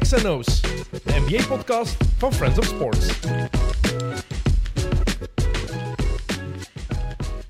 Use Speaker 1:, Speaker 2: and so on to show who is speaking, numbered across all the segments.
Speaker 1: XNO's, de NBA-podcast van Friends of Sports.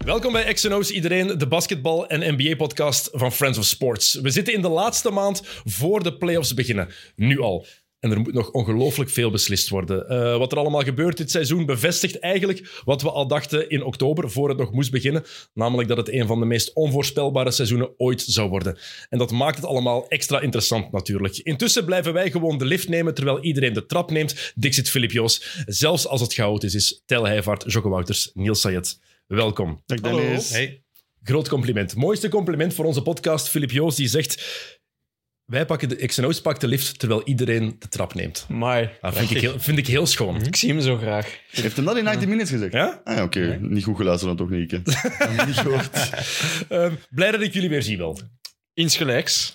Speaker 1: Welkom bij XNO's, iedereen, de basketbal- en NBA-podcast van Friends of Sports. We zitten in de laatste maand voor de playoffs beginnen, nu al. En er moet nog ongelooflijk veel beslist worden. Eh, wat er allemaal gebeurt dit seizoen bevestigt eigenlijk wat we al dachten in oktober, voor het nog moest beginnen. Namelijk dat het een van de meest onvoorspelbare seizoenen ooit zou worden. En dat maakt het allemaal extra interessant natuurlijk. Intussen blijven wij gewoon de lift nemen terwijl iedereen de trap neemt. Dixit Filip Joos. Zelfs als het chaotisch is. Tel Heijvaart, Jocke Wouters, Niels Sayed. Welkom.
Speaker 2: Dag
Speaker 3: Hallo.
Speaker 2: Dennis.
Speaker 3: Hey.
Speaker 1: Groot compliment. Mooiste compliment voor onze podcast, Filip Joos, die zegt... Wij pakken de XNO's pakt de lift terwijl iedereen de trap neemt.
Speaker 3: Maar
Speaker 1: Dat vind ik heel, vind ik heel
Speaker 2: Mhm.
Speaker 1: schoon.
Speaker 3: ik zie hem zo graag.
Speaker 2: Heeft hem dat in 90 Minutes gezegd?
Speaker 1: Ja?
Speaker 2: Ah, ja, oké. Niet goed geluisterd dan toch, Nieke. Ik heb hem niet gehoord.
Speaker 1: Ehm, blij dat ik jullie weer zie wel.
Speaker 3: Insgelijks.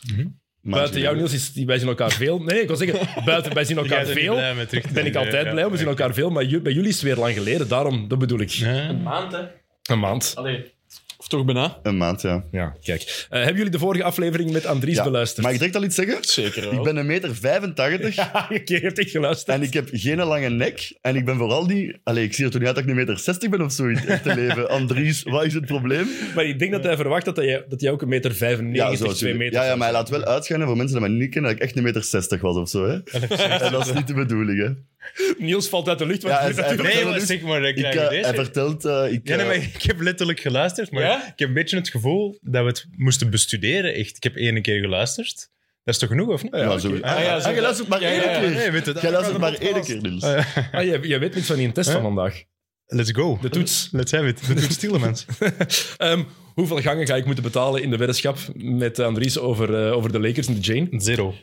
Speaker 1: Buiten jou, Niels, is, wij zien elkaar veel. Nee, ik wil zeggen, buiten wij zien elkaar veel. Ben ik altijd blij, we zien elkaar veel. Maar ju- bij jullie is het weer lang geleden, daarom, dat bedoel ik.
Speaker 4: Een maand, hè?
Speaker 1: Een maand.
Speaker 4: Allee.
Speaker 3: Of toch bijna?
Speaker 2: Een maand, ja.
Speaker 1: Ja, kijk. Eh, hebben jullie de vorige aflevering met Andries
Speaker 2: ja.
Speaker 1: beluisterd?
Speaker 2: Mag ik direct al iets zeggen?
Speaker 3: Zeker
Speaker 2: Ik ben een meter 85
Speaker 1: Ja, je hebt echt geluisterd.
Speaker 2: en ik heb geen lange nek. En ik ben vooral niet... Allee, ik zie er toen niet uit dat ik een meter 60 ben of zo in het echte leven. Andries, wat is het probleem?
Speaker 1: Maar ik denk dat hij verwacht dat jij, dat jij ook een meter 95,
Speaker 2: zo,
Speaker 1: 2
Speaker 2: natuurlijk.
Speaker 1: meter...
Speaker 2: ja, ja, maar hij laat wel uitschijnen voor mensen die mij niet kennen dat ik echt een meter 60 was of zo. Hè? en dat is niet de bedoeling, hè.
Speaker 1: Niels valt uit de lucht, want
Speaker 2: Ja,
Speaker 1: hij
Speaker 2: hij-
Speaker 1: is natuurlijk...
Speaker 2: hij-
Speaker 5: Nee, maar zeg maar, ik
Speaker 2: Ik,
Speaker 5: krijg
Speaker 2: eh,
Speaker 5: deze.
Speaker 2: hij vertelt... eh, ik,
Speaker 5: Ja, nee,
Speaker 2: eh,
Speaker 5: maar ik heb letterlijk geluisterd, maar
Speaker 3: Ja?
Speaker 5: ik heb een beetje het gevoel dat we het moesten bestuderen. Echt. Ik heb één keer geluisterd. Dat is toch genoeg, of niet?
Speaker 2: ja, zo, ah,
Speaker 3: ja,
Speaker 2: ah,
Speaker 3: zo-
Speaker 2: je luistert maar
Speaker 3: Ja,
Speaker 2: één
Speaker 3: ja, ja.
Speaker 2: keer.
Speaker 5: Nee, weet het,
Speaker 2: Jij
Speaker 5: ik
Speaker 2: luistert
Speaker 5: had
Speaker 2: maar
Speaker 5: een
Speaker 2: één
Speaker 5: podcast.
Speaker 2: keer, Niels.
Speaker 5: Eh,
Speaker 1: Ah, jij, jij weet niets van die test van vandaag.
Speaker 5: let's go.
Speaker 1: De toets.
Speaker 5: Let's have it. De toets Tielemans.
Speaker 1: Ehm, hoeveel gangen ga ik moeten betalen in de weddenschap met Andries over, eh, over de Lakers en de Jane?
Speaker 5: Zero.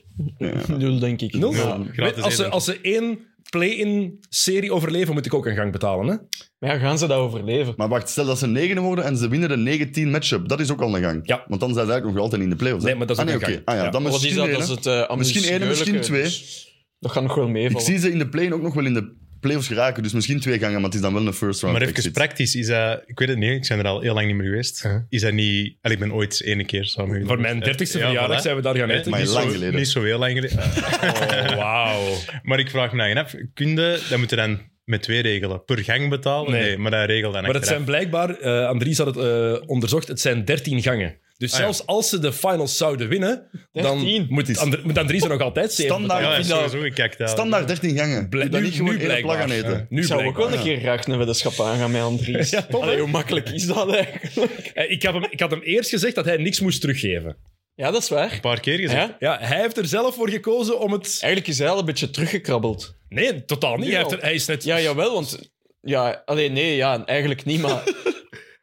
Speaker 3: Nul, denk ik.
Speaker 1: Nul?
Speaker 3: Ja.
Speaker 5: gratis
Speaker 1: als, ze,
Speaker 5: één.
Speaker 1: als ze één play-in serie overleven, moet ik ook een gang betalen. Hè?
Speaker 3: Maar ja, gaan ze dat overleven?
Speaker 2: Maar wacht, stel dat ze negende worden en ze winnen de 9-10 matchup. Dat is ook al een gang.
Speaker 1: Ja.
Speaker 2: Want dan zijn ze eigenlijk nog altijd in de playoffs. hè?
Speaker 1: Nee, maar dat is
Speaker 2: ah,
Speaker 1: ook
Speaker 2: nee,
Speaker 1: een
Speaker 2: oké.
Speaker 1: gang.
Speaker 2: Ah, ja,
Speaker 1: Ja.
Speaker 2: dan
Speaker 3: Wat is
Speaker 2: misschien
Speaker 3: dat
Speaker 2: één,
Speaker 3: als
Speaker 2: hè.
Speaker 3: het eh
Speaker 2: Misschien één,
Speaker 3: ambitieus-
Speaker 2: misschien twee.
Speaker 3: dus dat gaat nog wel
Speaker 2: Ik
Speaker 3: meevallen.
Speaker 2: zie ze in de play ook nog wel in de playoffs geraken. Dus misschien twee gangen, maar het is dan wel een first round
Speaker 5: Maar even
Speaker 2: exit.
Speaker 5: praktisch, is dat... Ik weet het niet, ik ben er al heel lang niet meer geweest. Is dat niet... Allee, ik ben ooit één keer samen
Speaker 1: Voor mijn 30ste
Speaker 5: Ja,
Speaker 1: verjaardag
Speaker 5: voilà.
Speaker 1: zijn we daar gaan
Speaker 5: Hè?
Speaker 1: eten. Dus-
Speaker 2: Maar
Speaker 5: Niet
Speaker 2: lang
Speaker 5: zo-
Speaker 2: geleden.
Speaker 5: Niet zo heel lang geleden.
Speaker 1: Oh, Wauw.
Speaker 5: Maar ik vraag me dan af, kun je, dat moet je dan met twee regelen. Per gang betalen?
Speaker 1: Nee.
Speaker 5: Nee, maar dat regel dan
Speaker 1: Maar het zijn
Speaker 5: achteraf.
Speaker 1: blijkbaar, eh, Andries had het eh, onderzocht, het zijn 13 gangen. Dus
Speaker 5: Ah, ja.
Speaker 1: zelfs als ze de finals zouden winnen, dan
Speaker 3: 13?
Speaker 1: moet, Andr- moet Andries er nog altijd zeven
Speaker 2: Standaard.
Speaker 1: betalen.
Speaker 5: Ja, sowieso, ik kijk daar.
Speaker 2: Standaard 13 gangen.
Speaker 1: Bl-
Speaker 2: Doe dat
Speaker 1: nu-
Speaker 2: niet gewoon
Speaker 1: nu
Speaker 2: één
Speaker 1: blijkbaar.
Speaker 2: plag aan eten.
Speaker 5: Ja.
Speaker 1: Nu
Speaker 3: Ik zou ook
Speaker 1: blijkbaar.
Speaker 3: wel een keer graag een weddenschap aangaan met Andries.
Speaker 1: Ja, toch, hè?
Speaker 3: Allee, hoe makkelijk is dat eigenlijk?
Speaker 1: Eh, Ik had, hem, ik had hem eerst gezegd dat hij niks moest teruggeven.
Speaker 3: Ja, dat is waar.
Speaker 5: Een paar keer gezegd.
Speaker 3: Ja?
Speaker 1: Ja, hij heeft er zelf voor gekozen om het...
Speaker 3: Eigenlijk is hij al een beetje teruggekrabbeld.
Speaker 1: Nee, totaal niet.
Speaker 3: Nu
Speaker 1: Hij,
Speaker 3: al.
Speaker 1: heeft er- hij is net,
Speaker 3: Ja, jawel, want... Ja, alleen nee, ja, eigenlijk niet, maar...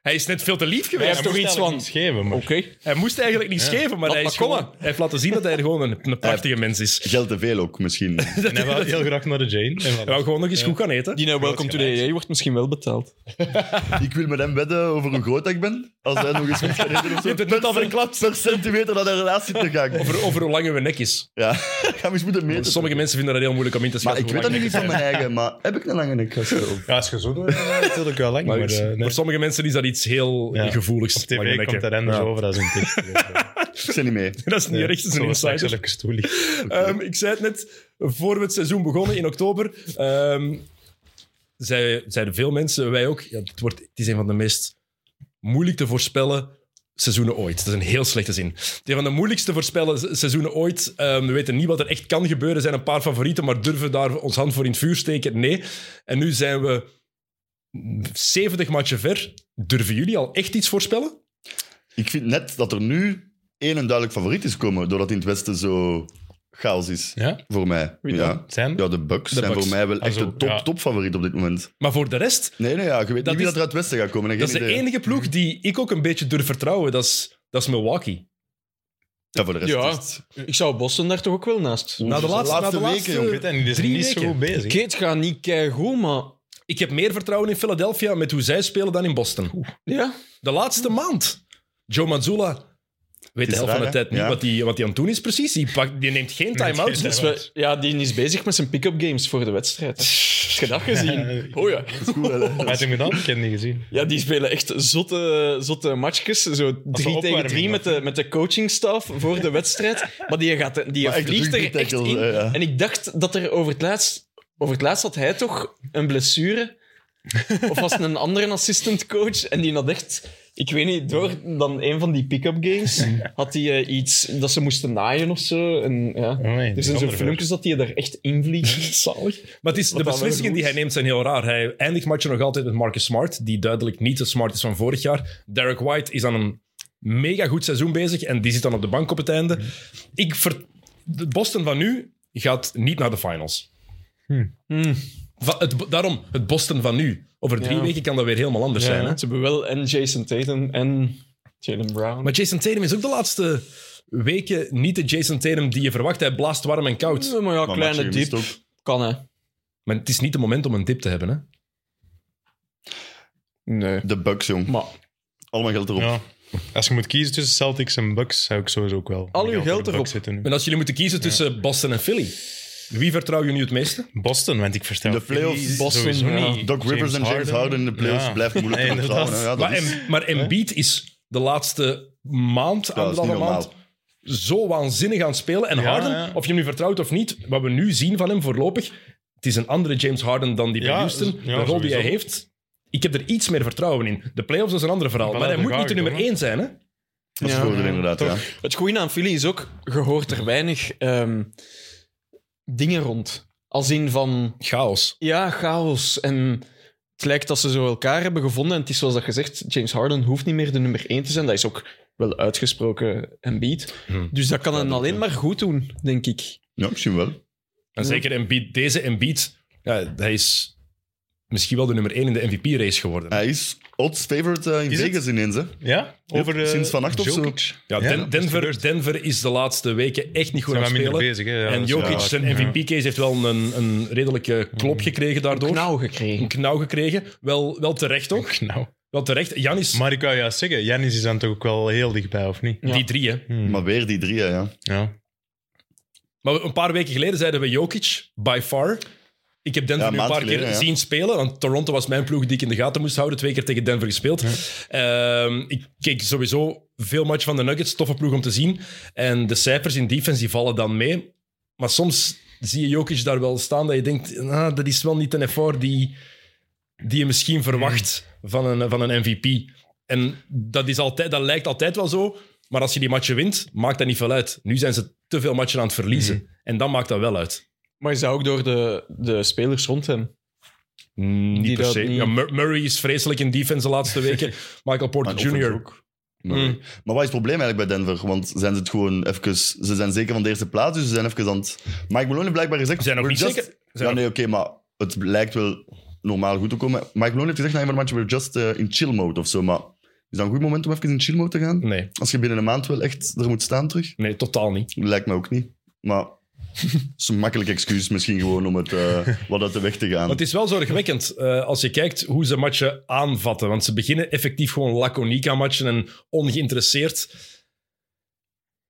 Speaker 1: hij is net veel te lief
Speaker 3: Hij
Speaker 1: geweest.
Speaker 3: heeft toch
Speaker 5: moest
Speaker 3: iets
Speaker 5: eigenlijk
Speaker 3: van...
Speaker 5: niets geven, maar
Speaker 3: Oké.
Speaker 1: Hij moest eigenlijk niets geven, maar
Speaker 3: Laat
Speaker 1: hij,
Speaker 3: maar
Speaker 1: is gewoon-
Speaker 3: komen.
Speaker 1: hij heeft laten zien dat hij gewoon een, een prachtige mens is.
Speaker 2: Geld te veel ook, misschien.
Speaker 5: En hij wil heel graag naar de Jane. En voilà.
Speaker 1: Hij wil gewoon nog eens goed gaan eten.
Speaker 3: Die nou Welcome to the
Speaker 5: gelijk.
Speaker 3: AA wordt misschien wel betaald.
Speaker 2: ik wil met hem wedden over hoe groot dat ik ben. Als hij nog eens goed gaat eten of zo.
Speaker 1: hebt het net al
Speaker 2: Per-
Speaker 1: verklapt.
Speaker 2: Per centimeter dat een relatie te gaan.
Speaker 1: Over, over hoe lang uw nek is.
Speaker 2: Ja, ga eens moeten meten.
Speaker 1: Sommige mensen vinden dat heel moeilijk om in te
Speaker 2: maar
Speaker 1: schatten.
Speaker 2: ik
Speaker 1: hoe
Speaker 2: weet dat nu
Speaker 1: lang
Speaker 2: niet van mijn eigen, maar heb ik een lange nek? gasten? Of-
Speaker 5: Ja, is gezond. eh, Natuurlijk wel lang, maar,
Speaker 1: nek is. Maar
Speaker 5: eh, nee.
Speaker 1: Voor sommige mensen is dat iets heel
Speaker 5: Ja.
Speaker 1: gevoeligs.
Speaker 5: op
Speaker 1: lange
Speaker 5: tv
Speaker 1: nekken.
Speaker 5: komt dat anders
Speaker 1: Ja.
Speaker 5: over als een tekst.
Speaker 2: Ik zit niet mee.
Speaker 1: Dat is niet echt, dat is een insider.
Speaker 5: Ik toelichten.
Speaker 1: Ehm, ik zei het net, voor we het seizoen begonnen in oktober, ehm, zei- zeiden veel mensen, wij ook, ja, het, wordt, het is een van de meest moeilijk te voorspellen seizoenen ooit. Dat is een heel slechte zin. Het is een van de moeilijkste voorspellen se- seizoenen ooit. Ehm, we weten niet wat er echt kan gebeuren. Er zijn een paar favorieten, maar durven daar ons hand voor in het vuur steken? Nee. En nu zijn we 70 matchen ver. Durven jullie al echt iets voorspellen?
Speaker 2: Ik vind net dat er nu één en duidelijk favoriet is komen, doordat in het Westen zo chaos is.
Speaker 5: Ja?
Speaker 2: Voor mij.
Speaker 3: Wie dan?
Speaker 2: ja.
Speaker 5: Zijn?
Speaker 2: ja, de Bucks zijn
Speaker 1: Bucks.
Speaker 2: voor mij wel echt
Speaker 5: Ah, zo,
Speaker 2: de top,
Speaker 5: ja.
Speaker 2: top favoriet op dit moment.
Speaker 1: Maar voor de rest,
Speaker 2: Nee, nee, ja, je weet niet
Speaker 1: is-
Speaker 2: wie dat er uit het Westen gaat komen. hè,
Speaker 1: dat is
Speaker 2: geen
Speaker 1: de
Speaker 2: idee.
Speaker 1: enige ploeg die ik ook een beetje durf vertrouwen. Dat is, dat is Milwaukee.
Speaker 2: Ja, voor de rest
Speaker 3: Ja.
Speaker 2: is het-
Speaker 3: Ik zou Boston daar toch ook wel naast.
Speaker 1: Na de
Speaker 2: Dus
Speaker 1: laatste, na de
Speaker 2: weken,
Speaker 1: laatste
Speaker 2: jong.
Speaker 5: Ik weet dat niet, die zijn
Speaker 1: drie
Speaker 5: niet zo
Speaker 1: weken.
Speaker 5: goed bezig.
Speaker 3: Oké, het gaat niet keigoed, maar...
Speaker 1: Ik heb meer vertrouwen in Philadelphia met hoe zij spelen dan in Boston.
Speaker 3: Ja,
Speaker 1: De laatste maand. Joe Mazzulla, Weet de helft
Speaker 2: is
Speaker 1: van
Speaker 2: raar,
Speaker 1: de
Speaker 2: hè?
Speaker 1: tijd niet
Speaker 2: Ja.
Speaker 1: wat die, wat die aan het doen is precies. Die, pakt, die neemt geen time-out.
Speaker 5: geen
Speaker 1: Dus
Speaker 5: time-out.
Speaker 1: we-
Speaker 3: Dus we- ja, die is bezig met zijn pick-up games voor de wedstrijd. Heb je dat gezien? Oh ja.
Speaker 2: Dat is goed, wel, hè.
Speaker 5: Wat heb je gedaan? Ik heb het niet gezien.
Speaker 3: Ja, die spelen echt zotte, zotte matchjes. Zo drie tegen
Speaker 5: opwarming,
Speaker 3: drie met de, met de coachingstaf voor de wedstrijd. Maar die, gaat, die
Speaker 2: Maar echt
Speaker 3: vliegt er echt
Speaker 2: rugbytackles,
Speaker 3: in.
Speaker 2: eh, ja.
Speaker 3: En ik dacht dat er over het laatst... Over het laatst had hij toch een blessure. Of was het een andere assistantcoach. En die had echt... Ik weet niet, door dan een van die pick-up games had hij eh, iets dat ze moesten naaien of zo. En, ja.
Speaker 5: nee,
Speaker 3: er
Speaker 5: die
Speaker 3: zijn zo'n
Speaker 5: andere
Speaker 3: filmpjes dat hij er echt in vliegt. Zalig.
Speaker 1: Maar het is, de
Speaker 3: Wat dan
Speaker 1: beslissingen
Speaker 3: wel
Speaker 1: die
Speaker 3: goed
Speaker 1: hij
Speaker 3: is.
Speaker 1: neemt zijn heel raar. Hij eindigt matchen nog altijd met Marcus Smart, die duidelijk niet de Smart is van vorig jaar. Derek White is aan een mega goed seizoen bezig en die zit dan op de bank op het einde. Ik ver... de Boston van nu gaat niet naar de finals.
Speaker 3: Hmm.
Speaker 1: Hmm. Va- het, bo- daarom, het Boston van nu. Over drie
Speaker 3: Ja.
Speaker 1: weken kan dat weer helemaal anders zijn. Hè?
Speaker 3: Ze hebben wel en Jason Tatum en Jalen Brown.
Speaker 1: Maar Jason Tatum is ook de laatste weken niet de Jason Tatum die je verwacht. Hij blaast warm en koud.
Speaker 3: Ja, Eh, maar ja,
Speaker 2: Maar
Speaker 3: kleine
Speaker 2: matchen
Speaker 3: diep.
Speaker 2: gemist ook.
Speaker 3: Kan hè?
Speaker 1: Maar het is niet het moment om een dip te hebben. Hè?
Speaker 3: Nee.
Speaker 2: De Bucks, jong.
Speaker 3: Maar
Speaker 2: Allemaal geld erop.
Speaker 5: Ja. Als je moet kiezen tussen Celtics en Bucks, zou ik sowieso ook wel.
Speaker 3: Al uw
Speaker 5: mijn
Speaker 3: geld
Speaker 5: voor de
Speaker 3: erop.
Speaker 5: Bucks zetten nu.
Speaker 1: En als jullie moeten kiezen tussen Boston en Philly, wie vertrouw je nu het meeste?
Speaker 5: Boston, want ik versta.
Speaker 2: In de playoffs,
Speaker 5: Boston,
Speaker 3: Boston,
Speaker 5: sowieso
Speaker 3: ja.
Speaker 5: niet.
Speaker 2: Doc Rivers en James Harden in de playoffs
Speaker 5: Ja.
Speaker 2: blijft moeilijk
Speaker 5: Nee,
Speaker 2: te vertrouwen. hè. Ja,
Speaker 5: inderdaad.
Speaker 2: dat
Speaker 1: Maar,
Speaker 2: is-
Speaker 1: en, maar Embiid is de laatste maand,
Speaker 2: dat is niet
Speaker 1: anderhalve maand,
Speaker 2: normaal.
Speaker 1: zo waanzinnig aan het spelen. En
Speaker 5: Ja,
Speaker 1: Harden,
Speaker 5: ja.
Speaker 1: of je hem nu vertrouwt of niet, wat we nu zien van hem voorlopig, het is een andere James Harden dan die bij
Speaker 5: Ja,
Speaker 1: Houston.
Speaker 5: ja,
Speaker 1: de rol die hij
Speaker 5: sowieso.
Speaker 1: heeft, ik heb er iets meer vertrouwen in. De playoffs is een ander verhaal,
Speaker 5: Voilà,
Speaker 1: maar hij
Speaker 5: daar
Speaker 1: moet
Speaker 5: ga
Speaker 1: niet de
Speaker 5: ik,
Speaker 1: nummer
Speaker 5: jongen.
Speaker 1: één zijn. Hè?
Speaker 2: Dat is
Speaker 3: Ja.
Speaker 2: het voordeel, inderdaad. Ja.
Speaker 5: Toch?
Speaker 3: het goede aan Philly is ook, je hoort er weinig ehm, dingen rond. Als in van,
Speaker 1: Chaos.
Speaker 3: ja, chaos. En het lijkt dat ze zo elkaar hebben gevonden. En het is zoals dat gezegd, James Harden hoeft niet meer de nummer 1 te zijn. Dat is ook wel uitgesproken Embiid.
Speaker 1: Hm.
Speaker 3: Dus dat kan hen
Speaker 2: dat
Speaker 3: alleen
Speaker 2: ook.
Speaker 3: maar goed doen, denk ik.
Speaker 2: ja, misschien wel.
Speaker 1: En zeker Embiid, deze Embiid, ja, hij is misschien wel de nummer één in de MVP-race geworden.
Speaker 2: Hij is odds favorite eh, in
Speaker 5: Is het?
Speaker 2: Vegas ineens, hè.
Speaker 5: Ja? Over, eh,
Speaker 2: Sinds vannacht of zo.
Speaker 5: Jokic.
Speaker 1: Ja,
Speaker 5: Ja,
Speaker 1: Den-
Speaker 5: dat is
Speaker 1: Denver,
Speaker 5: gebeurd.
Speaker 1: Denver is de laatste weken echt niet goed
Speaker 5: Zijn
Speaker 1: aan
Speaker 5: we
Speaker 1: het
Speaker 5: minder
Speaker 1: spelen.
Speaker 5: bezig, hè? Ja,
Speaker 1: en
Speaker 5: dat is-
Speaker 1: Jokic,
Speaker 5: ja.
Speaker 1: zijn
Speaker 5: Ja.
Speaker 1: MVP-case, heeft wel een, een redelijke klop gekregen daardoor.
Speaker 3: Knauw gekregen.
Speaker 2: Hm.
Speaker 1: Een knauw gekregen. Wel, wel terecht ook.
Speaker 5: Nou,
Speaker 1: Wel terecht. Janis,
Speaker 5: maar ik kan juist zeggen, Janis is dan toch ook wel heel dichtbij, of niet?
Speaker 3: Ja.
Speaker 1: die drie, hè.
Speaker 5: Hmm.
Speaker 2: Maar weer die drie, hè, ja.
Speaker 5: Ja.
Speaker 1: Maar een paar weken geleden zeiden we Jokic, by far. Ik heb Denver
Speaker 2: Ja,
Speaker 1: nu
Speaker 2: een
Speaker 1: een paar
Speaker 2: maand geleden,
Speaker 1: keer
Speaker 2: ja.
Speaker 1: zien spelen, want Toronto was mijn ploeg die ik in de gaten moest houden. Twee keer tegen Denver gespeeld. Ehm, ik keek sowieso veel match van de Nuggets, toffe ploeg om te zien. En de cijfers in defense die vallen dan mee. Maar soms zie je Jokic daar wel staan dat je denkt, "Ah, dat is wel niet een effort die, die je misschien verwacht van, een, van een MVP. En dat, is altijd, dat lijkt altijd wel zo. Maar als je die matchen wint, maakt dat niet veel uit. Nu zijn ze te veel matchen aan het verliezen. En dan maakt dat wel uit.
Speaker 3: Maar is dat ook door de, de spelers rond hem?
Speaker 1: Niet
Speaker 3: Die
Speaker 1: per
Speaker 3: dat
Speaker 1: se.
Speaker 3: niet-
Speaker 1: Ja, Mur- Murray is vreselijk in defense de laatste weken. Michael Porter
Speaker 2: Maar in offense
Speaker 1: Jr.
Speaker 2: ook. Maar,
Speaker 1: Mm.
Speaker 2: maar wat is het probleem eigenlijk bij Denver? Want zijn ze het gewoon even... Ze zijn zeker van de eerste plaats, dus ze zijn even aan het... Mike Malone heeft blijkbaar gezegd...
Speaker 1: Ze zijn nog
Speaker 2: "We're
Speaker 1: niet
Speaker 2: just-
Speaker 1: zeker. Ze
Speaker 2: ja,
Speaker 1: zijn
Speaker 2: nee, oké, maar het lijkt wel normaal goed te komen. Mike Malone heeft gezegd na een van de matchen, we're just eh, in chill mode of zo, maar... Is dat een goed moment om even in chill mode te gaan?
Speaker 1: Nee,
Speaker 2: Als je binnen een maand wel echt er moet staan terug?
Speaker 1: nee, totaal niet.
Speaker 2: Lijkt me ook niet. Maar het is een makkelijk excuus misschien gewoon om het eh, wat uit de weg te gaan.
Speaker 1: Maar het is wel zorgwekkend eh, als je kijkt hoe ze matchen aanvatten. Want ze beginnen effectief gewoon laconiek aan matchen en ongeïnteresseerd.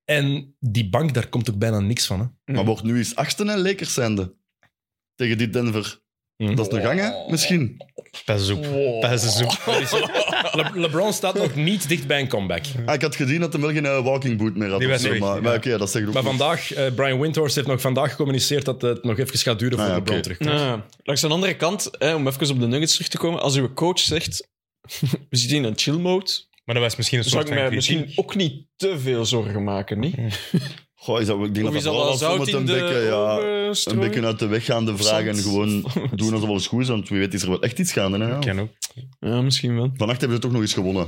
Speaker 1: En die bank, daar komt ook bijna niks van. Hè?
Speaker 2: Maar wordt nu eens achtste en Lakers zijnde. Tegen die Denver.
Speaker 1: Mm.
Speaker 2: Dat is nog gang, hè? Misschien.
Speaker 5: Pas eens op. Pas eens op.
Speaker 1: Er is- Le- LeBron staat nog niet dicht bij een comeback.
Speaker 2: Ah, ik had gezien dat hij wel geen eh, walking boot meer had.
Speaker 5: Die
Speaker 2: of
Speaker 5: was
Speaker 2: zo,
Speaker 5: weg,
Speaker 2: maar
Speaker 5: ja.
Speaker 2: maar oké, dat zegt ook
Speaker 1: Maar
Speaker 2: niks.
Speaker 1: vandaag, eh, Brian Windhorst heeft nog vandaag gecommuniceerd dat het nog even gaat duren
Speaker 2: Ah,
Speaker 1: voor
Speaker 2: ja,
Speaker 1: LeBron
Speaker 2: oké.
Speaker 1: terug.
Speaker 3: Ja, langs de andere kant, hè, om even op de Nuggets terug te komen, als uw coach zegt, we zitten in een chill mode,
Speaker 5: Maar dat was misschien een
Speaker 3: zou
Speaker 5: soort
Speaker 3: ik
Speaker 5: van
Speaker 3: mij
Speaker 5: kritiek.
Speaker 3: misschien ook niet te veel zorgen maken, niet?
Speaker 2: Goh, is dat, ik denk
Speaker 3: Of
Speaker 2: dat
Speaker 3: is
Speaker 2: dat
Speaker 3: dat
Speaker 2: vooral
Speaker 3: wel zout
Speaker 2: soms een
Speaker 3: in de
Speaker 2: beetje, ja,
Speaker 3: ogen
Speaker 2: een
Speaker 3: strooien?
Speaker 2: beetje uit de weg gaande vragen en
Speaker 3: zand.
Speaker 2: gewoon doen alsof alles goed is, want wie weet is er wel echt iets gaande. Hè?
Speaker 5: Kan ook.
Speaker 3: Ja, misschien wel.
Speaker 2: Vannacht hebben ze toch nog eens gewonnen.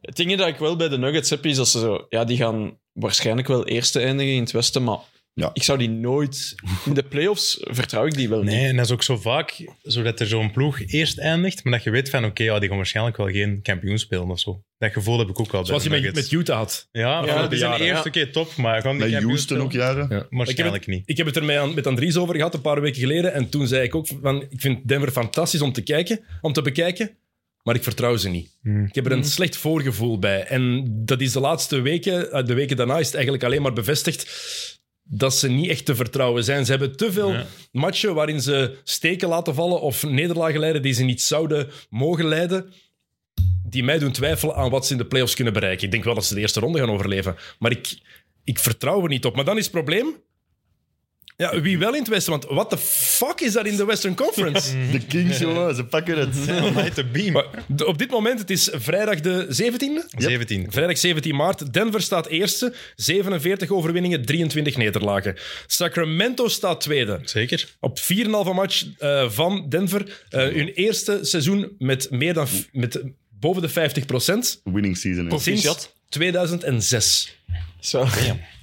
Speaker 3: Het ding dat ik wel bij de Nuggets heb, is dat ze zo... Ja, die gaan waarschijnlijk wel eerste eindigen in het Westen, maar
Speaker 2: Ja.
Speaker 3: ik zou die nooit... In de playoffs vertrouw ik die wel niet.
Speaker 5: Nee, en dat is ook zo vaak, zodat er zo'n ploeg eerst eindigt, maar dat je weet van, oké, ja, die gaan waarschijnlijk wel geen kampioen spelen of zo. Dat gevoel heb ik ook wel. bij
Speaker 1: Zoals
Speaker 5: de
Speaker 1: je met,
Speaker 5: Nuggets.
Speaker 1: met Utah had.
Speaker 5: Ja,
Speaker 3: Ja,
Speaker 5: ja
Speaker 3: die
Speaker 5: die zijn
Speaker 3: jaren,
Speaker 5: eerst
Speaker 3: ja.
Speaker 5: oké top, maar gaan die
Speaker 2: Met
Speaker 5: kampioen
Speaker 2: Houston
Speaker 5: spelen?
Speaker 2: ook jaren.
Speaker 5: Waarschijnlijk niet.
Speaker 1: Ik heb het er met, An- met Andries over gehad een paar weken geleden. En toen zei ik ook: van, Ik vind Denver fantastisch om te, kijken, om te bekijken. maar ik vertrouw ze niet.
Speaker 5: Hmm.
Speaker 1: Ik heb er een slecht voorgevoel bij. En dat is de laatste weken, eh, de weken daarna, is het eigenlijk alleen maar bevestigd dat ze niet echt te vertrouwen zijn. Ze hebben te veel
Speaker 5: Ja.
Speaker 1: matchen waarin ze steken laten vallen of nederlagen leiden die ze niet zouden mogen leiden. Die mij doen twijfelen aan wat ze in de playoffs kunnen bereiken. Ik denk wel dat ze de eerste ronde gaan overleven. Maar ik, ik vertrouw er niet op. Maar dan is het probleem. Ja, wie wel in het Westen? Want what the fuck is dat in de Western Conference?
Speaker 2: De Kings, jongen, ze pakken het.
Speaker 5: Amai, te beam.
Speaker 1: Maar de- op dit moment, het is vrijdag de 17e.
Speaker 5: 17.
Speaker 1: Vrijdag 17 maart. Denver staat eerste. 47 overwinningen, 23 nederlagen. Sacramento staat tweede.
Speaker 5: Zeker.
Speaker 1: Op 4,5 match eh, van Denver. Eh, hun eerste seizoen met meer dan f- met boven de 50 procent.
Speaker 2: Winning season. hè.
Speaker 1: Sinds
Speaker 3: Proficiat.
Speaker 1: 2006.
Speaker 3: Zo.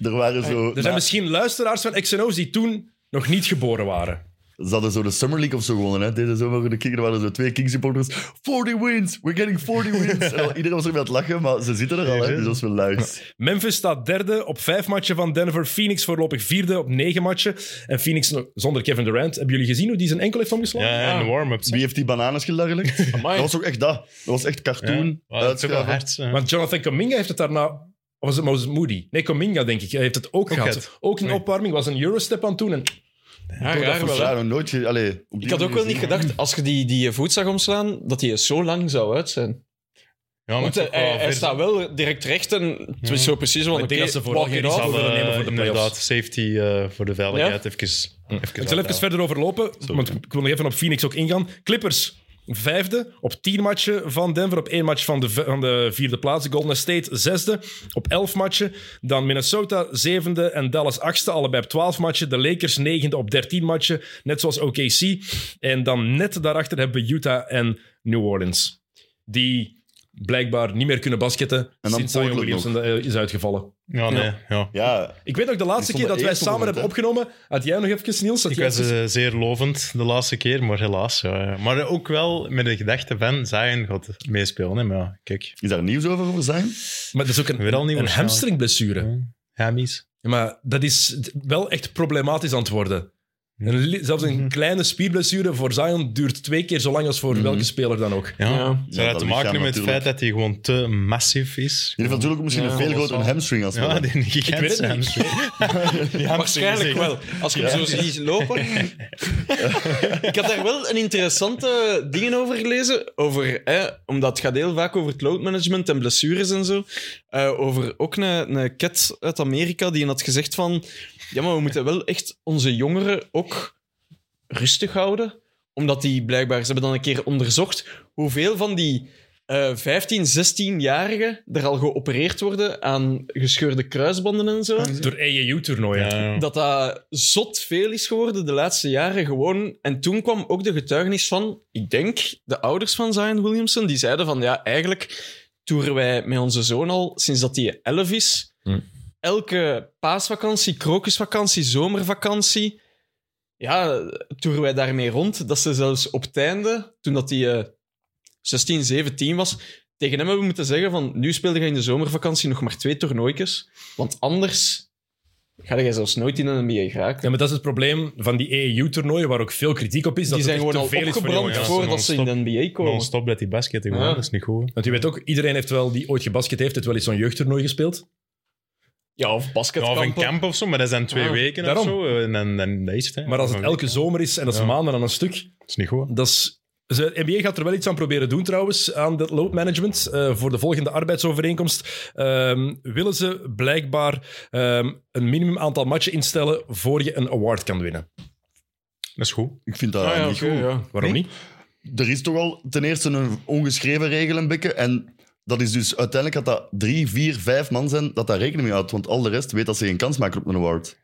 Speaker 2: Er waren zo...
Speaker 1: Er zijn
Speaker 2: na-
Speaker 1: misschien luisteraars van XNO's die toen nog niet geboren waren.
Speaker 2: Ze hadden zo de Summer League of zo gewonnen. Hè. Deze zomer voor de Kings er waren zo twee Kings supporters. 40 wins! We're getting 40 wins! En al- iedereen was er aan het lachen, maar ze zitten er al. Hè. Dus dat is wel luid.
Speaker 1: Memphis staat derde op vijf matchen van Denver. Phoenix voorlopig vierde op negen matchen. En Phoenix nog- zonder Kevin Durant. Hebben jullie gezien hoe die zijn enkel heeft omgeslagen?
Speaker 5: Ja, en de warm-ups.
Speaker 2: Wie heeft die bananen gelargelijkt? dat
Speaker 3: Amai.
Speaker 2: was ook echt dat. Dat was echt
Speaker 5: Ja.
Speaker 2: cartoon.
Speaker 5: Wow, dat is ook wel
Speaker 2: uitschuiven.
Speaker 5: hard. eh.
Speaker 1: Want Jonathan Kaminga heeft het daarna... of Was het Moses Moody? Nee, Kaminga, denk ik. Hij heeft het ook, gehad.
Speaker 5: gehad.
Speaker 1: Ook een
Speaker 5: Nee.
Speaker 1: opwarming. Was een Eurostep aan toen. En
Speaker 3: Ja, raar wel,
Speaker 2: Dat
Speaker 3: hè.
Speaker 2: was nog nooit... ge- Allee, op die
Speaker 3: Ik had ook
Speaker 2: manier
Speaker 3: wel niet
Speaker 2: gezien.
Speaker 3: gedacht, als je die, die voet zag omslaan, dat die zo lang zou uit zijn.
Speaker 5: Ja, maar
Speaker 3: Want
Speaker 5: het is
Speaker 3: hij,
Speaker 5: ook wel
Speaker 3: hij
Speaker 5: ver-
Speaker 3: eh, staat wel direct recht en het is zo precies wel
Speaker 1: Hmm. Maar ik denk dat ze vooral geen
Speaker 5: Ze
Speaker 1: risico
Speaker 5: hadden,
Speaker 1: willen nemen voor de
Speaker 5: eh, inderdaad,
Speaker 1: playoffs.
Speaker 5: safety eh, voor de veiligheid. Even, even
Speaker 1: Ik zal even
Speaker 5: uithouden.
Speaker 1: verder overlopen, want ik wil nog even op Phoenix ook ingaan. Clippers, vijfde, op tien matchen van Denver, op één match van de, v- van de vierde plaats. Golden State, zesde, op elf matchen. Dan Minnesota, zevende en Dallas, achtste, allebei op twaalf matchen. De Lakers, negende, op dertien matchen, net zoals OKC. En dan net daarachter hebben we Utah en New Orleans, die blijkbaar niet meer kunnen basketten
Speaker 2: dan
Speaker 1: sinds Zion
Speaker 2: Portland
Speaker 1: Williamson eh, is uitgevallen.
Speaker 5: Ja, nee. Ja.
Speaker 2: Ja,
Speaker 1: Ik weet nog, de laatste
Speaker 2: Die
Speaker 1: keer dat wij
Speaker 2: stonden
Speaker 1: samen
Speaker 2: eerst
Speaker 1: hebben
Speaker 2: op
Speaker 1: opgenomen, had jij nog even, Niels? had
Speaker 5: Ik
Speaker 1: jij
Speaker 5: was
Speaker 1: even-
Speaker 5: eh, zeer lovend de laatste keer, maar helaas. Ja, ja. Maar ook wel met de gedachte van Zion gaat meespelen. Hè. Maar ja, kijk,
Speaker 2: is daar nieuws over voor zijn?
Speaker 1: Maar dat is ook een,
Speaker 5: Weer al nieuw
Speaker 1: een
Speaker 5: waarschijnlijk.
Speaker 1: hamstringblessure.
Speaker 5: Hamies.
Speaker 1: Ja, maar dat is d- wel echt problematisch aan het worden. Een li- zelfs een kleine spierblessure voor Zion duurt twee keer zo lang als voor welke speler dan ook.
Speaker 5: Ja.
Speaker 3: Ja.
Speaker 5: Zou dat
Speaker 2: dat
Speaker 5: te maken
Speaker 2: lichaam
Speaker 5: hebben met het
Speaker 2: natuurlijk.
Speaker 5: feit dat hij gewoon te massief is?
Speaker 2: Die heeft natuurlijk misschien
Speaker 3: Ja,
Speaker 2: een veel grotere
Speaker 5: kolossaal.
Speaker 2: hamstring als
Speaker 5: Ja,
Speaker 2: dat.
Speaker 5: die gigantische
Speaker 1: niet.
Speaker 5: hamstring. Die hamstring
Speaker 3: Waarschijnlijk
Speaker 5: is
Speaker 3: wel.
Speaker 5: echt-
Speaker 3: Als je hem zo ziet lopen. ik had daar wel een interessante dingen over gelezen. Over, hè, omdat het gaat heel vaak over het loadmanagement en blessures en zo. Eh, over ook een, een cat uit Amerika die had gezegd van... Ja, maar we moeten wel echt onze jongeren ook rustig houden. Omdat die blijkbaar... Ze hebben dan een keer onderzocht hoeveel van die... eh 15, 16-jarigen er al geopereerd worden aan gescheurde kruisbanden en zo
Speaker 1: Door E AAU-toernooien.
Speaker 5: Ja, ja.
Speaker 3: dat dat zot veel is geworden de laatste jaren gewoon. En toen kwam ook de getuigenis van, ik denk, de ouders van Zion Williamson, die zeiden van, ja, eigenlijk toeren wij met onze zoon al, sinds dat hij 11 is,
Speaker 1: Hm.
Speaker 3: elke paasvakantie, krokusvakantie, zomervakantie, ja, toeren wij daarmee rond. Dat ze zelfs op het einde, toen dat hij eh, 16, 17 was, tegen hem hebben we moeten zeggen van, nu speelde je in de zomervakantie nog maar twee toernooitjes, want anders ga je zelfs nooit in een NBA geraken.
Speaker 1: Ja, maar dat is het probleem van die AAU-toernooien, waar ook veel kritiek op is. dat
Speaker 3: die
Speaker 1: het
Speaker 3: zijn
Speaker 1: echt
Speaker 3: gewoon al
Speaker 1: te veel is voor
Speaker 3: opgebrand
Speaker 1: jongens.
Speaker 5: voor-
Speaker 3: voordat ze in de NBA komen.
Speaker 5: Non-stop dat die basket gewoon,
Speaker 3: Ja.
Speaker 5: dat is niet goed.
Speaker 1: Want je weet ook, iedereen heeft wel, die ooit gebasket heeft, heeft wel eens zo'n jeugdtoernooi gespeeld.
Speaker 3: Ja, of
Speaker 5: Ja, of een
Speaker 3: basketkampen.
Speaker 5: camp of zo, maar dat zijn twee
Speaker 3: Ah,
Speaker 5: weken
Speaker 1: daarom.
Speaker 5: of zo. En, en, en dat is het. hè.
Speaker 1: Maar als het
Speaker 5: Een
Speaker 1: elke
Speaker 5: week,
Speaker 1: zomer is en dat is
Speaker 5: Ja.
Speaker 1: maanden aan een stuk,
Speaker 5: Dat is niet goed.
Speaker 1: Dat is, ze- NBA gaat er wel iets aan proberen doen trouwens, aan dat load management. eh, voor de volgende arbeidsovereenkomst ehm, willen ze blijkbaar ehm, een minimum aantal matchen instellen voor je een award kan winnen.
Speaker 5: Dat is goed.
Speaker 2: Ik vind dat
Speaker 3: Ah, ja,
Speaker 2: niet
Speaker 3: oké,
Speaker 2: goed.
Speaker 3: ja.
Speaker 1: Waarom niet?
Speaker 2: Er is toch al ten eerste een ongeschreven regel een beetje. En dat is dus uiteindelijk dat dat drie, vier, vijf man zijn dat daar rekening mee houdt. Want al de rest weet dat ze geen kans maken op een award.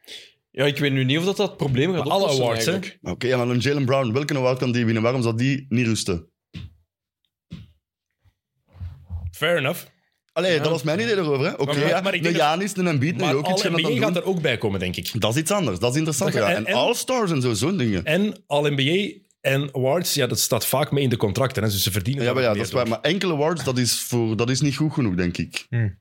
Speaker 3: Ja, ik weet nu niet of dat, dat het probleem gaat
Speaker 1: Maar alle
Speaker 3: oplossen
Speaker 1: awards, hè?
Speaker 3: eigenlijk.
Speaker 2: Maar Oké, ja, maar een Jalen Brown, welke award kan die winnen? Waarom zou die niet rusten?
Speaker 1: Fair enough.
Speaker 2: Allee, dat was mijn idee erover. hè. Oké,
Speaker 1: Maar-
Speaker 2: ja,
Speaker 1: maar ik
Speaker 2: een
Speaker 1: denk dat-
Speaker 2: Janis, een Embiid, een
Speaker 1: Maar
Speaker 2: Jokic
Speaker 1: alle
Speaker 2: gaan dat
Speaker 1: NBA
Speaker 2: dan
Speaker 1: gaat
Speaker 2: doen.
Speaker 1: er ook bij komen, denk ik.
Speaker 2: Dat is iets anders, dat is interessant.
Speaker 1: Dat-
Speaker 2: ja.
Speaker 1: en-
Speaker 2: En,
Speaker 1: en-
Speaker 2: All-Stars en zo, zo'n dingen.
Speaker 1: En All-NBA en awards, ja, dat staat vaak mee in de contracten. Hè, dus ze verdienen
Speaker 2: Ja, maar
Speaker 1: daar
Speaker 2: ja,
Speaker 1: ook
Speaker 2: dat is
Speaker 1: meer
Speaker 2: waar. Maar enkele awards, dat is, voor, dat is niet goed genoeg, denk ik.
Speaker 1: Hm.
Speaker 5: Hmm.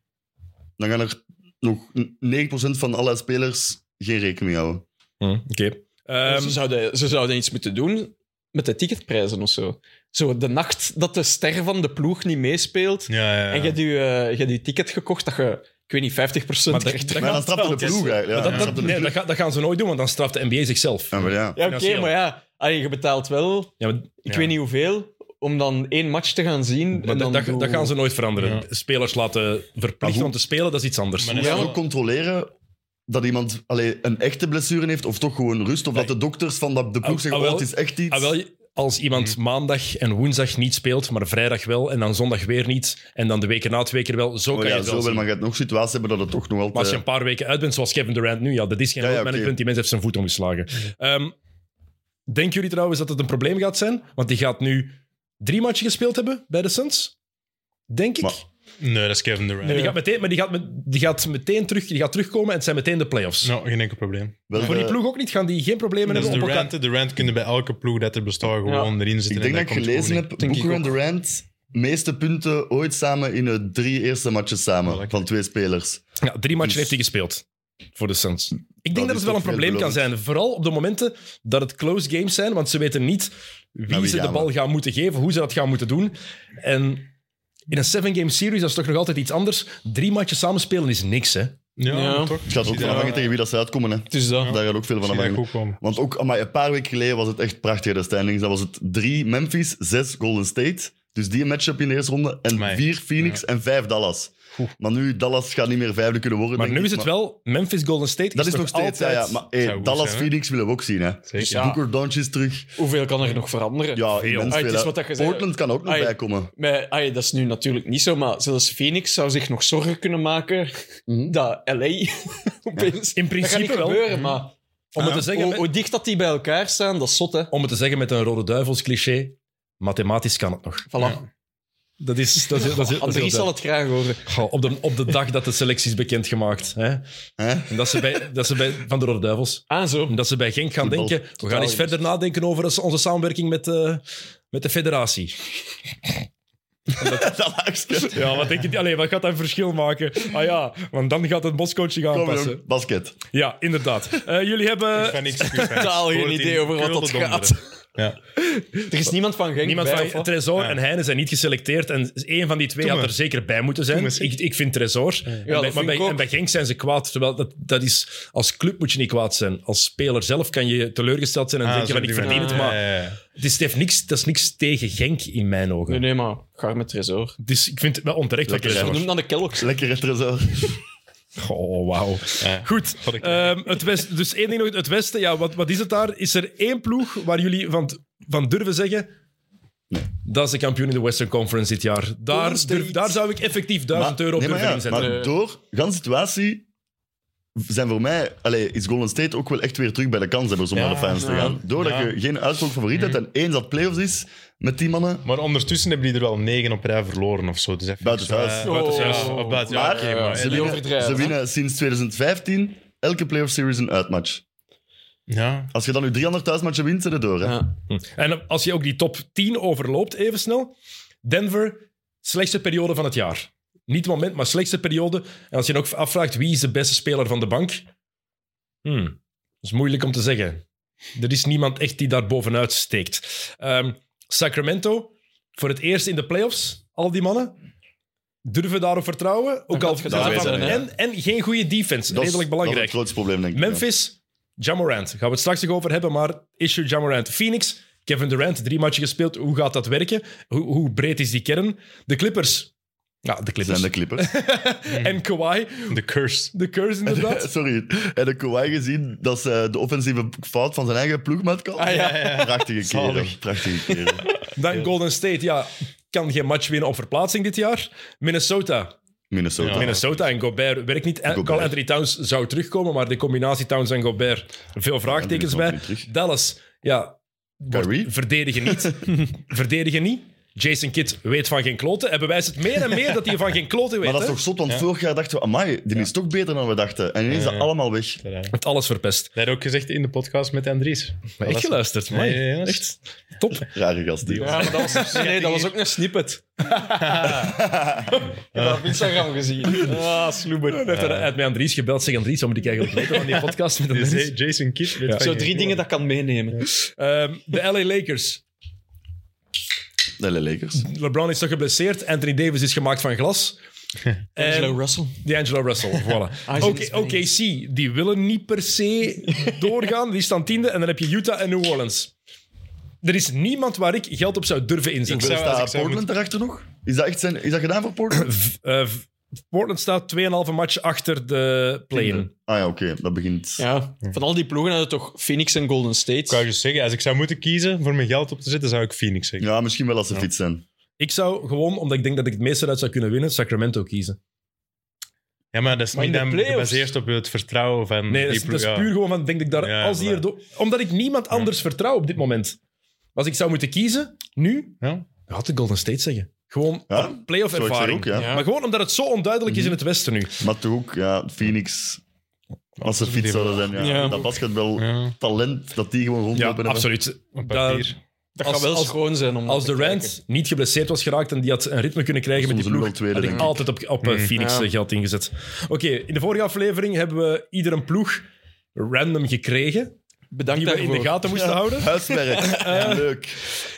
Speaker 2: Dan gaan er nog 9% van alle spelers geen rekening mee houden.
Speaker 1: door. Hm, Oké. Ehm,
Speaker 3: ze, zouden, ze zouden iets moeten doen. met de ticketprijzen of zo. Zo de nacht dat de ster van de ploeg niet meespeelt
Speaker 5: Ja, ja, ja.
Speaker 3: en je hebt je, eh, je hebt je ticket gekocht dat je, ik weet niet, 50%
Speaker 1: Maar dat-
Speaker 3: krijgt.
Speaker 1: dat-
Speaker 2: Maar dan strapt de
Speaker 1: dat-
Speaker 2: ploeg eigenlijk. Ja,
Speaker 1: Maar
Speaker 2: dan
Speaker 1: dat,
Speaker 2: strapt
Speaker 1: dat,
Speaker 2: de
Speaker 1: nee,
Speaker 2: ploeg.
Speaker 1: dat, ga- dat gaan ze nooit doen, want dan straft de NBA zichzelf.
Speaker 2: Ja, maar ja.
Speaker 3: Ja, oké,
Speaker 1: financieel.
Speaker 3: maar ja, allee, je betaalt wel,
Speaker 1: Ja, maar
Speaker 3: ik
Speaker 5: Ja.
Speaker 3: weet niet hoeveel, om dan één match te gaan zien.
Speaker 1: maar
Speaker 3: en
Speaker 1: dat,
Speaker 3: dan
Speaker 1: dat,
Speaker 3: doe-
Speaker 1: dat gaan ze nooit veranderen.
Speaker 5: Ja.
Speaker 1: Spelers laten
Speaker 2: Maar
Speaker 1: verplichten
Speaker 2: Ah, hoe-
Speaker 1: om te spelen, dat is iets anders.
Speaker 5: Maar
Speaker 2: Hoe
Speaker 5: dat
Speaker 2: gaan
Speaker 5: Ja,
Speaker 2: we
Speaker 5: maar-
Speaker 2: controleren dat iemand allee, een echte blessure heeft of toch gewoon rust? Of dat de dokters van dat- de ploeg
Speaker 1: Ah,
Speaker 2: zeggen,
Speaker 1: ah,
Speaker 2: oh,
Speaker 1: wel.
Speaker 2: het is echt iets.
Speaker 1: Ah, wel, als iemand
Speaker 5: Mhm.
Speaker 1: maandag en woensdag niet speelt, maar vrijdag wel, en dan zondag weer niet, en dan de weken na twee keer wel, zo
Speaker 2: Maar
Speaker 1: kan je
Speaker 2: Oh ja,
Speaker 1: het
Speaker 2: zo
Speaker 1: wel
Speaker 2: wel,
Speaker 1: zien.
Speaker 2: maar je hebt nog situaties hebben dat het toch
Speaker 1: Maar
Speaker 2: nog
Speaker 1: als je
Speaker 2: altijd... eh,
Speaker 1: een paar weken uit bent, zoals Kevin Durant nu, ja, dat is geen
Speaker 2: Ja, ja,
Speaker 1: road management, die mens heeft zijn voet omgeslagen. Ehm, denken jullie trouwens dat het een probleem gaat zijn? Want die gaat nu drie matchen gespeeld hebben bij de Suns, denk ik.
Speaker 2: Maar-
Speaker 5: Nee, dat is Kevin Durant.
Speaker 1: En die
Speaker 5: Nee.
Speaker 1: gaat meteen, maar die gaat, met- die gaat meteen terug, die gaat terugkomen en het zijn meteen de playoffs.
Speaker 5: Nou, geen enkel probleem.
Speaker 2: Wel,
Speaker 1: Voor die
Speaker 2: eh,
Speaker 1: ploeg ook niet, gaan die geen problemen
Speaker 5: Dat is
Speaker 1: hebben op elkaar.
Speaker 5: Durant. Durant kunnen bij elke ploeg dat er bestaat gewoon erin
Speaker 2: Ik
Speaker 5: zitten.
Speaker 2: denk
Speaker 5: en
Speaker 2: dat ik
Speaker 5: Dus komt
Speaker 2: gelezen
Speaker 5: gewoon
Speaker 2: heb,
Speaker 3: Denk ik
Speaker 2: Booker en
Speaker 3: ook.
Speaker 2: Durant, meeste punten ooit samen in de drie eerste matches
Speaker 5: Oh,
Speaker 2: samen,
Speaker 5: lekker.
Speaker 2: van twee spelers.
Speaker 1: Ja, drie matchen
Speaker 2: Dus-
Speaker 1: heeft hij gespeeld voor de Suns. Ik denk
Speaker 2: Dat
Speaker 1: dat,
Speaker 2: is
Speaker 1: het wel een
Speaker 2: toch
Speaker 1: probleem kan zijn.
Speaker 2: veelbelovend.
Speaker 1: Vooral op de momenten dat het close games zijn, want ze weten niet wie,
Speaker 2: Nou, wie
Speaker 1: ze de
Speaker 2: gaan
Speaker 1: bal gaan moeten geven, hoe ze dat gaan moeten doen. En in een seven-game series, dat is toch nog altijd iets anders. Drie matches samenspelen is niks, hè?
Speaker 5: in. Ja,
Speaker 3: Ja.
Speaker 5: maar toch?
Speaker 2: Het gaat
Speaker 5: Ik
Speaker 2: ook
Speaker 5: zie
Speaker 2: van
Speaker 5: dat-
Speaker 2: afhangen tegen wie dat ze uitkomen. Hè.
Speaker 3: Het is Dus dat.
Speaker 2: Daar gaat ook veel
Speaker 5: ik
Speaker 2: van
Speaker 5: zie dat
Speaker 2: afhangen.
Speaker 5: goed komen.
Speaker 2: Want ook amai, een paar weken geleden was het echt prachtig, de standings. Dat was het drie Memphis, zes Golden State. Dus die matchup in de eerste ronde. En
Speaker 5: Amai.
Speaker 2: vier Phoenix en vijf Dallas. Maar nu, Dallas gaat niet meer vijfde kunnen worden.
Speaker 1: Maar
Speaker 2: denk
Speaker 1: nu
Speaker 2: ik,
Speaker 1: is het wel Memphis Golden State.
Speaker 2: Dat is nog steeds, ja,
Speaker 1: altijd...
Speaker 2: ja. Maar hey,
Speaker 5: Zou goed
Speaker 2: Dallas,
Speaker 5: zijn, hè?
Speaker 2: Phoenix willen we ook zien, hè. Dus
Speaker 5: ja.
Speaker 2: Booker, Doncic terug.
Speaker 3: Hoeveel kan er nog veranderen?
Speaker 2: Ja,
Speaker 1: Veel.
Speaker 2: immens
Speaker 3: Ah, het
Speaker 2: veel,
Speaker 3: is
Speaker 2: hè.
Speaker 3: wat dat je zei.
Speaker 2: Portland kan ook nog
Speaker 3: Ah, ja.
Speaker 2: bijkomen.
Speaker 3: Maar, ai, dat is nu natuurlijk niet zo, maar zelfs Phoenix zou zich nog zorgen kunnen maken
Speaker 1: Mhm.
Speaker 3: dat LA
Speaker 1: In
Speaker 3: opeens... dat gaat niet
Speaker 1: principe wel.
Speaker 3: gebeuren, maar
Speaker 1: Om het, te zeggen,
Speaker 3: hoe, hoe dicht dat die bij elkaar staan, dat is zot, hè.
Speaker 1: om het te zeggen met een rode duivels cliché, mathematisch kan het nog.
Speaker 3: Voilà.
Speaker 1: Dat is, dat is, dat is, dat is heel
Speaker 3: Andries zal
Speaker 1: duidelijk.
Speaker 3: het graag horen.
Speaker 1: Goh, op, de, op de dag dat de selectie is bekendgemaakt. Hè?
Speaker 2: Hè?
Speaker 1: En dat ze, bij, dat ze bij, van de Rode Duivels.
Speaker 3: Ah, zo.
Speaker 1: Omdat ze bij Genk gaan
Speaker 2: Voetbal.
Speaker 1: denken, we gaan eens
Speaker 3: gemist.
Speaker 1: verder nadenken over onze samenwerking met, eh, met de federatie.
Speaker 2: Dat laagste.
Speaker 1: Ja, wat denk je? Allee, wat gaat dat verschil maken? Ah ja, want dan gaat het boscoaching
Speaker 2: Kom, jong. Basket.
Speaker 1: Ja, inderdaad. Eh, jullie hebben...
Speaker 5: Van niks, Ah, ik ben
Speaker 3: Totaal geen
Speaker 5: gehoord in
Speaker 3: idee over wat dat
Speaker 5: Keulen
Speaker 3: gaat.
Speaker 5: Ja.
Speaker 3: Er is niemand van Genk
Speaker 1: Niemand
Speaker 3: bij,
Speaker 1: van
Speaker 3: of wat?
Speaker 1: Tresor
Speaker 5: Ja.
Speaker 1: en Heine zijn niet geselecteerd. En één van die twee
Speaker 5: Doe
Speaker 1: had
Speaker 5: maar.
Speaker 1: er zeker bij moeten zijn.
Speaker 5: Doe maar, zeg.
Speaker 1: Ik, ik vind Tresor. En, bij,
Speaker 3: dat vind
Speaker 1: maar bij,
Speaker 3: ik ook.
Speaker 1: en bij Genk zijn ze kwaad. Terwijl dat, dat is, als club moet je niet kwaad zijn. Als speler zelf kan je teleurgesteld zijn en
Speaker 5: Ah,
Speaker 1: denken
Speaker 5: zo
Speaker 1: van ik
Speaker 5: die
Speaker 1: verdien
Speaker 5: manier.
Speaker 1: het. Maar
Speaker 5: Ja, ja, ja.
Speaker 1: het is, het heeft niks, dat is niks tegen Genk in mijn ogen.
Speaker 3: Nee, nee, maar ga met Tresor.
Speaker 1: Dus ik vind het wel onterecht wat
Speaker 2: Lekker,
Speaker 1: Tresor...
Speaker 3: Noem dan de Kellogg's.
Speaker 2: Lekker retrezor.
Speaker 1: Oh, wauw.
Speaker 5: Ja.
Speaker 1: Goed.
Speaker 5: Wat ik-
Speaker 1: Ehm, het West, dus één ding nog. Het Westen, ja, wat, wat is het daar? Is er één ploeg waar jullie van, van durven zeggen... Dat is de kampioen in de Western Conference dit jaar. Daar,
Speaker 3: Golden State.
Speaker 1: durf- daar zou ik effectief 1000
Speaker 2: Maar-
Speaker 1: euro op
Speaker 2: nee, maar
Speaker 1: durven
Speaker 2: ja,
Speaker 1: inzetten.
Speaker 2: Maar door gaan situatie zijn voor mij, allee, is Golden State ook wel echt weer terug bij de kanshebbers om
Speaker 5: Ja,
Speaker 2: naar de finals te
Speaker 5: ja.
Speaker 2: gaan. Doordat
Speaker 5: Ja. Mm.
Speaker 2: je geen uitvloog favoriet hebt en eens dat playoffs is met die mannen.
Speaker 5: Maar ondertussen hebben die er wel negen op rij verloren of zo. Dus even
Speaker 2: Buiten
Speaker 5: zo,
Speaker 2: thuis.
Speaker 5: eh, buiten thuis.
Speaker 3: Oh.
Speaker 5: Of buiten, ja,
Speaker 2: Maar-
Speaker 5: oké, maar-
Speaker 3: Ze
Speaker 2: winnen-
Speaker 3: overdrijven,
Speaker 2: ze
Speaker 3: hè?
Speaker 2: winnen sinds 2015 elke playoff series een uitmatch.
Speaker 5: ja.
Speaker 2: Als je dan nu 300 thuismatchen wint, zijn er door. Hè?
Speaker 3: Ja.
Speaker 1: En als je ook die top 10 overloopt, even snel. Denver, slechtste periode van het jaar. Niet het moment, maar slechtste periode. En als je dan ook afvraagt wie is de beste speler van de bank. Hmm, dat is moeilijk om te zeggen. Er is niemand echt die daar bovenuit steekt. Ehm, Sacramento, voor het eerst in de playoffs, al die mannen. Durven daarop vertrouwen. Ook
Speaker 3: gaat
Speaker 1: al
Speaker 3: het gedaan
Speaker 1: daarvan-
Speaker 2: zijn, hè.
Speaker 1: en, en geen goede defense.
Speaker 2: Dat is-
Speaker 1: redelijk
Speaker 2: Dat is
Speaker 1: belangrijk.
Speaker 2: het grootste probleem, denk ik.
Speaker 1: Memphis, Jamorant. Gaan we het straks nog over hebben, maar issue Jamorant. Phoenix, Kevin Durant, drie matchen gespeeld. Hoe gaat dat werken? Hoe, hoe breed is die kern? De Clippers. Ja, de
Speaker 2: Ja.
Speaker 1: Clippers.
Speaker 2: Zijn de Clippers.
Speaker 1: En Kawhi,
Speaker 5: The curse.
Speaker 1: de curse inderdaad.
Speaker 2: Sorry. En de Kawhi gezien dat ze de offensieve fout van zijn eigen ploegmaat kan.
Speaker 3: Ah, ja,
Speaker 2: Prachtige kerel.
Speaker 5: Zalig.
Speaker 2: Prachtige kerel.
Speaker 1: Dan Golden State, ja, kan geen match winnen op verplaatsing dit jaar. Minnesota.
Speaker 2: Minnesota.
Speaker 5: Ja.
Speaker 1: Minnesota en Gobert werkt niet. En
Speaker 2: Ah. Gobert.
Speaker 1: Carl Anthony Towns zou terugkomen, maar de combinatie Towns en Gobert, veel vraagtekens
Speaker 2: komt
Speaker 1: bij.
Speaker 2: niet terug.
Speaker 1: Dallas, ja, wordt-
Speaker 2: Kyrie?
Speaker 1: verdedigen niet. verdedigen niet. Jason Kidd weet van geen kloten. Hij bewijst het meer en meer dat hij van geen kloten weet.
Speaker 2: Maar dat is
Speaker 1: hè.
Speaker 2: toch zot, want
Speaker 5: Ja.
Speaker 2: vorig jaar dachten we, amai, die is toch beter dan we dachten. En ineens is
Speaker 5: Ja,
Speaker 2: dat
Speaker 5: ja.
Speaker 2: allemaal weg.
Speaker 5: Dat
Speaker 1: Het alles verpest.
Speaker 5: heb ook gezegd in de podcast met Andries.
Speaker 1: Maar echt geluisterd, man.
Speaker 5: Nee, ja, ja.
Speaker 1: Echt top.
Speaker 2: Rare gast, die.
Speaker 3: Ja, maar dat was, nee, dat was ook een snippet. Ik heb dat op Instagram gezien. Ah,
Speaker 1: Dan
Speaker 3: sloeber.
Speaker 1: heeft hij uit mij Andries gebeld. Zeg Andries, wat moet ik eigenlijk weten van die podcast met een
Speaker 5: Dus
Speaker 1: mens?
Speaker 5: hey, Jason Kidd. weet van
Speaker 3: Zo
Speaker 5: je-
Speaker 3: drie dingen dat ik kan meenemen.
Speaker 1: Ehm, de LA Lakers.
Speaker 2: De LA Lakers.
Speaker 1: LeBron is toch geblesseerd. Anthony Davis is gemaakt van glas.
Speaker 3: Angelo
Speaker 1: En-
Speaker 3: Russell.
Speaker 1: D'Angelo Russell, voilà.
Speaker 3: Ah,
Speaker 1: Oké,
Speaker 3: is
Speaker 1: oké, zie, die willen niet per se doorgaan. Die staan tiende en dan heb je Utah en New Orleans. Er is niemand waar ik geld op zou durven
Speaker 5: Ik
Speaker 1: inzetten.
Speaker 5: zou- als ik
Speaker 2: Staat
Speaker 5: zou
Speaker 2: Portland erachter nog? Is dat, echt zijn, is dat gedaan voor Portland?
Speaker 1: V- eh, v- Portland staat 2,5 match achter de play-in.
Speaker 2: Ah ja, oké, dat begint.
Speaker 3: Ja, van al die ploegen hadden toch Phoenix en Golden
Speaker 5: Ik wou
Speaker 3: State.
Speaker 5: dus zeggen, als ik zou moeten kiezen voor mijn geld op te zetten, zou ik Phoenix zeggen.
Speaker 2: Ja, misschien wel als ze fit zijn.
Speaker 1: Ik zou gewoon, omdat ik denk dat ik het meeste uit zou kunnen winnen, Sacramento kiezen.
Speaker 5: Ja, maar dat is
Speaker 3: Maar
Speaker 5: niet
Speaker 3: in de
Speaker 5: dan
Speaker 3: playoffs?
Speaker 5: gebaseerd op het vertrouwen
Speaker 2: Hm,
Speaker 5: van
Speaker 1: Nee, dat
Speaker 5: die
Speaker 1: is, dat
Speaker 5: ploeg.
Speaker 1: is
Speaker 5: ja.
Speaker 1: puur gewoon van, denk ik daar,
Speaker 5: Ja,
Speaker 1: als die
Speaker 5: voilà.
Speaker 1: erdoor- omdat ik niemand anders vertrouw op dit moment. Als ik zou moeten kiezen, nu,
Speaker 5: Ja?
Speaker 1: dan had ik Golden State zeggen. Gewoon
Speaker 2: Ja,
Speaker 1: playoff
Speaker 2: Zo, ik zeg
Speaker 1: ervaring.
Speaker 2: ook, ja. Mhm.
Speaker 3: Ja.
Speaker 1: Maar gewoon omdat het zo onduidelijk is in het Westen nu.
Speaker 2: Maar toch ook, ja, Phoenix. Als ze fit zouden zijn, ja.
Speaker 3: Ja.
Speaker 2: Dat basketbal
Speaker 5: Ja,
Speaker 2: talent, dat die gewoon
Speaker 1: Ja,
Speaker 2: rondlopen hebben.
Speaker 1: absoluut.
Speaker 5: op
Speaker 1: Daar-
Speaker 5: papier.
Speaker 3: Dat
Speaker 1: Als-
Speaker 3: gaat wel
Speaker 1: als-
Speaker 3: schoon zijn. om
Speaker 1: als
Speaker 3: dat
Speaker 1: de
Speaker 3: te
Speaker 1: Rand
Speaker 3: kijken.
Speaker 1: niet geblesseerd was geraakt en die had een ritme kunnen krijgen met die
Speaker 2: Soms
Speaker 1: ploeg,
Speaker 2: een nul tweede,
Speaker 1: had ik
Speaker 2: denk ik. Mhm.
Speaker 1: altijd op, op eh, Phoenix
Speaker 3: Ja.
Speaker 1: eh, geld ingezet. Oké, in de vorige aflevering hebben we ieder een ploeg random gekregen,
Speaker 3: Bedankt
Speaker 1: die we in
Speaker 3: daarvoor.
Speaker 1: de gaten moesten houden.
Speaker 2: Huiswerk. Leuk.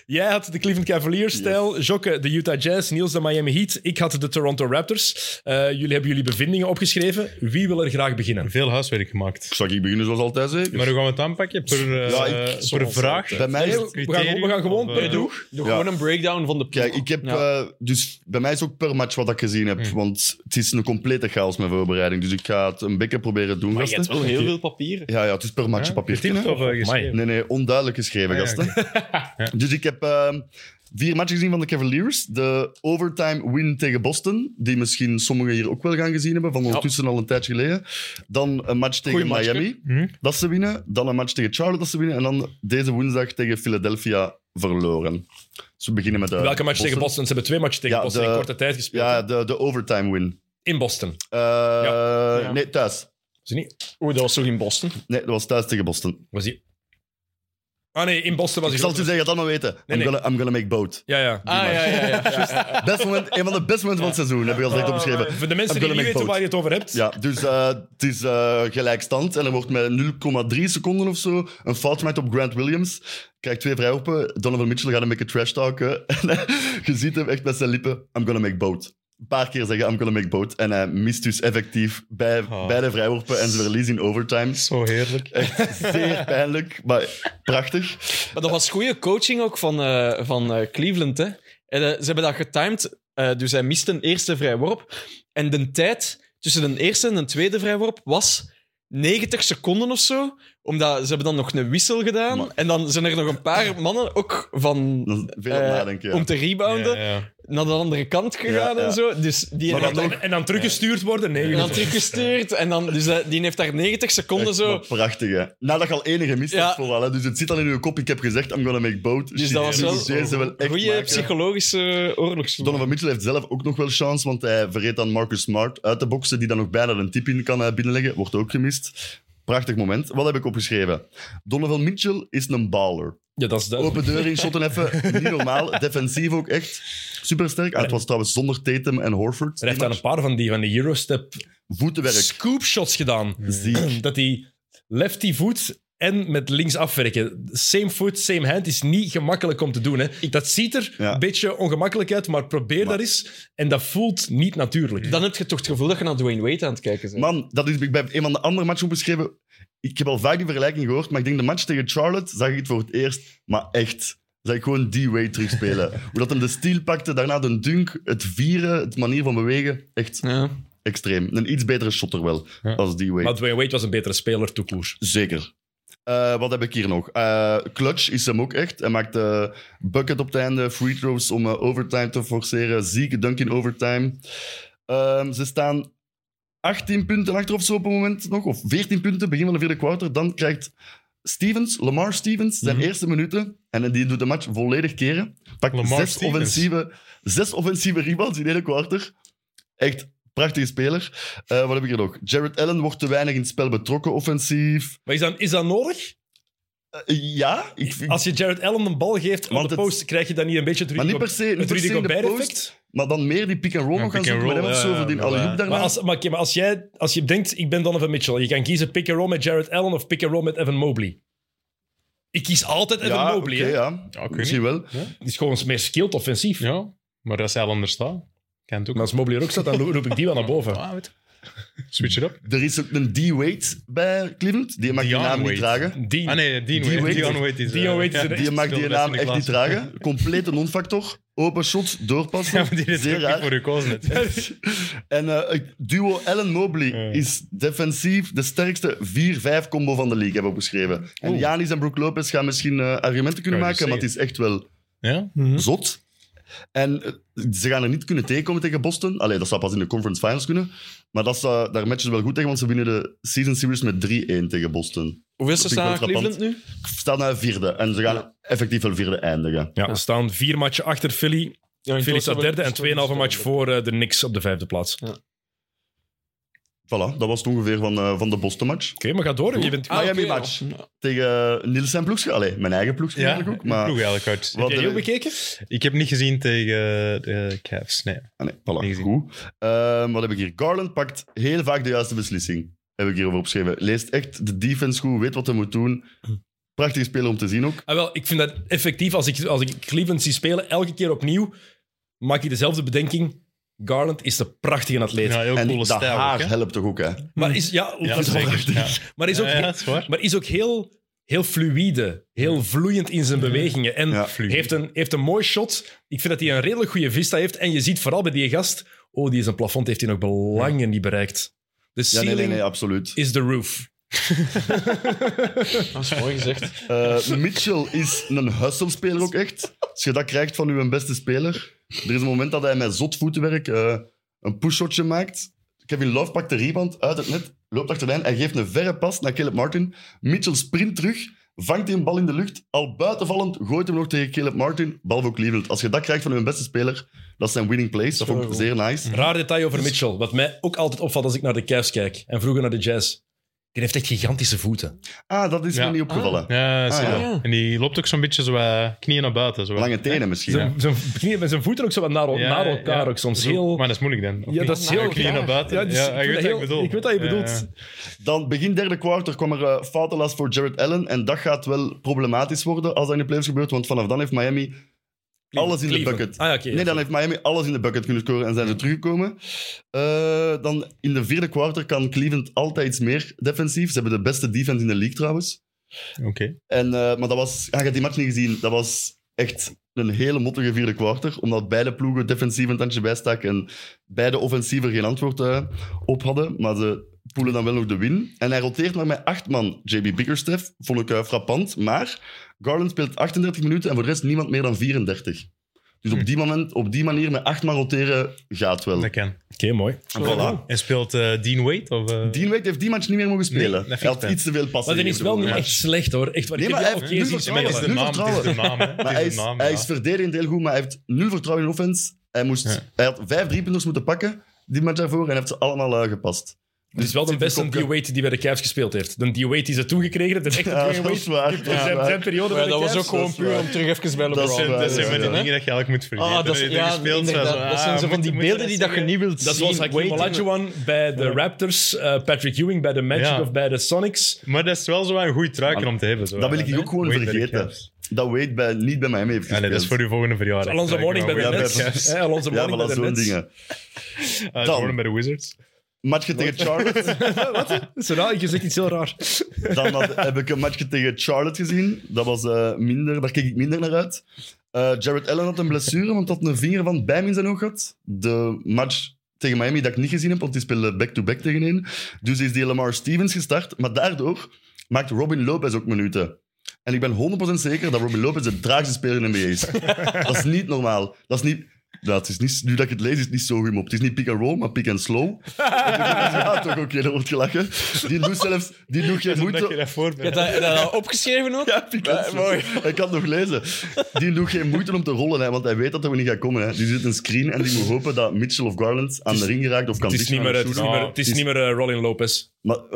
Speaker 1: Jij had de Cleveland Cavaliers-stijl, Jokke de Utah Jazz, Niels de Miami Heat, ik had de Toronto Raptors. Eh, jullie hebben jullie bevindingen opgeschreven. Wie wil er graag beginnen?
Speaker 5: Veel huiswerk gemaakt.
Speaker 2: Zal ik beginnen zoals altijd zeker?
Speaker 5: Maar hoe gaan we het aanpakken? Per, eh,
Speaker 2: Ja, ik-
Speaker 5: per vraag?
Speaker 2: Bij mij is
Speaker 1: Nee,
Speaker 2: het-
Speaker 1: we, gaan, we
Speaker 5: criterium
Speaker 1: gaan gewoon
Speaker 5: of,
Speaker 1: per
Speaker 5: eh,
Speaker 1: ploeg.
Speaker 3: Doe
Speaker 2: Ja.
Speaker 3: gewoon een breakdown van de ploeg.
Speaker 2: Kijk, ik heb,
Speaker 3: Ja.
Speaker 2: eh, dus bij mij is ook per match wat ik gezien heb.
Speaker 5: Hmm.
Speaker 2: Want het is een complete chaos mijn voorbereiding. Dus ik ga het een beetje proberen doen.
Speaker 3: maar je
Speaker 2: gasten.
Speaker 3: hebt wel heel veel papieren.
Speaker 2: Ja, ja, het is per match
Speaker 5: Ja?
Speaker 2: op papier.
Speaker 5: Getipt of, eh, geschreven?
Speaker 2: Nee, nee, onduidelijk geschreven,
Speaker 5: Ah, ja,
Speaker 2: gasten. Dus ik heb eh, vier matchen gezien van de Cavaliers. De overtime win tegen Boston, die misschien sommigen hier ook wel gaan gezien hebben, van ondertussen al een tijdje geleden. Dan een match tegen
Speaker 3: Goeie matchje.
Speaker 2: Miami,
Speaker 5: Mhm.
Speaker 2: dat ze winnen. Dan een match tegen Charlotte, dat ze winnen. En dan deze woensdag tegen Philadelphia verloren. Dus we beginnen met de
Speaker 1: Welke match tegen Boston? Ze hebben twee matchen tegen
Speaker 2: Ja,
Speaker 1: Boston in
Speaker 2: de-
Speaker 1: korte tijd gespeeld.
Speaker 2: Ja, de, de overtime win.
Speaker 1: In Boston.
Speaker 2: Eh,
Speaker 3: Ja.
Speaker 2: Nee, thuis.
Speaker 1: Ze niet?
Speaker 3: Oeh, dat was toch in Boston?
Speaker 2: Nee, dat was thuis tegen Boston.
Speaker 1: Was die... Ah nee, in Boston was
Speaker 2: Ik
Speaker 1: hij
Speaker 2: zal het u
Speaker 1: groter.
Speaker 2: zeggen, dat maar weten.
Speaker 1: Nee,
Speaker 2: I'm,
Speaker 1: nee.
Speaker 2: Gonna, I'm gonna make boat.
Speaker 1: Ja, ja.
Speaker 3: Ah, ja, ja, ja.
Speaker 2: Best moment, een van de beste momenten van het seizoen, heb ik al direct opgeschreven.
Speaker 1: Voor de mensen
Speaker 2: I'm
Speaker 1: die
Speaker 2: gonna
Speaker 1: niet
Speaker 2: make
Speaker 1: weten waar
Speaker 2: boat.
Speaker 1: je het over hebt.
Speaker 2: Ja, dus eh, het is eh, gelijkstand. En er wordt met 0,3 seconden of zo een fout gemaakt op Grant Williams. Krijgt twee vrijworpen. Donovan Mitchell gaat een beetje trash talken. En eh, je ziet hem echt met zijn lippen. I'm gonna make boat. Een paar keer zeggen I'm gonna make boat. En hij mist dus effectief bij,
Speaker 5: Oh.
Speaker 2: bij de vrijworpen. En ze verliezen in overtime.
Speaker 5: Zo heerlijk.
Speaker 2: Echt zeer pijnlijk, maar prachtig.
Speaker 3: Maar dat was goede coaching ook van, eh, van eh, Cleveland. Hè? En, eh, ze hebben dat getimed. eh, dus hij miste een eerste vrijworp. En de tijd tussen de eerste en de tweede vrijworp was 90 seconden of zo. Omdat ze hebben dan nog een wissel gedaan.
Speaker 2: Maar-
Speaker 3: En dan zijn er nog een paar mannen ook van...
Speaker 2: Dat is veel
Speaker 3: eh,
Speaker 2: om nadenken. ja.
Speaker 3: Om te rebounden,
Speaker 5: Ja, ja.
Speaker 3: naar de andere kant gegaan
Speaker 2: Ja, ja.
Speaker 3: en zo. Dus die
Speaker 2: Maar
Speaker 3: heeft
Speaker 1: En,
Speaker 2: dat
Speaker 1: dan, en dan teruggestuurd worden? Nee.
Speaker 3: en
Speaker 1: jullie-
Speaker 3: dan teruggestuurd. En dan, dus eh, die heeft daar 90 seconden
Speaker 2: Echt,
Speaker 3: zo.
Speaker 2: maar Prachtig, hè. Nadat je al enige mist
Speaker 3: Ja.
Speaker 2: hebt vooral. Hè. Dus het zit al in je kop. Ik heb gezegd, I'm gonna make boat.
Speaker 3: Dus dat was
Speaker 2: Shit,
Speaker 3: wel
Speaker 2: die ze wel echt
Speaker 3: Goede
Speaker 2: maken.
Speaker 3: psychologische oorlogsvoering.
Speaker 2: Donovan Mitchell heeft zelf ook nog wel chance, want hij verreed dan Marcus Smart uit de boksen, die dan nog bijna een tip in kan eh, binnenleggen. Wordt ook gemist. Prachtig moment. Wat heb ik opgeschreven? Donovan Mitchell is een baller.
Speaker 1: Ja, dat is duidelijk.
Speaker 2: Open deur in shotten even. Niet normaal. Defensief ook echt. Supersterk. Ah, het was trouwens zonder Tatum en Horford.
Speaker 1: Er heeft
Speaker 2: Die
Speaker 1: daar een paar van die, van die Eurostep
Speaker 2: match. Voetenwerk.
Speaker 1: scoop shots gedaan.
Speaker 2: Ziek.
Speaker 1: Dat die lefty voet en met links afwerken. Same foot, same hand is niet gemakkelijk om te doen. Hè. Dat ziet er
Speaker 2: Ja.
Speaker 1: een beetje ongemakkelijk uit, maar probeer dat eens. En dat voelt niet natuurlijk.
Speaker 3: Dan heb je toch het gevoel dat je naar Dwayne Wade aan het kijken bent.
Speaker 2: Man, dat is, ik ben een van de andere matchen opgeschreven. Ik heb al vaak die vergelijking gehoord, maar ik denk de match tegen Charlotte zag ik het voor het eerst. Maar echt, zag ik gewoon die way terugspelen. Hoe dat hem de steal pakte, daarna de dunk, het vieren, het manier van bewegen. Echt
Speaker 3: ja.
Speaker 2: extreem. Een iets betere shotter wel,
Speaker 5: Ja.
Speaker 2: als die way.
Speaker 1: Maar Dwayne Wade was een betere speler, toekoers.
Speaker 2: Zeker. Eh, wat heb ik hier nog? Eh, clutch is hem ook echt. Hij maakt eh, bucket op het einde, free throws om eh, overtime te forceren. Zieke dunk in overtime. Ehm, ze staan 18 punten achter of zo op het moment nog, of 14 punten, begin van de vierde kwartier. Dan krijgt Stevens, Lamar Stevens, zijn
Speaker 5: Mhm.
Speaker 2: eerste minuten. En die doet de match volledig keren. Pakt
Speaker 5: Lamar
Speaker 2: zes
Speaker 5: Stevens.
Speaker 2: offensieve, zes offensieve rebounds in één kwartier. Echt prachtige speler. Eh, wat heb ik hier nog? Jared Allen wordt te weinig in het spel betrokken offensief.
Speaker 1: Maar is dat, is dat nodig?
Speaker 2: Eh, ja, ik, ik-
Speaker 1: Als je Jared Allen een bal geeft op
Speaker 2: Want
Speaker 1: de
Speaker 2: het-
Speaker 1: post, krijg je dan niet een beetje het
Speaker 2: maar
Speaker 1: Rudy
Speaker 2: niet per se, niet
Speaker 1: het
Speaker 2: per se
Speaker 1: Rudy
Speaker 2: in de
Speaker 1: Gobert
Speaker 2: post.
Speaker 1: effect?
Speaker 2: Maar dan meer die pick-and-roll
Speaker 5: Ja,
Speaker 2: nog gaan
Speaker 5: pick and
Speaker 2: zoeken. Maar
Speaker 5: roll,
Speaker 2: dan
Speaker 5: ja,
Speaker 2: zo
Speaker 5: ja,
Speaker 2: voor die
Speaker 5: ja, ja.
Speaker 2: alley-oop daarna.
Speaker 1: Maar, als, maar, oké, maar als, jij, als je denkt, ik ben Donovan Mitchell, je kan kiezen pick and roll met Jared Allen of pick and roll met Evan Mobley. Ik kies altijd Evan
Speaker 2: ja,
Speaker 1: Mobley.
Speaker 2: oké,
Speaker 1: hè.
Speaker 2: ja.
Speaker 5: Ja, ik weet
Speaker 2: Misschien wel.
Speaker 1: Die is gewoon meer skilled offensief.
Speaker 5: Ja, maar als hij al anders staat, kan het ook.
Speaker 1: En als Mobley er ook staat, dan roep ik die wel naar boven.
Speaker 5: Ah, weet je. Switch it up.
Speaker 2: Er is ook een D-Wade bij Cleveland. Die mag die
Speaker 5: Dion
Speaker 2: naam niet
Speaker 5: Wade.
Speaker 2: dragen.
Speaker 1: Die,
Speaker 5: Ah nee, Dean
Speaker 2: Dean
Speaker 5: Wade.
Speaker 2: Wade.
Speaker 5: Dion Wade is... eh,
Speaker 1: Dion Wade is
Speaker 5: ja.
Speaker 1: een
Speaker 2: Die mag die
Speaker 5: speelde best
Speaker 2: naam
Speaker 5: in de
Speaker 2: echt niet
Speaker 5: klas.
Speaker 2: dragen. Complete non-factor. Open shot, doorpassen.
Speaker 5: Ja, maar die is
Speaker 2: Zeer
Speaker 5: ook niet
Speaker 2: raar.
Speaker 5: voor gekozen. hè.
Speaker 2: En eh, het duo Allen Mobley is defensief de sterkste 4-5 combo van de league, hebben we beschreven. En Janis en Brook Lopez gaan misschien eh, argumenten kunnen
Speaker 5: Kan je
Speaker 2: maken, maar het
Speaker 5: zeggen.
Speaker 2: is echt wel
Speaker 5: Ja?
Speaker 2: zot. En eh, ze gaan er niet kunnen tegenkomen tegen Boston. Allee, dat zou pas in de conference finals kunnen. Maar dat zou, daar matchen ze wel goed tegen, want ze winnen de season series met 3-1 tegen Boston.
Speaker 3: Hoeveelste
Speaker 2: Dat vind
Speaker 3: staan
Speaker 2: ik wel
Speaker 3: Cleveland nu?
Speaker 2: Staan naar vierde en ze gaan effectief wel vierde eindigen.
Speaker 1: Ja, we staan vier matchen achter Philly.
Speaker 3: Ja, in
Speaker 1: Philly
Speaker 3: totaal
Speaker 1: staat derde en
Speaker 3: hebben we-
Speaker 1: 2,5 match voor eh, de Knicks op de vijfde plaats. Oké,
Speaker 2: Voilà, dat was het ongeveer van, eh, van de Boston-match.
Speaker 1: maar ga door. Je bent...
Speaker 3: Ah,
Speaker 2: Miami
Speaker 3: oké, ja.
Speaker 2: match. Tegen eh, Niels zijn ploegje. Allee, mijn eigen ploegje
Speaker 5: Ja,
Speaker 2: eigenlijk ook.
Speaker 5: ploeg
Speaker 2: Maar
Speaker 5: eigenlijk uit.
Speaker 2: wat
Speaker 1: Heb jij
Speaker 2: er-
Speaker 1: ook bekeken?
Speaker 5: Ik heb niet gezien tegen eh, de Cavs, nee.
Speaker 2: Ah, nee, voilà,
Speaker 5: Niet gezien.
Speaker 2: goed. Ehm, wat heb ik hier? Garland pakt heel vaak de juiste beslissing. Heb ik hierover opgeschreven. Leest echt de defense goed, weet wat hij moet doen. Prachtige speler om te zien ook.
Speaker 1: Ah, wel, ik vind dat effectief. Als ik, als ik Cleveland zie spelen, elke keer opnieuw, maak ik dezelfde bedenking. Garland is een prachtige atleet.
Speaker 5: Ja, heel
Speaker 2: en
Speaker 5: coole
Speaker 2: dat
Speaker 5: stijl ook,
Speaker 2: haar
Speaker 5: hè.
Speaker 2: helpt toch ook, hè?
Speaker 1: Maar is, ja,
Speaker 5: Ja,
Speaker 1: dat is wel-
Speaker 5: zeker. Ja.
Speaker 1: maar is ook,
Speaker 5: Ja, ja, dat is waar.
Speaker 1: maar is ook heel, heel fluïde, heel vloeiend in zijn bewegingen. En
Speaker 2: Ja.
Speaker 1: heeft, een, heeft een mooi shot. Ik vind dat hij een redelijk goede vista heeft. En je ziet vooral bij die gast, oh, die is een plafond, heeft hij nog belangen niet bereikt. De
Speaker 2: Ja,
Speaker 1: ceiling
Speaker 2: nee, nee, nee, absoluut.
Speaker 1: is the roof.
Speaker 3: Dat is mooi gezegd.
Speaker 2: Eh, Mitchell is een hustle-speler ook echt. Als je dat krijgt van uw beste speler. Er is een moment dat hij met zot voetenwerk eh, een pushshotje maakt. Kevin Love pakt de rebound uit het net, loopt achterlijn en geeft een verre pas naar Caleb Martin. Mitchell sprint terug, vangt die een bal in de lucht. Al buitenvallend gooit hem nog tegen Caleb Martin. Bal voor Cleveland. Als je dat krijgt van uw beste speler, dat zijn winning plays. Dat vond ik zeer nice.
Speaker 1: Raar detail
Speaker 5: Dus-
Speaker 1: over Mitchell, wat mij ook altijd opvalt als ik naar de Cavs kijk en vroeger naar de Jazz. Die heeft echt gigantische voeten.
Speaker 2: Ah, dat is
Speaker 5: Ja.
Speaker 2: me niet opgevallen.
Speaker 5: Ja, zie je
Speaker 2: ja.
Speaker 5: wel. En die loopt ook zo'n beetje zo eh, knieën naar buiten. Zo,
Speaker 2: Lange tenen misschien.
Speaker 1: Zijn, zijn knieën met zijn voeten ook zo wat naar,
Speaker 5: Ja,
Speaker 1: naar elkaar.
Speaker 5: ja.
Speaker 1: Ook soms
Speaker 5: Zo,
Speaker 1: heel...
Speaker 5: Maar dat is moeilijk dan. of
Speaker 1: Ja,
Speaker 5: niet?
Speaker 1: dat is
Speaker 5: Ja,
Speaker 1: heel
Speaker 5: knieën
Speaker 1: raar.
Speaker 5: naar buiten. Ja,
Speaker 1: dus ik
Speaker 5: ik
Speaker 1: vind
Speaker 5: weet
Speaker 1: dat
Speaker 5: wat
Speaker 1: heel-
Speaker 5: ik bedoel.
Speaker 1: ik weet wat je bedoelt.
Speaker 5: Ja, ja.
Speaker 2: Dan begin derde kwartier kwam er eh, foutenlast voor Jared Allen. En dat gaat wel problematisch worden als dat in de playoffs gebeurt. Want vanaf dan heeft Miami alles in de
Speaker 1: Cleveland.
Speaker 2: bucket.
Speaker 1: Ah, ja, oké.
Speaker 2: Nee, dan heeft Miami alles in de bucket kunnen scoren en zijn ze teruggekomen. Eh, dan in de vierde kwartier kan Cleveland altijd iets meer defensief. Ze hebben de beste defense in de league trouwens.
Speaker 5: Oké.
Speaker 2: En, eh, maar dat was, ah, je hebt die match niet gezien. Dat was echt een hele mottige vierde kwartier. Omdat beide ploegen defensief een tandje bijstaken. En beide offensiever geen antwoord eh, op hadden. Maar ze poelen dan wel nog de win. En hij roteert maar met acht man. JB Bickerstaff vond ik eh, frappant. Maar Garland speelt 38 minuten en voor de rest niemand meer dan 34. Dus
Speaker 5: Hm.
Speaker 2: op die, moment, op die manier met acht man roteren gaat wel.
Speaker 5: Dat kan.
Speaker 1: Oké, mooi.
Speaker 2: Voilà.
Speaker 5: En speelt eh, Dean Wade? Of, eh,
Speaker 2: Dean Wade heeft die match niet meer mogen
Speaker 5: Nee,
Speaker 2: spelen.
Speaker 5: dat vind
Speaker 2: hij
Speaker 5: ik
Speaker 2: had
Speaker 5: fijn.
Speaker 2: iets te veel passen.
Speaker 1: Maar dat is
Speaker 2: gegeven
Speaker 1: wel niet
Speaker 2: voor mij.
Speaker 1: echt slecht hoor. Echt, waar.
Speaker 2: Nee,
Speaker 1: ik
Speaker 2: maar dus-
Speaker 1: heb dus-
Speaker 2: hij
Speaker 1: die
Speaker 2: heeft
Speaker 1: al
Speaker 2: nul
Speaker 1: keer zien
Speaker 5: maar
Speaker 2: vertrouwen.
Speaker 5: het is
Speaker 1: spelen.
Speaker 5: de
Speaker 2: Nu
Speaker 5: naam. Het is de naam. hè.
Speaker 2: Maar
Speaker 5: Het
Speaker 2: hij
Speaker 5: is
Speaker 2: is,
Speaker 5: de naam,
Speaker 2: hij
Speaker 5: ja.
Speaker 2: is verdedigend heel goed, maar hij heeft nul vertrouwen in offense. Hij, moest,
Speaker 5: Ja.
Speaker 2: hij had vijf driepunters moeten pakken, die match daarvoor, en hij heeft ze allemaal eh, gepast.
Speaker 1: Het is wel de
Speaker 2: zit een
Speaker 1: beste
Speaker 2: kopje.
Speaker 1: D-Wade die bij de Cavs gespeeld heeft. De D-Wade die ze toegekregen heeft, de
Speaker 2: Ja,
Speaker 1: echte
Speaker 2: dat is
Speaker 1: D-Wade.
Speaker 2: waar.
Speaker 1: Die-
Speaker 2: Dat is
Speaker 1: zijn-
Speaker 2: waar.
Speaker 1: Zijn periode bij
Speaker 3: Maar
Speaker 1: de
Speaker 3: dat was
Speaker 1: Cavs.
Speaker 3: ook gewoon puur om terug even bij
Speaker 2: Dat is
Speaker 3: LeBron eh,
Speaker 2: waar,
Speaker 5: Dat zijn
Speaker 2: Ja,
Speaker 5: van die
Speaker 2: ja.
Speaker 5: dingen dat je eigenlijk moet vergeten.
Speaker 3: Ah, dat, is,
Speaker 5: je
Speaker 3: ja,
Speaker 5: speelt,
Speaker 3: inderdaad.
Speaker 5: zo,
Speaker 3: dat
Speaker 5: ah,
Speaker 3: zijn zo van
Speaker 5: moet-
Speaker 3: die
Speaker 5: moet
Speaker 3: beelden die dat je
Speaker 5: zien.
Speaker 3: niet wilt
Speaker 1: Dat
Speaker 3: zien.
Speaker 1: was Hakim
Speaker 3: Waiting.
Speaker 1: Olajuwon bij de Raptors, eh, Patrick Ewing bij de Magic
Speaker 5: Ja.
Speaker 1: of bij de Sonics.
Speaker 5: Maar dat is wel zo wel een goede truiker om te hebben. Zo,
Speaker 2: dat wil
Speaker 5: wel,
Speaker 2: ik
Speaker 5: hè.
Speaker 2: ook gewoon
Speaker 5: Wade bij de
Speaker 2: vergeten.
Speaker 5: Cavs.
Speaker 2: Dat Wade bij, niet bij Miami heeft
Speaker 5: Ja,
Speaker 2: gespeeld.
Speaker 5: nee, dat is voor uw volgende verjaardag.
Speaker 1: Alonso Morning bij de
Speaker 2: ja, bij de
Speaker 1: Nets.
Speaker 2: Cavs.
Speaker 1: Eh, Alonso
Speaker 2: ja,
Speaker 1: Mourning bij
Speaker 2: voilà,
Speaker 1: de
Speaker 2: zo'n
Speaker 1: Nets.
Speaker 2: dingen. Dan.
Speaker 5: Morning bij de Wizards.
Speaker 2: Matchje tegen Charlotte.
Speaker 1: Zo raar, je zegt iets heel raar.
Speaker 2: Dan had- heb ik een matchje tegen Charlotte gezien. Dat was eh, minder, daar keek ik minder naar uit. Eh, Jared Allen had een blessure, want dat een vinger van Bijm in zijn oog had. De match tegen Miami dat ik niet gezien heb, want die speelde back-to-back tegenin. Dus is die Lamar Stevens gestart. Maar daardoor maakt Robin Lopez ook minuten. En ik ben 100% zeker dat Robin Lopez de traagste speler in de NBA is. dat is niet normaal. Dat is niet... Ja, het is niet, nu dat ik het lees, is het niet zo humor. Het is niet pick and roll, maar pick and slow. ja, toch oké, dan wordt gelachen. Die doet zelfs die doet geen
Speaker 5: Omdat je
Speaker 2: moeite.
Speaker 5: daarvoor bent.
Speaker 3: Je hebt dat, dat al opgeschreven ook?
Speaker 2: Ja, pick and slow.
Speaker 3: mooi.
Speaker 2: Hij kan het nog lezen. Die doet geen moeite om te rollen, hè, want hij weet dat er niet gaat komen. Hè. Die zit een screen en die moet hopen dat Mitchell of Garland aan de ring geraakt of kan
Speaker 1: Het is
Speaker 2: pitchen
Speaker 1: niet
Speaker 2: aan
Speaker 1: meer,
Speaker 2: een
Speaker 1: het is
Speaker 2: shooter.
Speaker 1: niet meer, het is niet meer eh, Robin Lopez.
Speaker 2: Maar, Oh,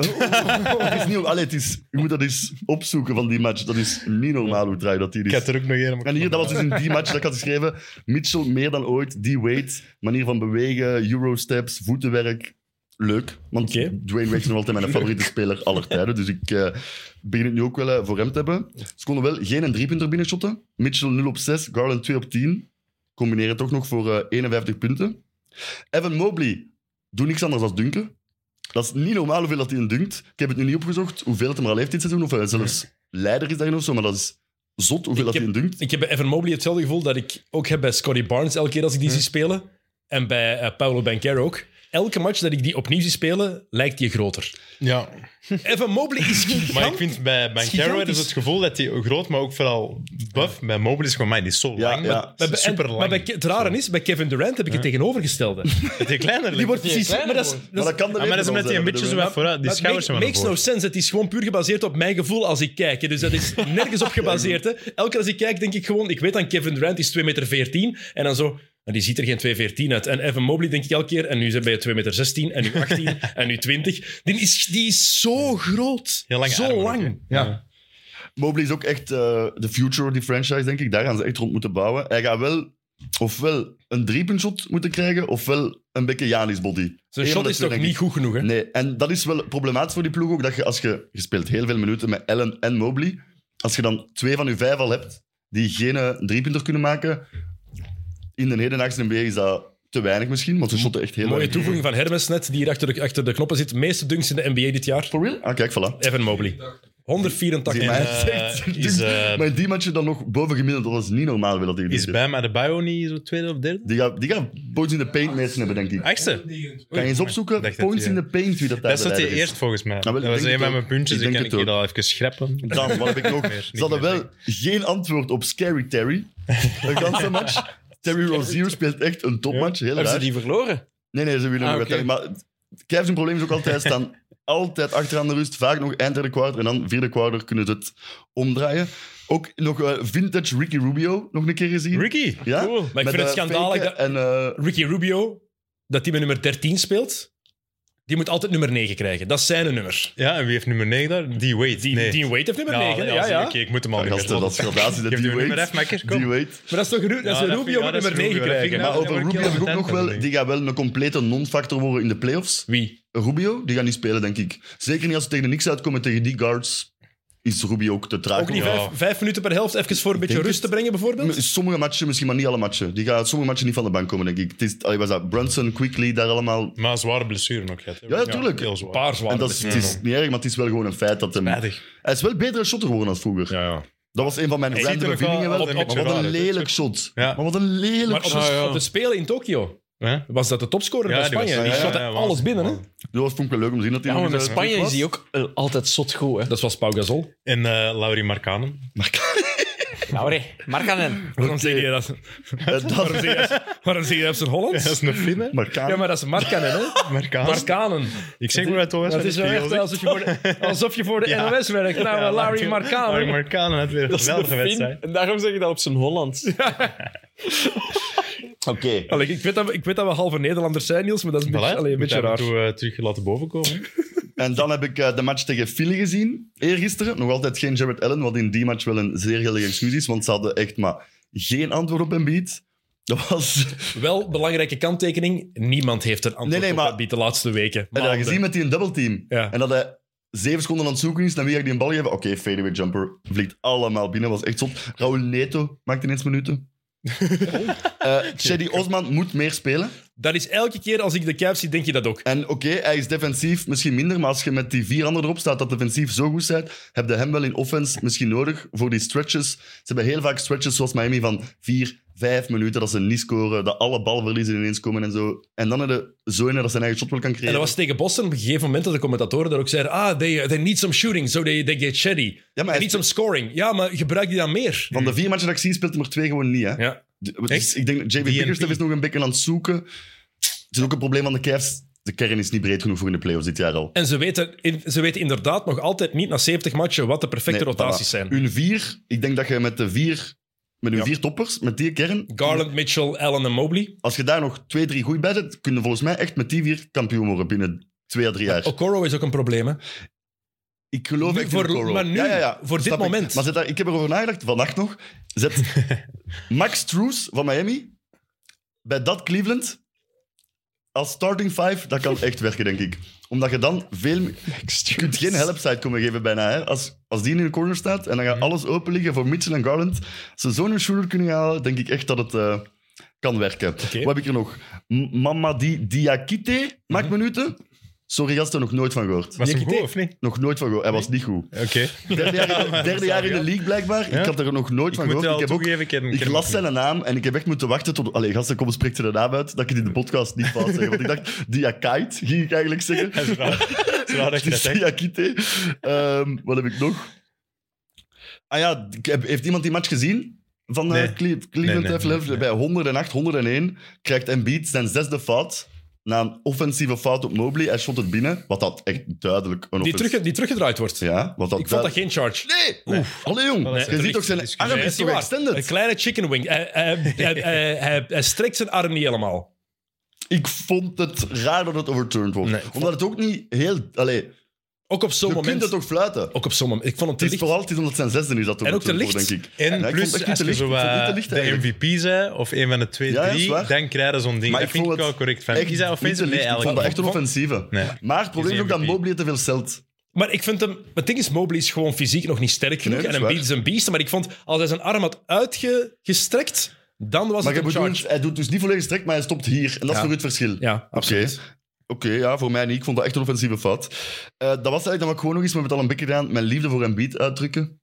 Speaker 2: het is niet, allee, het is, je moet dat eens opzoeken van die match. Dat is niet normaal hoe traag dat die
Speaker 5: Ik
Speaker 2: is.
Speaker 5: had er ook nog een. maar-
Speaker 2: En hier, dat was dus in die match dat ik had geschreven. Mitchell meer dan ooit, die weight, manier van bewegen, eurosteps, voetenwerk. Leuk, want
Speaker 1: Oké.
Speaker 2: Dwayne Wade is nog altijd mijn favoriete speler aller tijden. Dus ik eh, begin het nu ook wel eh, voor hem te hebben. Ze konden wel geen en driepunter binnenshotten. Mitchell 0 op 6, Garland 2 op 10. Combineren toch nog voor eh, 51 punten. Evan Mobley doet niks anders dan dunken. Dat is niet normaal hoeveel dat hij in dunkt. Ik heb het nu niet opgezocht hoeveel het hem al heeft dit seizoen. Of hij zelfs leider is daarin of zo. Maar dat is zot hoeveel
Speaker 1: Ik
Speaker 2: dat hij in
Speaker 1: heb-
Speaker 2: dunkt.
Speaker 1: Ik heb bij Evan Mobley hetzelfde gevoel dat ik ook heb bij Scotty Barnes elke keer als ik die
Speaker 5: Hmm.
Speaker 1: zie spelen. En bij eh, Paolo Banchero ook. Elke match dat ik die opnieuw zie spelen, lijkt die groter.
Speaker 5: Ja.
Speaker 1: Evan Mobley is gigant.
Speaker 5: Maar ik vind bij Bankero
Speaker 1: gigantisch.
Speaker 5: dus het gevoel dat hij groot, maar ook vooral buff. Bij Mobley is gewoon, mij die is zo
Speaker 2: Ja,
Speaker 5: lang.
Speaker 2: ja.
Speaker 5: maar
Speaker 1: Maar bij- en-
Speaker 5: Super lang.
Speaker 1: Maar bij, Ke- het rare is, bij Kevin Durant heb ik het tegenovergestelde.
Speaker 5: Dat hij kleiner
Speaker 1: Die
Speaker 5: lijkt.
Speaker 1: wordt
Speaker 3: Die
Speaker 1: precies...
Speaker 3: kleiner
Speaker 1: Maar dat is,
Speaker 3: wordt.
Speaker 2: Maar dat kan
Speaker 5: Ja, Dus- Ah, maar dat is omdat hij een beetje zo wat vooruit... Die
Speaker 1: Maar het
Speaker 5: schouders zijn
Speaker 1: make-
Speaker 5: wel
Speaker 1: makes
Speaker 5: voor.
Speaker 1: no sense. Het is gewoon puur gebaseerd op mijn gevoel als ik kijk. hè. Dus dat is nergens op gebaseerd. Hè. Elke keer als ik kijk, denk ik gewoon... Ik weet dan Kevin Durant is 2,14 meter. en dan zo... En die ziet er geen 2,14 uit. En Evan Mobley denk ik elke keer... En nu zijn bij 2,16 meter. en nu 18 en nu 20. Die is, die is zo groot.
Speaker 5: Heel lange
Speaker 1: zo
Speaker 5: armen ook,
Speaker 1: lang.
Speaker 5: hè.
Speaker 1: ja.
Speaker 2: Mobley is ook echt eh, de future of die franchise, denk ik. Daar gaan ze echt rond moeten bouwen. Hij gaat wel ofwel een driepuntshot moeten krijgen, ofwel een beetje Janis body.
Speaker 1: Zijn
Speaker 2: Eén van
Speaker 1: shot
Speaker 2: de
Speaker 1: is
Speaker 2: twee,
Speaker 1: toch
Speaker 2: denk
Speaker 1: niet
Speaker 2: ik.
Speaker 1: goed genoeg, hè?
Speaker 2: Nee, en dat is wel problematisch voor die ploeg ook. Dat je, als je, je speelt heel veel minuten met Allen en Mobley. Als je dan twee van je vijf al hebt die geen eh, driepunter kunnen maken, in de hedendaagse NBA is dat te weinig misschien, want ze shotten echt heel
Speaker 1: Mooie
Speaker 2: weinig.
Speaker 1: toevoeging van Hermes net, die hier achter de, achter de knoppen zit. Meeste dunks in de NBA dit jaar.
Speaker 2: For real? Ah, kijk, voilà.
Speaker 1: Evan Mobley.
Speaker 2: Zie
Speaker 1: 184.
Speaker 2: mij.
Speaker 5: En,
Speaker 2: Maar
Speaker 5: eh,
Speaker 2: het is echt-
Speaker 5: is, eh,
Speaker 2: Maar in die match dan nog boven gemiddeld, dat was niet normaal. Wil dat die,
Speaker 5: is Bam Adebayo niet zo tweede of derde?
Speaker 2: die gaat, die gaat points in de paint mensen hebben, denk ik.
Speaker 5: Achtste?
Speaker 2: Kan je eens opzoeken?
Speaker 5: Ik dacht dat
Speaker 2: Points
Speaker 5: die-
Speaker 2: in the paint, wie dat daar
Speaker 5: Dat zat hij
Speaker 2: hij
Speaker 5: eerst volgens mij.
Speaker 2: Nou, wel,
Speaker 5: Dat
Speaker 2: ik
Speaker 5: was
Speaker 2: denk
Speaker 5: een van
Speaker 2: het
Speaker 5: mijn
Speaker 2: ook.
Speaker 5: puntjes.
Speaker 2: Ik
Speaker 5: Ik
Speaker 2: denk
Speaker 5: kan
Speaker 2: het
Speaker 5: ik hier al even schrappen.
Speaker 2: Dan, wat heb ik nog?
Speaker 5: Niet meer,
Speaker 2: Ze hadden
Speaker 5: niet
Speaker 2: wel geen antwoord op Scary Terry. Een ganse match. Terry Rozier speelt echt een topmatch. Heel
Speaker 3: Hebben ze
Speaker 2: raar.
Speaker 3: die verloren?
Speaker 2: Nee, nee, ze willen
Speaker 3: Ah,
Speaker 2: nog
Speaker 3: oké.
Speaker 2: uiteindelijk. Maar Cavs hun probleem is ook altijd staan. Altijd achteraan de rust, vaak nog eind derde kwart en dan vierde kwart kunnen ze het omdraaien. Ook nog eh, vintage Ricky Rubio nog een keer gezien.
Speaker 5: Ricky!
Speaker 2: ja?
Speaker 5: Cool.
Speaker 1: Maar ik
Speaker 2: Met,
Speaker 1: vind het
Speaker 2: eh,
Speaker 1: schandalig dat
Speaker 2: faken En, eh,
Speaker 1: Ricky Rubio, dat die met nummer 13 speelt, die moet altijd nummer 9 krijgen. Dat is zijn nummer.
Speaker 5: Ja, en wie heeft nummer 9 daar? D-Wade.
Speaker 1: Die,
Speaker 5: Nee.
Speaker 1: Dean Wade heeft nummer
Speaker 5: Nou,
Speaker 1: 9.
Speaker 5: nee,
Speaker 1: Ja,
Speaker 5: als-
Speaker 1: ja.
Speaker 5: Oké, ik moet hem
Speaker 2: ja,
Speaker 5: al niet meer
Speaker 2: gasten, dat is
Speaker 5: slotten.
Speaker 2: gradaties.
Speaker 5: Geef die nummer
Speaker 2: Die
Speaker 5: even, makker. Kom.
Speaker 2: Wade.
Speaker 1: Maar dat is toch Ru- dat is
Speaker 5: Ja, dat vind ik-
Speaker 1: Rubio
Speaker 5: ja,
Speaker 1: met
Speaker 5: dat is
Speaker 1: nummer 9
Speaker 5: Rubio, dat vind ik
Speaker 1: krijgen?
Speaker 5: nou-
Speaker 2: Maar over
Speaker 5: Ja, maar
Speaker 2: Rubio heb
Speaker 5: Kevin
Speaker 2: ik ook
Speaker 5: Durant
Speaker 2: nog wel...
Speaker 5: natuurlijk.
Speaker 2: Die gaat wel een complete non-factor worden in de playoffs.
Speaker 1: Wie?
Speaker 2: Rubio, die gaat niet spelen, denk ik. Zeker niet als ze tegen niks uitkomen. Tegen die guards is Rubio ook te traag.
Speaker 1: Ook niet
Speaker 5: Ja.
Speaker 1: vijf, vijf minuten per helft even voor een beetje
Speaker 2: denk
Speaker 1: rust te brengen, bijvoorbeeld?
Speaker 2: Sommige matchen, misschien maar niet alle matchen. Die gaat sommige matchen niet van de bank komen, denk ik. Het is, allee, was dat Brunson, Quickly, daar allemaal...
Speaker 5: Maar zware blessure nog. Ja,
Speaker 2: Ja, tuurlijk.
Speaker 5: Heel
Speaker 1: Een
Speaker 5: zwaar.
Speaker 1: paar zwaar.
Speaker 2: En dat is, het is niet erg, maar het is wel gewoon een feit dat hem... Hij
Speaker 5: Spijtig.
Speaker 2: is wel betere shotter geworden dan vroeger.
Speaker 1: ja, ja.
Speaker 2: Dat was een van mijn
Speaker 5: Hij ziet
Speaker 2: random
Speaker 5: er ook wel
Speaker 2: bevindingen wel.
Speaker 5: altijd een
Speaker 2: Maar
Speaker 5: beetje
Speaker 2: wat een
Speaker 5: raar uit, hè.
Speaker 2: lelijk shot.
Speaker 5: Ja.
Speaker 2: Maar wat een lelijk
Speaker 1: Maar op,
Speaker 2: shot.
Speaker 1: de, op de Spelen in Tokio
Speaker 5: Ah, Ja?
Speaker 1: was dat de topscorer
Speaker 5: Ja,
Speaker 1: bij
Speaker 5: die was-
Speaker 1: Spanje. Die,
Speaker 5: ja, ja,
Speaker 1: shot
Speaker 5: ja, waanzin,
Speaker 1: alles binnen, hè?
Speaker 5: waanzin.
Speaker 2: Dat was vond ik wel leuk om te zien dat hij
Speaker 3: Ja, maar
Speaker 2: nog
Speaker 3: met
Speaker 2: eens, eh,
Speaker 3: Spanje
Speaker 2: terug
Speaker 3: is
Speaker 2: was.
Speaker 3: die ook eh, altijd zot goed, hè.
Speaker 1: Dat was Pau Gasol.
Speaker 5: En eh Laurie Markanen.
Speaker 3: Nou, nee. Markkanen.
Speaker 1: Waarom zeg je dat?
Speaker 2: Eh, dat-
Speaker 1: Waarom zeg je dat- waarom zeg je dat op zijn Hollands?
Speaker 5: Dat is een Finn, hè?
Speaker 2: Maar Kaan-
Speaker 1: Ja, maar dat is Markanen, hè?
Speaker 5: Markanen.
Speaker 1: Markanen.
Speaker 5: Ik zeg maar uit de
Speaker 1: Dat is wel echt alsof je voor de, alsof je voor de
Speaker 5: Ja.
Speaker 1: NOS werkt. Nou,
Speaker 5: Ja,
Speaker 1: Larry
Speaker 5: Laurie
Speaker 1: Markanen.
Speaker 5: Markanen had weer een geweldige wedstrijd.
Speaker 3: En daarom zeg je dat op zijn Hollands.
Speaker 2: Oké.
Speaker 1: Allee, ik, weet dat we, ik weet dat we halve Nederlanders zijn, Niels, maar dat is een beetje,
Speaker 5: Voilà,
Speaker 1: allee, een
Speaker 5: moet
Speaker 1: beetje
Speaker 5: daar
Speaker 1: raar.
Speaker 5: toe, eh, terug laten bovenkomen.
Speaker 2: En dan heb ik eh, de match tegen Philly gezien, eergisteren. Nog altijd geen Jared Allen, wat in die match wel een zeer geldige excuus is, want ze hadden echt maar geen antwoord op Embiid. Dat was...
Speaker 1: Wel, belangrijke kanttekening, niemand heeft een antwoord
Speaker 2: Nee, nee,
Speaker 1: op
Speaker 2: maar-
Speaker 1: dat beat de laatste weken.
Speaker 2: En dat had je
Speaker 1: Maanden.
Speaker 2: gezien met die een dubbelteam.
Speaker 1: Ja.
Speaker 2: En dat hij zeven seconden aan het zoeken is, dan wie ga ik die een bal geven? Oké, fadeaway jumper. Vliegt allemaal binnen, was echt zot. Raul Neto maakt ineens minuten. Eh Chedi Osman moet meer spelen.
Speaker 1: Dat is elke keer als ik de Cavs zie, denk je dat ook.
Speaker 2: En oké, hij is defensief misschien minder, maar als je met die vier anderen erop staat dat defensief zo goed zijn, heb je hem wel in offense misschien nodig voor die stretches. Ze hebben heel vaak stretches zoals Miami van vier, vijf minuten dat ze niet scoren, dat alle balverliezen ineens komen en zo. En dan heb je zo in dat zijn eigen shot wel kan creëren.
Speaker 1: En dat was tegen Boston op een gegeven moment dat de commentatoren daar ook zeiden ah, they, they need some shooting, so they, they get shitty.
Speaker 2: ja,
Speaker 1: They
Speaker 2: maar hij
Speaker 1: need some scoring. Ja, maar gebruik die dan meer.
Speaker 2: Van de vier matchen dat ik zie, speelt hij maar twee gewoon niet. Hè?
Speaker 1: Ja.
Speaker 2: Die- het
Speaker 5: Echt?
Speaker 2: is- Ik denk, dat JB
Speaker 5: DNP.
Speaker 2: Bickerstaff is nog een beetje aan het zoeken. Het is ook een probleem van de Cavs. De kern is niet breed genoeg voor in de playoffs dit jaar al.
Speaker 1: En ze weten, in- ze weten inderdaad nog altijd niet na 70 matchen wat de perfecte
Speaker 2: Nee,
Speaker 1: rotaties
Speaker 2: voilà.
Speaker 1: zijn.
Speaker 2: Hun vier, ik denk dat je met de vier, met hun
Speaker 1: Ja.
Speaker 2: vier toppers, met die kern,
Speaker 1: Garland, Mitchell, Allen en Mobley.
Speaker 2: als je daar nog twee, drie goed bij zet, kunnen volgens mij echt met die vier kampioen worden binnen twee à drie jaar.
Speaker 1: Okoro is ook een probleem, hè?
Speaker 2: Ik geloof
Speaker 1: Oh, Nu
Speaker 2: echt
Speaker 1: voor-
Speaker 2: in Okoro.
Speaker 1: maar nu, voor dit
Speaker 2: snap ik.
Speaker 1: moment.
Speaker 2: Maar zet daar, ik heb erover nagedacht, vannacht nog. Zet Max Trues van Miami bij dat Cleveland als starting five, dat kan echt werken, denk ik. Omdat je dan veel... meer- Je kunt geen helpside komen geven bijna. Hè. Als, als die in de corner staat en dan
Speaker 5: Mhm.
Speaker 2: gaat alles open liggen voor Mitchell en Garland. Als ze zo'n shooter kunnen halen, denk ik echt dat het eh, kan werken. Wat heb ik er nog? M- Mama Di Diakite
Speaker 5: Mhm.
Speaker 2: maakt minuten. Sorry, gasten, nog nooit van gehoord.
Speaker 5: Was hem
Speaker 1: Nikita?
Speaker 5: goed of niet?
Speaker 2: Nog nooit van gehoord. Hij was niet goed.
Speaker 5: Oké.
Speaker 2: Derde jaar, in- derde jaar in de league blijkbaar.
Speaker 5: Ja?
Speaker 2: Ik had er nog nooit
Speaker 5: Ik
Speaker 2: van
Speaker 5: moet
Speaker 2: gehoord.
Speaker 5: wel
Speaker 2: Ik, heb ook,
Speaker 5: toegeven, ik ken
Speaker 2: ik
Speaker 5: ken
Speaker 2: las
Speaker 5: hem
Speaker 2: zijn naam en ik heb echt moeten wachten tot... Allee, gasten, kom, spreek zijn naam uit. Dat ik het in de podcast niet fout zeg. Want ik dacht, Diakite, ging ik eigenlijk zeggen.
Speaker 5: ook niet. Dat is raar. Dat is raar dat je dat
Speaker 2: Dus
Speaker 5: zegt.
Speaker 2: Diakite. Ehm, wat heb ik nog? Ah ja, ik heb- heeft iemand die match gezien? Van eh,
Speaker 5: Nee.
Speaker 2: Cle-
Speaker 5: Nee,
Speaker 2: Cleveland
Speaker 5: nee,
Speaker 2: heeft
Speaker 5: nee,
Speaker 2: Lef- bij 108, 101 krijgt Embiid zijn zesde fout na een offensieve fout op Mobley. Hij shot het binnen, wat dat echt duidelijk een
Speaker 1: Die,
Speaker 2: offensieve...
Speaker 1: terug, die teruggedraaid wordt.
Speaker 2: Ja, wat dat
Speaker 1: Ik vond dat geen charge.
Speaker 2: Nee! Oef. Allee, jong.
Speaker 5: Nee.
Speaker 2: Je ziet
Speaker 5: Nee.
Speaker 2: toch zijn
Speaker 5: Excuseer.
Speaker 2: arm
Speaker 1: Nee,
Speaker 2: is
Speaker 1: is
Speaker 2: zo
Speaker 1: niet waar. Een
Speaker 2: extended.
Speaker 1: kleine chicken wing. Hij, hij, hij, hij, hij- hij strekt zijn arm niet helemaal.
Speaker 2: Ik vond het raar dat het overturned wordt.
Speaker 5: Nee.
Speaker 2: Omdat het ook niet heel... Allee, je
Speaker 1: Ook op zo'n
Speaker 2: kunt
Speaker 1: moment.
Speaker 2: het toch fluiten?
Speaker 1: Ook op zo'n moment. Ik vond hem
Speaker 2: Het
Speaker 1: te
Speaker 2: is
Speaker 1: licht.
Speaker 2: vooral het is omdat het zijn zesde is dat
Speaker 1: En ook te
Speaker 2: overturned wordt,
Speaker 1: licht.
Speaker 2: denk ik.
Speaker 5: En
Speaker 2: Ja, ik vond
Speaker 5: plus,
Speaker 2: het echt
Speaker 5: als je
Speaker 2: niet te
Speaker 5: zo eh,
Speaker 2: licht. Ik vond het
Speaker 5: wat
Speaker 2: niet te licht
Speaker 5: de
Speaker 2: eigenlijk.
Speaker 5: MVP zijn, of een van de twee,
Speaker 2: Ja, dat is
Speaker 5: drie,
Speaker 2: waar.
Speaker 5: dan krijg je zo'n ding.
Speaker 2: Maar
Speaker 5: dat
Speaker 2: ik
Speaker 5: vind ik
Speaker 2: vond
Speaker 5: wel
Speaker 2: het
Speaker 5: correct. Van.
Speaker 2: Echt
Speaker 5: Is dat
Speaker 2: niet te
Speaker 5: offensive? Nee,
Speaker 2: licht. Ik vond
Speaker 5: eigenlijk
Speaker 2: dat
Speaker 5: niet.
Speaker 2: echt een offensieve.
Speaker 5: Nee.
Speaker 2: Maar het probleem is ook dat
Speaker 5: MVP.
Speaker 2: Mobley te veel celt.
Speaker 1: Maar ik vind hem... Het ding is, Mobley is gewoon fysiek nog niet sterk genoeg.
Speaker 2: dat is
Speaker 1: en Embiid is een beest. Maar ik vond, als hij zijn arm had uitgestrekt, dan was
Speaker 2: Maar je
Speaker 1: het een
Speaker 2: bedoelt,
Speaker 1: charge.
Speaker 2: hij doet dus niet volledig strikt, maar hij stopt hier. En dat is
Speaker 1: Ja.
Speaker 2: voor u het verschil.
Speaker 1: Ja, absoluut.
Speaker 2: Oké, ja, voor mij niet. Ik vond dat echt een offensieve fout. Eh, dat was eigenlijk dan wat ik gewoon nog eens met al een beetje gedaan. Mijn liefde voor Embiid uitdrukken.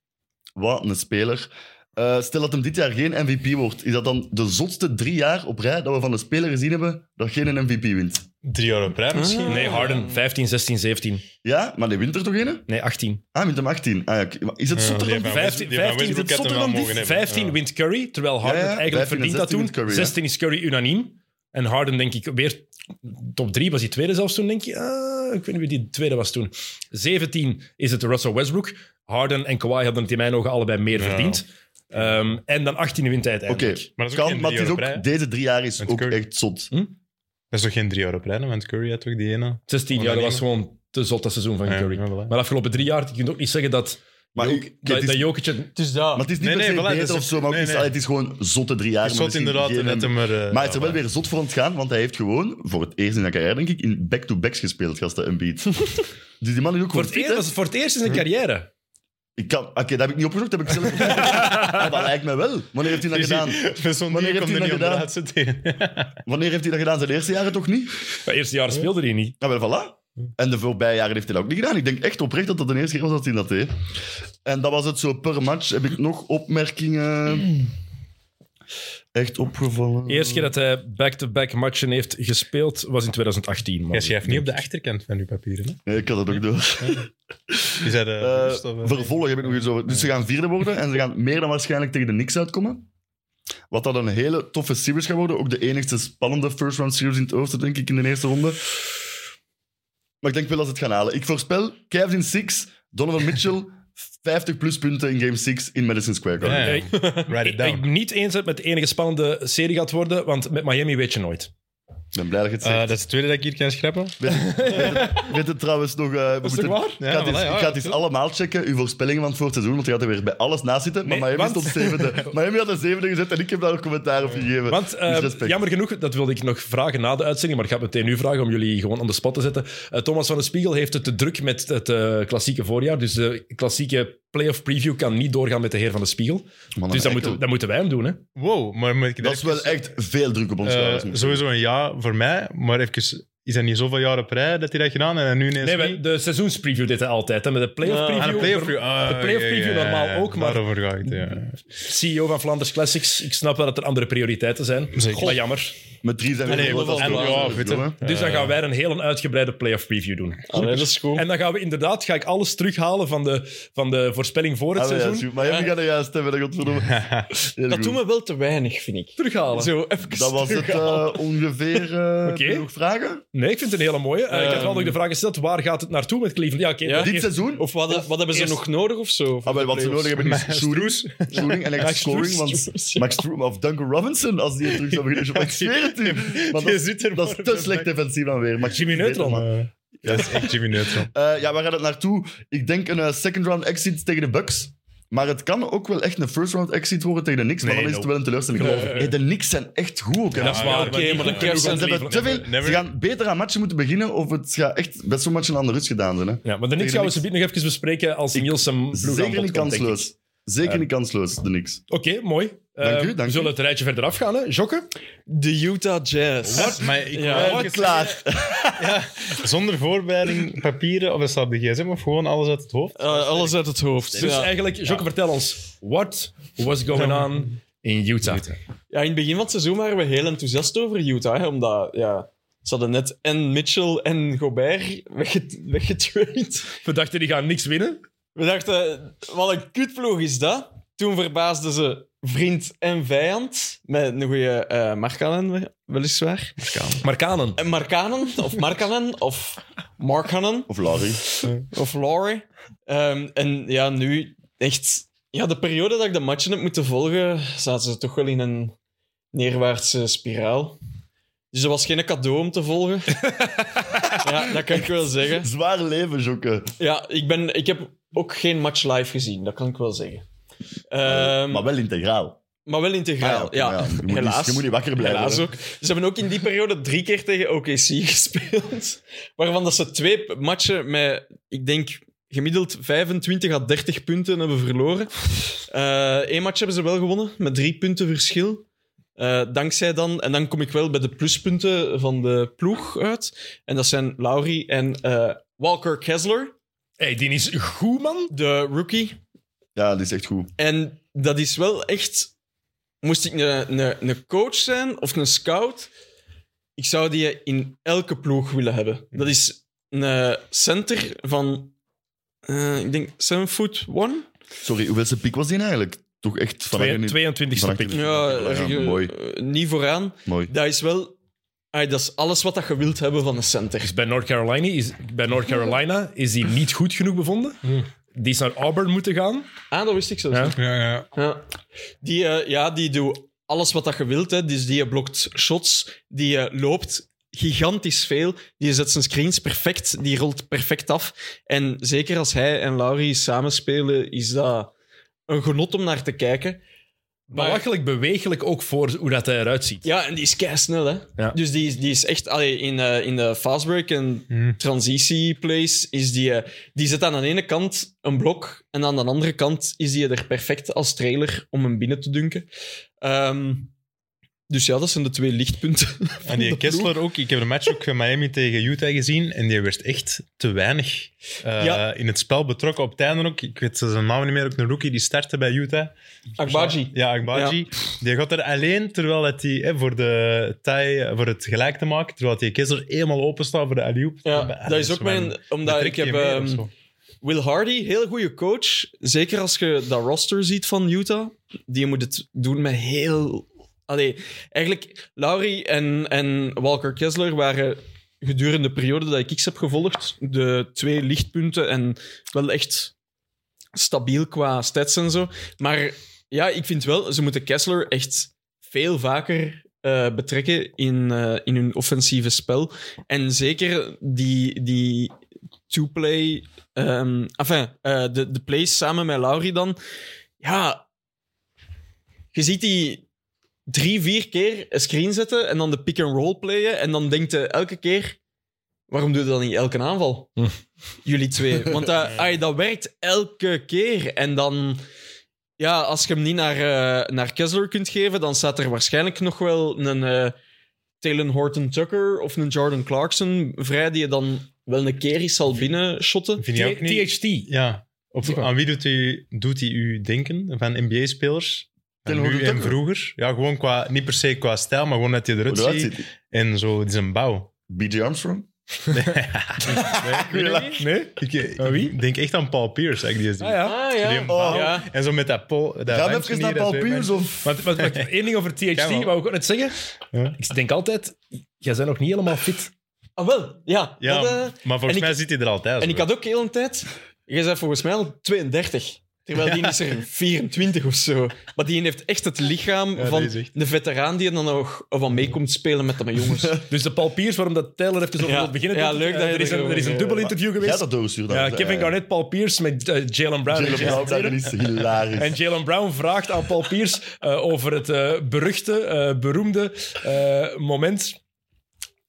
Speaker 2: Wat een speler. Eh, stel dat hem dit jaar geen MVP wordt. Is dat dan de zotste drie jaar op rij dat we van een speler gezien hebben dat geen MVP wint?
Speaker 5: Drie jaar op rij misschien.
Speaker 1: Nee, Harden. 15, 16, 17.
Speaker 2: Ja, maar die wint er toch een?
Speaker 1: Nee, 18.
Speaker 2: Ah, hij wint hem 18. Ah, ja, oké. Maar is het
Speaker 5: Ja,
Speaker 2: zotter
Speaker 5: die
Speaker 2: dan...
Speaker 5: hebben-
Speaker 1: 15,
Speaker 5: die hebben
Speaker 1: 15
Speaker 5: Westbrook
Speaker 1: is het
Speaker 5: had
Speaker 1: zotter
Speaker 5: hem wel
Speaker 1: dan
Speaker 5: mogen
Speaker 1: dit?
Speaker 5: hebben.
Speaker 1: 15
Speaker 5: Ja.
Speaker 1: wint Curry, terwijl Harden
Speaker 2: Ja, ja,
Speaker 1: het
Speaker 2: 15 en
Speaker 1: eigenlijk verdient dat
Speaker 2: 16
Speaker 1: toen.
Speaker 2: wint Curry, ja.
Speaker 1: 16 is Curry unaniem. En Harden, denk ik, weer top 3 was hij tweede zelfs toen, denk je. Ah, ik weet niet wie die tweede was toen. 17 is het Russell Westbrook. Harden en Kawhi hadden het in mijn ogen allebei meer
Speaker 5: Ja.
Speaker 1: verdiend. Ehm, en dan 18 wint hij
Speaker 2: Oké,
Speaker 1: uiteindelijk.
Speaker 5: Maar dat is ook
Speaker 2: kan,
Speaker 5: geen
Speaker 2: maar het
Speaker 5: drie
Speaker 2: is
Speaker 5: jaar op rij, hè?
Speaker 2: ook, deze drie jaar is
Speaker 5: Met
Speaker 2: ook
Speaker 5: Curry.
Speaker 2: echt zot.
Speaker 5: Dat is toch geen drie jaar op rij, hè, want Curry had toch die ene?
Speaker 1: 16 jaar, dat was gewoon te zot dat seizoen van
Speaker 5: Ja,
Speaker 1: Curry.
Speaker 5: ja, voilà.
Speaker 1: Maar de afgelopen drie jaar, je kunt ook niet zeggen dat,
Speaker 2: Maar
Speaker 1: Jok-
Speaker 2: ook- oké,
Speaker 1: dat,
Speaker 2: het is-
Speaker 1: dat Jokic het-
Speaker 3: Dus dat.
Speaker 2: Maar het is niet
Speaker 5: Nee,
Speaker 2: per se
Speaker 5: nee, voilà,
Speaker 2: beter
Speaker 5: dat
Speaker 2: of
Speaker 5: is-
Speaker 2: zo, maar ook
Speaker 5: nee,
Speaker 2: niet-
Speaker 5: nee.
Speaker 2: allee, het is gewoon zotte drie jaar.
Speaker 5: Ik zat
Speaker 2: misschien
Speaker 5: inderdaad
Speaker 2: geen-
Speaker 5: net hem er... eh,
Speaker 2: Maar hij is er wel
Speaker 5: ja,
Speaker 2: weer zot voor aan het gaan, want hij heeft gewoon, voor het eerst in zijn carrière denk ik, in back-to-backs gespeeld, gasten, Embiid. dus die man is ook
Speaker 1: voor,
Speaker 2: gewoon
Speaker 1: het
Speaker 2: fit,
Speaker 1: eerst,
Speaker 2: hè. Hm?
Speaker 1: was het voor het eerst in zijn carrière.
Speaker 2: Ik kan- Oké, dat heb ik niet opgezocht, dat heb ik zelf Maar Dat lijkt me wel. Wanneer heeft hij dat
Speaker 5: dus
Speaker 2: gedaan?
Speaker 5: die- Met zo'n
Speaker 2: Wanneer
Speaker 5: ding
Speaker 2: heeft
Speaker 5: komt er
Speaker 2: hij
Speaker 5: niet
Speaker 2: dat
Speaker 5: onderuit zitten.
Speaker 2: Wanneer heeft hij dat gedaan? Zijn eerste jaren toch niet?
Speaker 1: Het eerste jaar speelde hij niet.
Speaker 2: Nou, wel, voilà. En de voorbije jaren heeft hij dat ook niet gedaan. Ik denk echt oprecht dat dat de eerste keer was dat hij dat deed. En dat was het zo per match. Heb ik nog opmerkingen... Echt opgevallen?
Speaker 1: De eerste keer dat hij back-to-back matchen heeft gespeeld was in 2018.
Speaker 5: Jij
Speaker 1: Maar
Speaker 5: schrijft niet op de achterkant van je papieren. Hè?
Speaker 2: Nee, ik had het ook door.
Speaker 5: Je zei de
Speaker 2: Eh,
Speaker 5: rust of, eh,
Speaker 2: vervolg heb ik nog iets over. Dus ze gaan vierde worden en ze gaan meer dan waarschijnlijk tegen de Knicks uitkomen. Wat dat een hele toffe series gaat worden. Ook de enigste spannende first round series in het oosten, denk ik, in de eerste ronde. Maar ik denk wel dat ze het gaan halen. Ik voorspel Cavs in 6, Donovan Mitchell 50 plus punten in game 6 in Madison Square Garden.
Speaker 5: Ja, ja.
Speaker 1: Ik-
Speaker 5: Write
Speaker 1: Ik
Speaker 5: it down.
Speaker 1: ben niet eens dat het met de enige spannende serie gaat worden, want met Miami weet je nooit.
Speaker 2: Ik ben blij dat je het
Speaker 5: Eh,
Speaker 2: zegt.
Speaker 5: dat is het tweede dat ik hier kan schrappen.
Speaker 2: Weet het trouwens nog... eh, we moeten-
Speaker 1: waar?
Speaker 2: Ik ga het
Speaker 5: Ja,
Speaker 2: eens-
Speaker 5: voilà, ja,
Speaker 2: ik ga het eens allemaal checken, uw voorspellingen van het voor het seizoen, want je gaat er weer bij alles naast zitten.
Speaker 1: Nee,
Speaker 2: maar Miami
Speaker 1: want-
Speaker 2: stond zevende. Miami had een zevende gezet en ik heb daar nog commentaar op gegeven.
Speaker 1: Want eh,
Speaker 2: Dus respect.
Speaker 1: jammer genoeg, dat wilde ik nog vragen na de uitzending, maar ik ga het meteen nu vragen om jullie gewoon on the spot te zetten. Eh, Thomas van de Spiegel heeft het te druk met het eh, klassieke voorjaar, dus de klassieke playoff preview kan niet doorgaan met de heer van de Spiegel.
Speaker 2: Man,
Speaker 1: dus
Speaker 2: een
Speaker 1: dat moeten,
Speaker 2: eikel.
Speaker 1: dat moeten wij hem doen, hè?
Speaker 5: Wow, maar moet ik
Speaker 2: Dat is wel echt veel druk op ons
Speaker 5: Eh,
Speaker 2: schouders. moet ik
Speaker 5: sowieso een ja voor mij, maar even is dat niet zoveel jaar op rij dat hij dat gedaan heeft en nu ineens
Speaker 1: Nee, we-
Speaker 5: niet?
Speaker 1: de seizoenspreview deed hij altijd. Hè, met de playoff
Speaker 3: Ja.
Speaker 1: preview.
Speaker 5: Ah, de playoff preview. Ah,
Speaker 1: de playoff
Speaker 5: ja,
Speaker 1: preview
Speaker 5: ja, ja,
Speaker 1: normaal
Speaker 5: ja.
Speaker 1: ook, maar-
Speaker 5: Daarover gaat het, ja.
Speaker 1: CEO E van Flanders Classics. Ik snap wel dat er andere prioriteiten zijn.
Speaker 5: Zeker.
Speaker 1: Maar jammer.
Speaker 2: Met drie zijn we
Speaker 5: Nee,
Speaker 2: nog
Speaker 5: en-
Speaker 2: wel
Speaker 5: en-
Speaker 2: als
Speaker 5: ja,
Speaker 2: de-
Speaker 5: weet je.
Speaker 2: jongen.
Speaker 1: Dus dan gaan wij een heel uitgebreide playoff preview doen.
Speaker 3: Allee, dat is goed.
Speaker 1: En dan gaan we inderdaad, ga ik alles terughalen van de, van de voorspelling voor het
Speaker 2: Ah, maar ja,
Speaker 1: seizoen.
Speaker 2: super. Maar jij gaat er juist hebben, dat godverdomme. Heel
Speaker 3: dat
Speaker 2: goed.
Speaker 3: doen we wel te weinig, vind ik.
Speaker 1: Terughalen.
Speaker 3: Zo, even
Speaker 2: Dat was het
Speaker 3: terughalen.
Speaker 2: eh, ongeveer. eh
Speaker 1: Oké.
Speaker 2: nog vragen?
Speaker 1: Nee, ik vind het een hele mooie. Eh, ik had wel
Speaker 3: Ehm.
Speaker 1: nog de vraag gesteld, waar gaat het naartoe met Cleveland? Ja, oké.
Speaker 3: Ja.
Speaker 1: dat
Speaker 2: Dit
Speaker 1: is-
Speaker 2: seizoen?
Speaker 3: Of wat, wat hebben ze
Speaker 1: Eerst-
Speaker 3: nog nodig of zo?
Speaker 2: Ah, wel, wat ze nodig hebben is shooting, shooting en echt
Speaker 1: Max
Speaker 2: scoring. Want
Speaker 3: Struus.
Speaker 2: Max Stru- of Duncan Robinson, als die terug zou beginnen. Ik zweer het u. Want
Speaker 5: Je
Speaker 2: dat,
Speaker 5: zit er
Speaker 2: dat is te slecht defensief dan weer. Max
Speaker 1: Jimmy Neutron.
Speaker 2: Eh,
Speaker 5: Dat is echt Jimmy Neutron.
Speaker 2: ja, waar gaat het naartoe? Ik denk een eh, second round exit tegen de Bucks. Maar het kan ook wel echt een first round exit worden tegen de Knicks. maar
Speaker 1: Nee,
Speaker 2: dan is
Speaker 1: no.
Speaker 2: het wel een teleurstelling.
Speaker 1: Nee.
Speaker 2: Hey, de Knicks zijn echt goed ook. hè.
Speaker 1: Dat is
Speaker 5: Ja,
Speaker 1: waar.
Speaker 5: oké,
Speaker 1: niet
Speaker 3: maar dan
Speaker 1: goed
Speaker 3: kerst
Speaker 1: genoeg om
Speaker 3: zijn
Speaker 2: Ze, hebben
Speaker 1: Cleveland.
Speaker 2: te veel,
Speaker 5: Never.
Speaker 2: ze gaan beter aan matchen moeten beginnen of het gaat echt best zo'n matchen aan de rust gedaan zijn. Hè?
Speaker 1: Ja, maar de Knicks gaan we
Speaker 2: Tegen
Speaker 1: zo nog even bespreken als Niels hem ploeg aan bod
Speaker 2: Zeker niet
Speaker 1: komt, denk ik.
Speaker 2: kansloos. Zeker niet kansloos, de Knicks.
Speaker 1: Oké, mooi. Eh,
Speaker 2: Dank u, dank
Speaker 1: we
Speaker 2: u.
Speaker 1: zullen het rijtje verder afgaan, hè? Jokke?
Speaker 3: De Utah Jazz.
Speaker 5: Maar ik
Speaker 3: Ja.
Speaker 5: wou
Speaker 2: Oh,
Speaker 3: Wat
Speaker 5: even zeggen, Zonder voorbereiding, papieren of een stap de gsm of gewoon alles uit het hoofd.
Speaker 3: Eh, alles uit het hoofd. eh,
Speaker 1: Dus
Speaker 3: ja.
Speaker 1: eigenlijk, Jokke, vertel ons. What was going on in Utah?
Speaker 3: Ja, in het begin van het seizoen waren we heel enthousiast over Utah. hè, omdat ja, ze hadden net en Mitchell en Gobert wegget- weggetraind.
Speaker 1: We dachten, die gaan niks winnen.
Speaker 3: We dachten, wat een kutploeg is dat. Toen verbaasden ze vriend en vijand. Met een goede eh Markkanen, weliswaar.
Speaker 1: Markanen.
Speaker 3: En Markanen, of Markanen, of Markanen,
Speaker 2: Of Larry.
Speaker 3: of Laurie. Ehm, en ja, nu echt... Ja, de periode dat ik de matchen heb moeten volgen, zaten ze toch wel in een neerwaartse spiraal. Dus dat was geen cadeau om te volgen. ja, dat kan ik wel zeggen.
Speaker 2: Zwaar leven, Jokke.
Speaker 3: Ja, ik, ben, ik heb ook geen match live gezien, dat kan ik wel zeggen. Ehm,
Speaker 2: maar
Speaker 3: maar,
Speaker 2: wel integraal.
Speaker 3: wel integraal,
Speaker 2: Ah, oké,
Speaker 3: ja.
Speaker 2: maar Je moet,
Speaker 3: helaas.
Speaker 2: Niet, je moet niet wakker blijven.
Speaker 3: Helaas
Speaker 2: hè.
Speaker 3: ook. Ze hebben ook in die periode drie keer tegen OKC gespeeld. Waarvan dat ze twee matchen met, ik denk, gemiddeld 25 à 30 punten hebben verloren. Eén match hebben ze wel gewonnen, met drie punten verschil. Eh, dankzij dan, en dan kom ik wel bij de pluspunten van de ploeg uit. En dat zijn Lowry en eh, Walker Kessler,
Speaker 1: hey, die is goed, man.
Speaker 3: de rookie.
Speaker 2: Ja, die is echt goed.
Speaker 3: En dat is wel echt. Moest ik een, een, een coach zijn of een scout, ik zou die in elke ploeg willen hebben. Dat is een center van, eh, ik denk, 7 foot 1.
Speaker 2: Sorry, hoeveelste piek was die nou eigenlijk? Toch echt van
Speaker 1: Twee-
Speaker 2: niet-
Speaker 1: 22e
Speaker 2: vanaf
Speaker 1: pick.
Speaker 2: niet.
Speaker 3: Ja,
Speaker 2: Ja,
Speaker 3: er, eh,
Speaker 2: mooi.
Speaker 3: eh, niet vooraan.
Speaker 2: Mooi.
Speaker 3: Dat is wel, ah, dat is alles wat dat je wilt hebben van een center.
Speaker 1: Dus bij North Carolina is, bij North Carolina is die niet goed genoeg bevonden. Die is naar Auburn moeten gaan.
Speaker 3: Ah, dat wist ik zo.
Speaker 1: Ja.
Speaker 5: Ja, ja.
Speaker 3: Ja. Die, eh, ja, die doet alles wat dat je wilt. Hè. Dus die blokt shots, die eh, loopt gigantisch veel. Die zet zijn screens perfect, die rolt perfect af. En zeker als hij en Laurie samenspelen, is dat een genot om naar te kijken. Maar,
Speaker 1: Belachelijk bewegelijk ook voor hoe dat hij eruit ziet.
Speaker 3: ja, en die is kei snel, hè.
Speaker 1: Ja.
Speaker 3: Dus die is, die is echt... Allee, in, eh, in de fastbreak en
Speaker 5: Hm.
Speaker 3: transitieplays is die... eh, die zit aan de ene kant een blok en aan de andere kant is die er perfect als trailer om hem binnen te dunken. Ehm, dus ja, dat zijn de twee lichtpunten.
Speaker 5: En die Kessler ook. Ik heb de match ook van Miami tegen Utah gezien. En die werd echt te weinig eh,
Speaker 3: Ja.
Speaker 5: in het spel betrokken. Op het einde ook. Ik weet zijn naam niet meer. Ook een rookie die startte bij Utah.
Speaker 3: Akbaji.
Speaker 5: Ja, Agbaji. Die gaat er alleen terwijl dat hij hè, voor, de tie, voor het gelijk te maken. Terwijl die Kessler helemaal open staat voor de Ah, alley-oop.
Speaker 3: Ja, dat is ook mijn... Omdat ik heb... ehm, Will Hardy, heel goede coach. Zeker als je dat roster ziet van Utah. Die moet het doen met heel. Allee, eigenlijk, Lowry en, en Walker Kessler waren gedurende de periode dat ik X heb gevolgd, de twee lichtpunten en wel echt stabiel qua stats en zo. Maar ja, ik vind wel, ze moeten Kessler echt veel vaker eh, betrekken in, eh, in hun offensieve spel. En zeker die, die two-play Ehm, enfin, eh, de, de plays samen met Lauri dan. Ja, je ziet die drie, vier keer een screen zetten en dan de pick-and-roll playen. En dan denkt hij elke keer, waarom doe je dat niet elke aanval?
Speaker 1: Hm.
Speaker 3: Jullie twee. Want dat, ai, dat werkt elke keer. En dan... Ja, als je hem niet naar, eh, naar Kessler kunt geven, dan staat er waarschijnlijk nog wel een eh Taylor Horton Tucker of een Jordan Clarkson vrij die je dan wel een keer eens zal binnenshotten.
Speaker 5: Vind je ook niet?
Speaker 1: THT.
Speaker 5: Ja. Op,
Speaker 1: Super.
Speaker 5: aan wie doet u, doet hij u denken van NBA-spelers? Van
Speaker 2: Taylor
Speaker 5: nu en
Speaker 2: Horton Tucker.
Speaker 5: vroeger? Ja, gewoon qua, niet per se qua stijl, maar gewoon dat hij eruit
Speaker 2: Hoe dat
Speaker 5: ziet.
Speaker 2: zit.
Speaker 5: En zo, het is een bouw.
Speaker 2: BJ Armstrong?
Speaker 5: Nee? nee? Ik, eh, ik
Speaker 1: Aan wie?
Speaker 5: denk echt aan Paul Pierce. Eigenlijk, die
Speaker 1: Ah,
Speaker 5: is
Speaker 1: ja.
Speaker 3: Ah
Speaker 5: die
Speaker 3: ja.
Speaker 5: een bouw.
Speaker 3: ja.
Speaker 5: En zo met dat pol. dat
Speaker 2: Gaan we
Speaker 5: lijntje
Speaker 2: even
Speaker 5: hier,
Speaker 2: naar
Speaker 5: dat
Speaker 2: Paul
Speaker 5: twee
Speaker 2: Pierce? Of...
Speaker 1: Maar, maar, maar één ding over THT,
Speaker 5: Ja,
Speaker 1: wou
Speaker 5: wel.
Speaker 1: ik ook net zeggen.
Speaker 5: Ja.
Speaker 1: Ik denk altijd, jij bent nog niet helemaal fit.
Speaker 3: Ah wel, ja.
Speaker 5: Ja,
Speaker 3: Dat, eh,
Speaker 5: maar
Speaker 3: en
Speaker 5: volgens
Speaker 3: ik-
Speaker 5: mij zit hij er altijd.
Speaker 3: en
Speaker 5: zo.
Speaker 3: ik had ook heel een tijd... Jij bent volgens mij al 32. Terwijl die is er 24 of zo. Maar die heeft echt het lichaam
Speaker 5: Ja,
Speaker 3: van
Speaker 5: die is echt-
Speaker 3: de veteraan die er dan nog van mee komt spelen met de jongens.
Speaker 1: Dus de Paul Pierce, waarom dat Taylor even over
Speaker 3: Ja.
Speaker 1: wil beginnen.
Speaker 3: Ja,
Speaker 1: denk ik.
Speaker 3: leuk dat
Speaker 1: Eh,
Speaker 3: je
Speaker 1: er is
Speaker 3: er
Speaker 1: een, er is een
Speaker 3: over-
Speaker 1: dubbel interview
Speaker 2: Jij
Speaker 1: geweest.
Speaker 2: hebt dat doorgestuurd.
Speaker 1: Ja,
Speaker 2: dan.
Speaker 1: Kevin Garnett, Paul Pierce met eh, Jalen Brown. en
Speaker 2: Jalen
Speaker 1: Jason
Speaker 2: Brown, dat
Speaker 1: Tatum.
Speaker 2: is hilarisch.
Speaker 1: En Jalen Brown vraagt aan Paul Pierce eh, over het eh, beruchte, eh, beroemde eh, moment.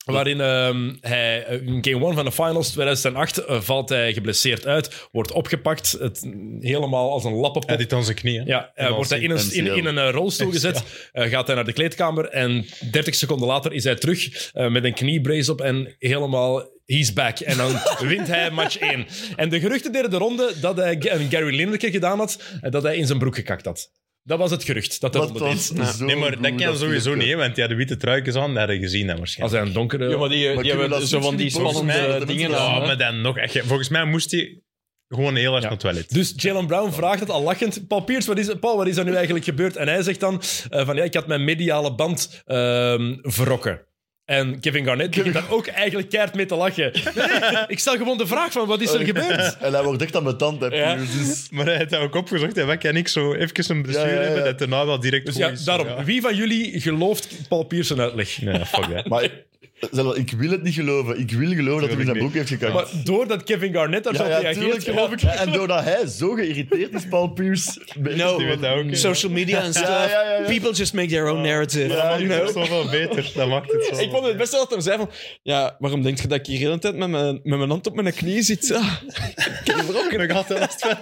Speaker 1: Waarin ehm, hij eh, in game 1 van de finals 2008 eh, valt hij geblesseerd uit, wordt opgepakt, het, helemaal als een
Speaker 5: Hij
Speaker 1: lappenpop.
Speaker 5: deed aan zijn knieën.
Speaker 1: Ja, eh, wordt hij in een, in, in een eh, rolstoel gezet, eh, gaat hij naar de kleedkamer en 30 seconden later is hij terug eh, met een kniebrace op en helemaal he's back. En dan wint hij match 1. En de geruchten deden de ronde dat hij Ga- een Gary Lineker gedaan had en dat hij in zijn broek gekakt had. Dat was het gerucht dat de
Speaker 2: Wat
Speaker 1: ronde
Speaker 2: was
Speaker 1: deed.
Speaker 2: zo
Speaker 5: Nee, maar
Speaker 2: goed,
Speaker 5: dat kan sowieso
Speaker 2: filmpje.
Speaker 5: niet, hè, want die had de witte truikjes aan, dat hadden gezien dat
Speaker 1: Als
Speaker 5: waarschijnlijk.
Speaker 1: hij een donkere...
Speaker 3: Ja, maar die,
Speaker 2: Maar
Speaker 3: die
Speaker 2: kunnen we
Speaker 3: hebben
Speaker 2: dat
Speaker 3: zo van die
Speaker 2: niet volgens
Speaker 3: spannende
Speaker 2: mij- dat
Speaker 3: dingen
Speaker 2: mensen-
Speaker 3: aan.
Speaker 5: Ja,
Speaker 3: hè.
Speaker 5: maar dan nog. echt, Volgens mij moest hij gewoon heel erg
Speaker 1: Ja.
Speaker 5: naar het toilet.
Speaker 1: Dus Jalen Brown vraagt het al lachend. Paul Pierce, wat is, Paul, wat is er nu eigenlijk gebeurd? En hij zegt dan eh, van ja, ik had mijn mediale band ehm verrokken. En Kevin Garnett begint daar ook eigenlijk keihard mee te lachen. Nee, ik stel gewoon de vraag van wat is
Speaker 2: Oh,
Speaker 1: er gebeurd?
Speaker 2: En hij wordt echt aan mijn tand, hè,
Speaker 3: Ja.
Speaker 2: Piers. Dus-
Speaker 5: Maar hij heeft dat ook opgezocht. En wat kan ik zo even een blessure
Speaker 2: Ja, ja, ja.
Speaker 5: hebben dat daarna wel direct
Speaker 1: Dus
Speaker 5: goed
Speaker 1: ja,
Speaker 5: is?
Speaker 1: daarom. Wie van jullie gelooft Paul Pierce zijn uitleg?
Speaker 5: Ja, fuck dat.
Speaker 2: Maar ik- zelfs, ik wil het niet geloven. Ik wil geloven dat hij in zijn broek heeft gekakt.
Speaker 1: Maar doordat Kevin Garnett daar zo
Speaker 2: ja,
Speaker 1: op
Speaker 2: ja,
Speaker 1: reageert,
Speaker 2: tuurlijk.
Speaker 1: geloof ik.
Speaker 2: Ja, en doordat hij zo geïrriteerd is, Paul Pierce...
Speaker 3: No.
Speaker 5: Die weet dat ook. hè.
Speaker 3: Social media en stuff.
Speaker 2: ja, ja, ja.
Speaker 3: People just make their own narrative.
Speaker 5: Ja, die
Speaker 3: You know?
Speaker 5: is zoveel beter. Dat maakt het zo.
Speaker 3: Ik vond het best wel dat hij zei van... Ja, waarom denk je dat ik hier de hele tijd met mijn, met mijn hand op mijn knie zit? Ah, ik heb er ook een-
Speaker 5: nog altijd last van.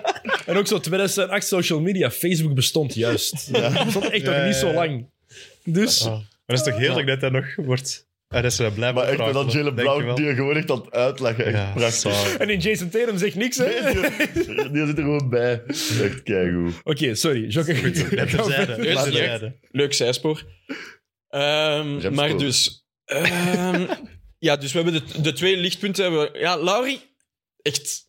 Speaker 1: En ook zo 2008 social media. Facebook bestond juist. Dat bestond echt nog
Speaker 5: Ja,
Speaker 1: niet
Speaker 5: ja,
Speaker 1: zo
Speaker 5: ja.
Speaker 1: lang. Dus...
Speaker 5: Maar dat is toch heerlijk dat dat nog wordt... Ah, dat ze blijven
Speaker 2: Maar echt, met dat Jalen Brown, die er gewoon echt aan het uitlachen. Echt
Speaker 5: Ja,
Speaker 2: prachtig.
Speaker 5: sorry.
Speaker 1: En in Jason Tatum zegt niks, hè?
Speaker 2: Nee, die, die zit er gewoon bij. Echt keigoed.
Speaker 1: Oké, sorry. Jocke,
Speaker 5: Dat terzijde.
Speaker 3: Eerst
Speaker 5: Dat
Speaker 3: direct.
Speaker 5: terzijde.
Speaker 3: Leuk zijspoor. Ehm,
Speaker 2: Zijspoor.
Speaker 3: maar dus... ehm, ja, dus we hebben de, de twee lichtpunten. Hebben we- ja, Laurie, echt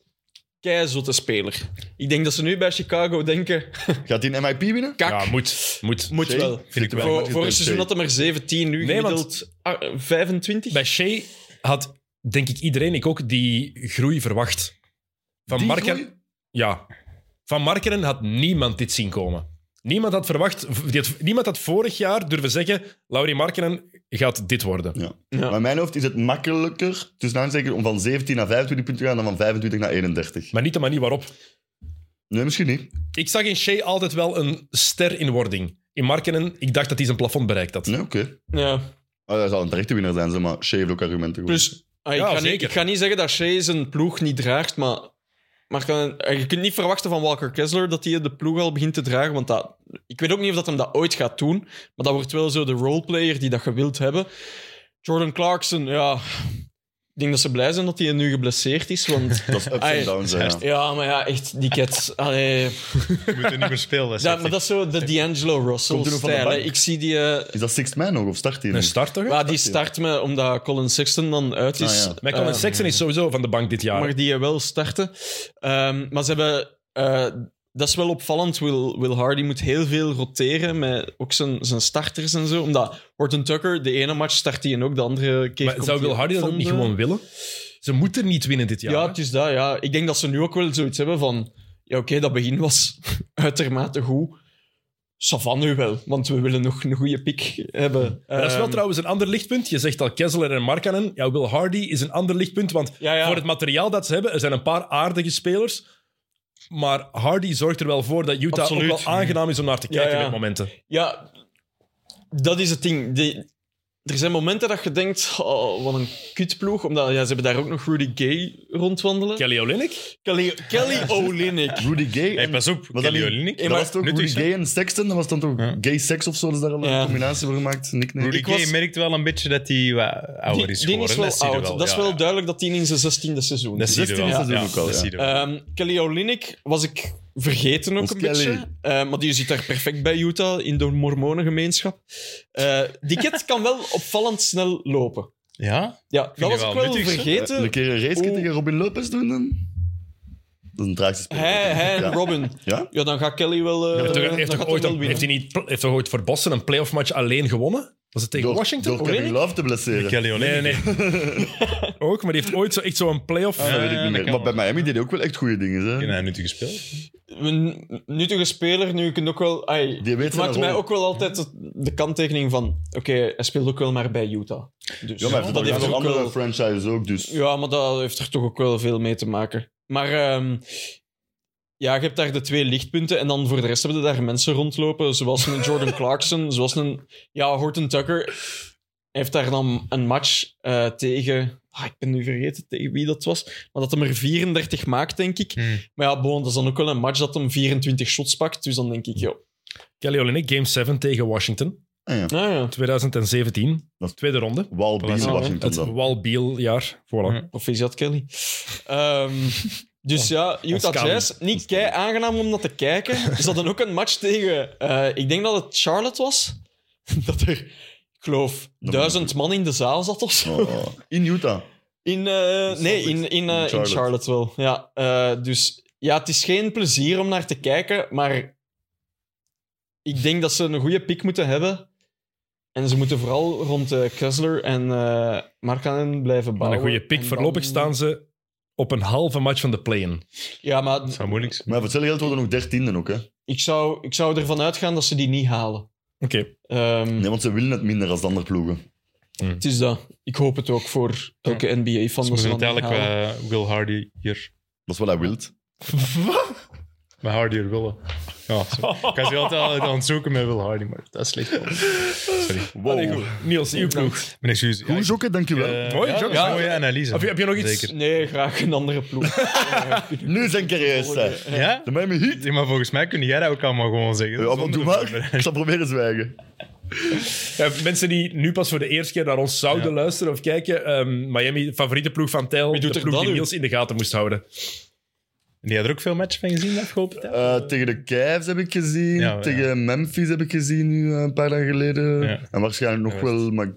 Speaker 3: keizotte speler. Ik denk dat ze nu bij Chicago denken...
Speaker 2: Gaat hij een MIP winnen?
Speaker 3: Kak,
Speaker 1: Ja, moet. Moet.
Speaker 3: moet
Speaker 2: Jay?
Speaker 3: wel.
Speaker 5: Vind ik wel.
Speaker 3: Voor, voor een seizoen had hij maar 17, nu
Speaker 1: Nee, want-
Speaker 3: gemiddeld ah, 25.
Speaker 1: Bij Shea had, denk ik, iedereen, ik ook, die groei verwacht. Van
Speaker 2: Die
Speaker 1: Markeren,
Speaker 2: groei?
Speaker 1: ja. Van Markeren had niemand dit zien komen. Niemand had verwacht, die had- niemand had vorig jaar durven zeggen: Laurie Markeren gaat dit worden.
Speaker 3: Ja.
Speaker 2: Maar in mijn hoofd is het makkelijker, dus nou zeker, om van 17 naar 25 punten te gaan dan van 25 naar 31.
Speaker 1: Maar niet de manier waarop.
Speaker 2: Nee, misschien niet.
Speaker 1: Ik zag in Shea altijd wel een ster in wording. In Markeren, ik dacht dat hij zijn plafond bereikt had.
Speaker 2: Nee, oké.
Speaker 3: Ja.
Speaker 2: Ah, hij zal een terechte winnaar zijn, zeg maar Shea heeft ook argumenten. gewoon.
Speaker 3: Plus, ah,
Speaker 1: Ja,
Speaker 3: ik, ga niet,
Speaker 1: zeker.
Speaker 3: ik ga niet zeggen dat Shea zijn ploeg niet draagt, maar, maar kan- eh, je kunt niet verwachten van Walker Kessler dat hij de ploeg al begint te dragen. Want dat, ik weet ook niet of dat hem dat ooit gaat doen, maar dat wordt wel zo de roleplayer die dat je wilt hebben. Jordan Clarkson, ja. Ik denk dat ze blij zijn dat hij nu geblesseerd is, want...
Speaker 2: dat is ups
Speaker 3: Ah, ja.
Speaker 2: en downs, hè, ja.
Speaker 3: Ja, maar ja, echt, die cat. Allee.
Speaker 5: Je moet er niet meer spelen. dat is
Speaker 3: Ja,
Speaker 5: echt-
Speaker 3: maar dat is zo de D'Angelo
Speaker 2: Komt hij nog van de
Speaker 3: Russell-stijl. hè.
Speaker 2: bank?
Speaker 3: Ik zie die... eh,
Speaker 2: Is dat Sixth Man nog, of start hij nu?
Speaker 1: Een start toch?
Speaker 3: ja, die start me omdat Colin Sexton dan uit is.
Speaker 2: Ah, ja.
Speaker 1: Maar Colin
Speaker 3: Eh,
Speaker 1: Sexton is sowieso van de bank dit jaar.
Speaker 3: maar die eh, wel starten. Ehm, maar ze hebben... eh, dat is wel opvallend. Will, Will Hardy moet heel veel roteren met ook zijn, zijn starters en zo. Omdat Horton Tucker, de ene match start hij en ook de andere keer
Speaker 1: Maar
Speaker 3: komt
Speaker 1: zou
Speaker 3: hij
Speaker 1: Will Hardy dat
Speaker 3: van
Speaker 1: ook niet
Speaker 3: de-
Speaker 1: gewoon willen? Ze moeten niet winnen dit
Speaker 3: Ja,
Speaker 1: jaar. hè?
Speaker 3: het is dat, ja. Ik denk dat ze nu ook wel zoiets hebben van... Ja, oké, dat begin was uitermate goed. Savan nu wel, want we willen nog een goede pick hebben.
Speaker 1: Maar dat is wel
Speaker 3: Ehm,
Speaker 1: trouwens een ander lichtpunt. Je zegt al Kessler en Markkanen. Ja, Will Hardy is een ander lichtpunt, want
Speaker 3: Ja, ja.
Speaker 1: voor het materiaal dat ze hebben, er zijn een paar aardige spelers. Maar Hardy zorgt er wel voor dat Utah
Speaker 5: Absoluut.
Speaker 1: ook wel aangenaam is om naar te kijken
Speaker 3: Ja, ja.
Speaker 1: met momenten.
Speaker 3: Ja, dat is het ding. Die, er zijn momenten dat je denkt, oh, wat een kutploeg. Omdat ja, ze hebben daar ook nog Rudy Gay rondwandelen.
Speaker 1: Kelly Olynyk?
Speaker 3: Kelly, Kelly Olynyk.
Speaker 2: Rudy Gay.
Speaker 5: Hey,
Speaker 2: En,
Speaker 5: pas op,
Speaker 2: maar
Speaker 5: Kelly
Speaker 2: dat-
Speaker 5: Olynyk.
Speaker 2: dat was toch
Speaker 5: Nuttig,
Speaker 2: Rudy
Speaker 5: hè?
Speaker 2: Gay en Sexton? Dat was dan toch
Speaker 5: Ja.
Speaker 2: gay seks of zo? Is daar al
Speaker 3: Ja.
Speaker 2: een combinatie voor gemaakt? Nickname.
Speaker 5: Rudy
Speaker 3: Ik
Speaker 5: Gay
Speaker 3: was-
Speaker 5: merkt wel een beetje dat hij wat ouder is
Speaker 3: Die, die
Speaker 5: geworden.
Speaker 3: is wel
Speaker 5: zie je
Speaker 3: oud. dat is
Speaker 5: ja,
Speaker 3: wel
Speaker 5: ja.
Speaker 3: duidelijk dat die in zijn zestiende seizoen
Speaker 5: Dat
Speaker 3: is.
Speaker 5: zie je wel.
Speaker 2: 16e seizoen
Speaker 5: ja,
Speaker 2: ook al,
Speaker 5: dat
Speaker 2: ja.
Speaker 5: zie je wel.
Speaker 3: Ehm Kelly Olynyk was ik vergeten ook
Speaker 2: Ons
Speaker 3: een
Speaker 2: Kelly.
Speaker 3: beetje. Eh, maar die zit daar perfect bij Utah, in de mormonengemeenschap. Eh die kid kan wel opvallend snel lopen.
Speaker 5: ja?
Speaker 3: Ja,
Speaker 5: je
Speaker 3: dat was
Speaker 5: wel Eh,
Speaker 3: ik wel
Speaker 5: nuttig, zeg.
Speaker 3: vergeten.
Speaker 2: Een keer een race
Speaker 3: Oeh.
Speaker 2: tegen Robin Lopez doen dan? Dat is een traagste speler.
Speaker 3: Hij, hij en
Speaker 2: Ja.
Speaker 3: Robin.
Speaker 2: Ja?
Speaker 3: Ja, dan gaat Kelly wel... eh,
Speaker 2: Ja,
Speaker 1: Heeft toch-
Speaker 3: dan
Speaker 1: heeft, toch
Speaker 3: gaat
Speaker 1: ooit
Speaker 3: hij
Speaker 1: een-
Speaker 3: wel
Speaker 1: heeft,
Speaker 3: winnen.
Speaker 1: hij niet, heeft toch ooit voor Boston een playoff match alleen gewonnen? Was het tegen
Speaker 2: Door,
Speaker 1: Washington?
Speaker 2: door Kevin
Speaker 3: Olynyk?
Speaker 2: Love te blesseren.
Speaker 5: Kelly
Speaker 1: Nee,
Speaker 5: Olynyk.
Speaker 1: nee, nee. ook, maar die heeft ooit zo, echt zo'n playoff... Eh,
Speaker 5: Ja,
Speaker 2: Dat weet ik
Speaker 5: ja,
Speaker 2: niet
Speaker 5: dat
Speaker 2: meer.
Speaker 5: kan
Speaker 2: Maar bij
Speaker 5: wel.
Speaker 2: Miami deed hij ook wel echt goede dingen. Hè?
Speaker 5: Ja, hij heeft nu gespeeld.
Speaker 3: Een nuttige speler, nu je kunt ook wel... Ai,
Speaker 2: Die weet
Speaker 3: het
Speaker 2: zijn
Speaker 3: maakte mij
Speaker 2: rol.
Speaker 3: ook wel altijd de kanttekening van... Oké, hij speelt ook wel maar bij Utah. Dus
Speaker 2: Ja, maar hij
Speaker 3: dat
Speaker 2: heeft
Speaker 3: heeft
Speaker 2: nog
Speaker 3: ook
Speaker 2: andere
Speaker 3: wel...
Speaker 2: franchises ook, dus...
Speaker 3: Ja, maar dat heeft er toch ook wel veel mee te maken. Maar ehm, ja, je hebt daar de twee lichtpunten en dan voor de rest hebben daar mensen rondlopen, zoals een Jordan Clarkson, zoals een... Ja, Horton Tucker heeft daar dan een match eh, tegen... Ah, ik ben nu vergeten tegen wie dat was, maar dat hem er 34 maakt, denk ik. Maar ja, bon, dat is dan ook wel een match dat hem 24 shots pakt, dus dan denk ik, joh.
Speaker 1: Kelly Olynyk, Game 7 tegen Washington,
Speaker 2: Ah, ja.
Speaker 3: Nou ja,
Speaker 1: 2017.
Speaker 2: Dat is-
Speaker 1: Tweede ronde.
Speaker 2: Wild Bean
Speaker 5: Ja,
Speaker 2: Washington
Speaker 1: Het
Speaker 2: dan.
Speaker 1: Wal Beal-jaar. Voilà.
Speaker 5: Ja.
Speaker 3: proficiat, Kelly. Ehm, dus ja, Utah
Speaker 1: Kamer.
Speaker 3: Jazz, niet kei aangenaam om naar te kijken. Ze hadden ook een match tegen, eh, ik denk dat het Charlotte was, dat er, ik geloof,
Speaker 2: Dat
Speaker 3: duizend man in de zaal zat of zo.
Speaker 2: Oh, in Utah.
Speaker 3: In, eh, nee, in, in, eh, in, Charlotte.
Speaker 2: Charlotte.
Speaker 3: wel. Ja, eh, dus ja, het is geen plezier om naar te kijken, maar ik denk dat ze een goede pick moeten hebben. En ze moeten vooral rond eh Kessler en eh Markkanen blijven
Speaker 1: Maar
Speaker 3: bouwen.
Speaker 1: een goede pick.
Speaker 3: En
Speaker 1: Voorlopig
Speaker 3: dan-
Speaker 1: staan ze op een halve match van de play-in.
Speaker 3: Ja, maar
Speaker 5: Dat zou moeilijk zijn.
Speaker 2: Maar voor hetzelfde geld worden nog dertiende ook, hè.
Speaker 3: ik zou, ik zou ervan uitgaan dat ze die niet halen.
Speaker 1: Oké.
Speaker 3: Ehm,
Speaker 2: Nee, want ze willen het minder als de andere ploegen.
Speaker 3: Het is dat. Ik hoop het ook voor elke NBA-fan. dat
Speaker 5: Ze moeten
Speaker 3: ze dat niet
Speaker 5: uiteindelijk
Speaker 3: halen.
Speaker 5: eh, Will Hardy hier...
Speaker 2: Dat is wat hij wilt.
Speaker 5: Maar Hardy hier willen. Ja, sorry. ik was hier altijd al aan het zoeken met Will Hardy, maar dat is slecht. Sorry.
Speaker 1: Allee, goed. Niels, uw ploeg.
Speaker 5: Mijn excuus. Ja,
Speaker 2: Goed
Speaker 5: ik-
Speaker 2: jokken, dankjewel.
Speaker 5: eh,
Speaker 1: Mooi,
Speaker 5: ja,
Speaker 1: Jok.
Speaker 5: dat is een
Speaker 1: Ja.
Speaker 5: Mooie analyse.
Speaker 1: Heb je, heb je nog iets?
Speaker 5: Zeker.
Speaker 3: Nee, graag een andere ploeg. Eh,
Speaker 2: Nu zijn carrières, hè.
Speaker 5: Ja?
Speaker 2: De Miami Heat.
Speaker 5: Ja, Maar volgens mij kun jij dat ook allemaal gewoon zeggen.
Speaker 2: Ja, maar
Speaker 5: Zonder
Speaker 2: doe
Speaker 5: voorbereiding.
Speaker 2: maar. Ik zal proberen zwijgen.
Speaker 1: Ja, mensen die nu pas voor de eerste keer naar ons zouden luisteren of kijken, ehm, Miami, favoriete ploeg van Tijl,
Speaker 3: doet
Speaker 1: de
Speaker 3: er
Speaker 1: ploeg
Speaker 3: dat
Speaker 1: die
Speaker 3: nu?
Speaker 1: Niels in de gaten moest houden.
Speaker 5: En Die had er ook veel matchen van gezien de afgelopen tijd.
Speaker 2: Eh, tegen de Cavs heb ik gezien.
Speaker 5: Ja, ja.
Speaker 2: tegen Memphis heb ik gezien nu eh, een paar dagen geleden.
Speaker 5: Ja.
Speaker 2: En waarschijnlijk nog
Speaker 5: Ja,
Speaker 2: wel, maar ik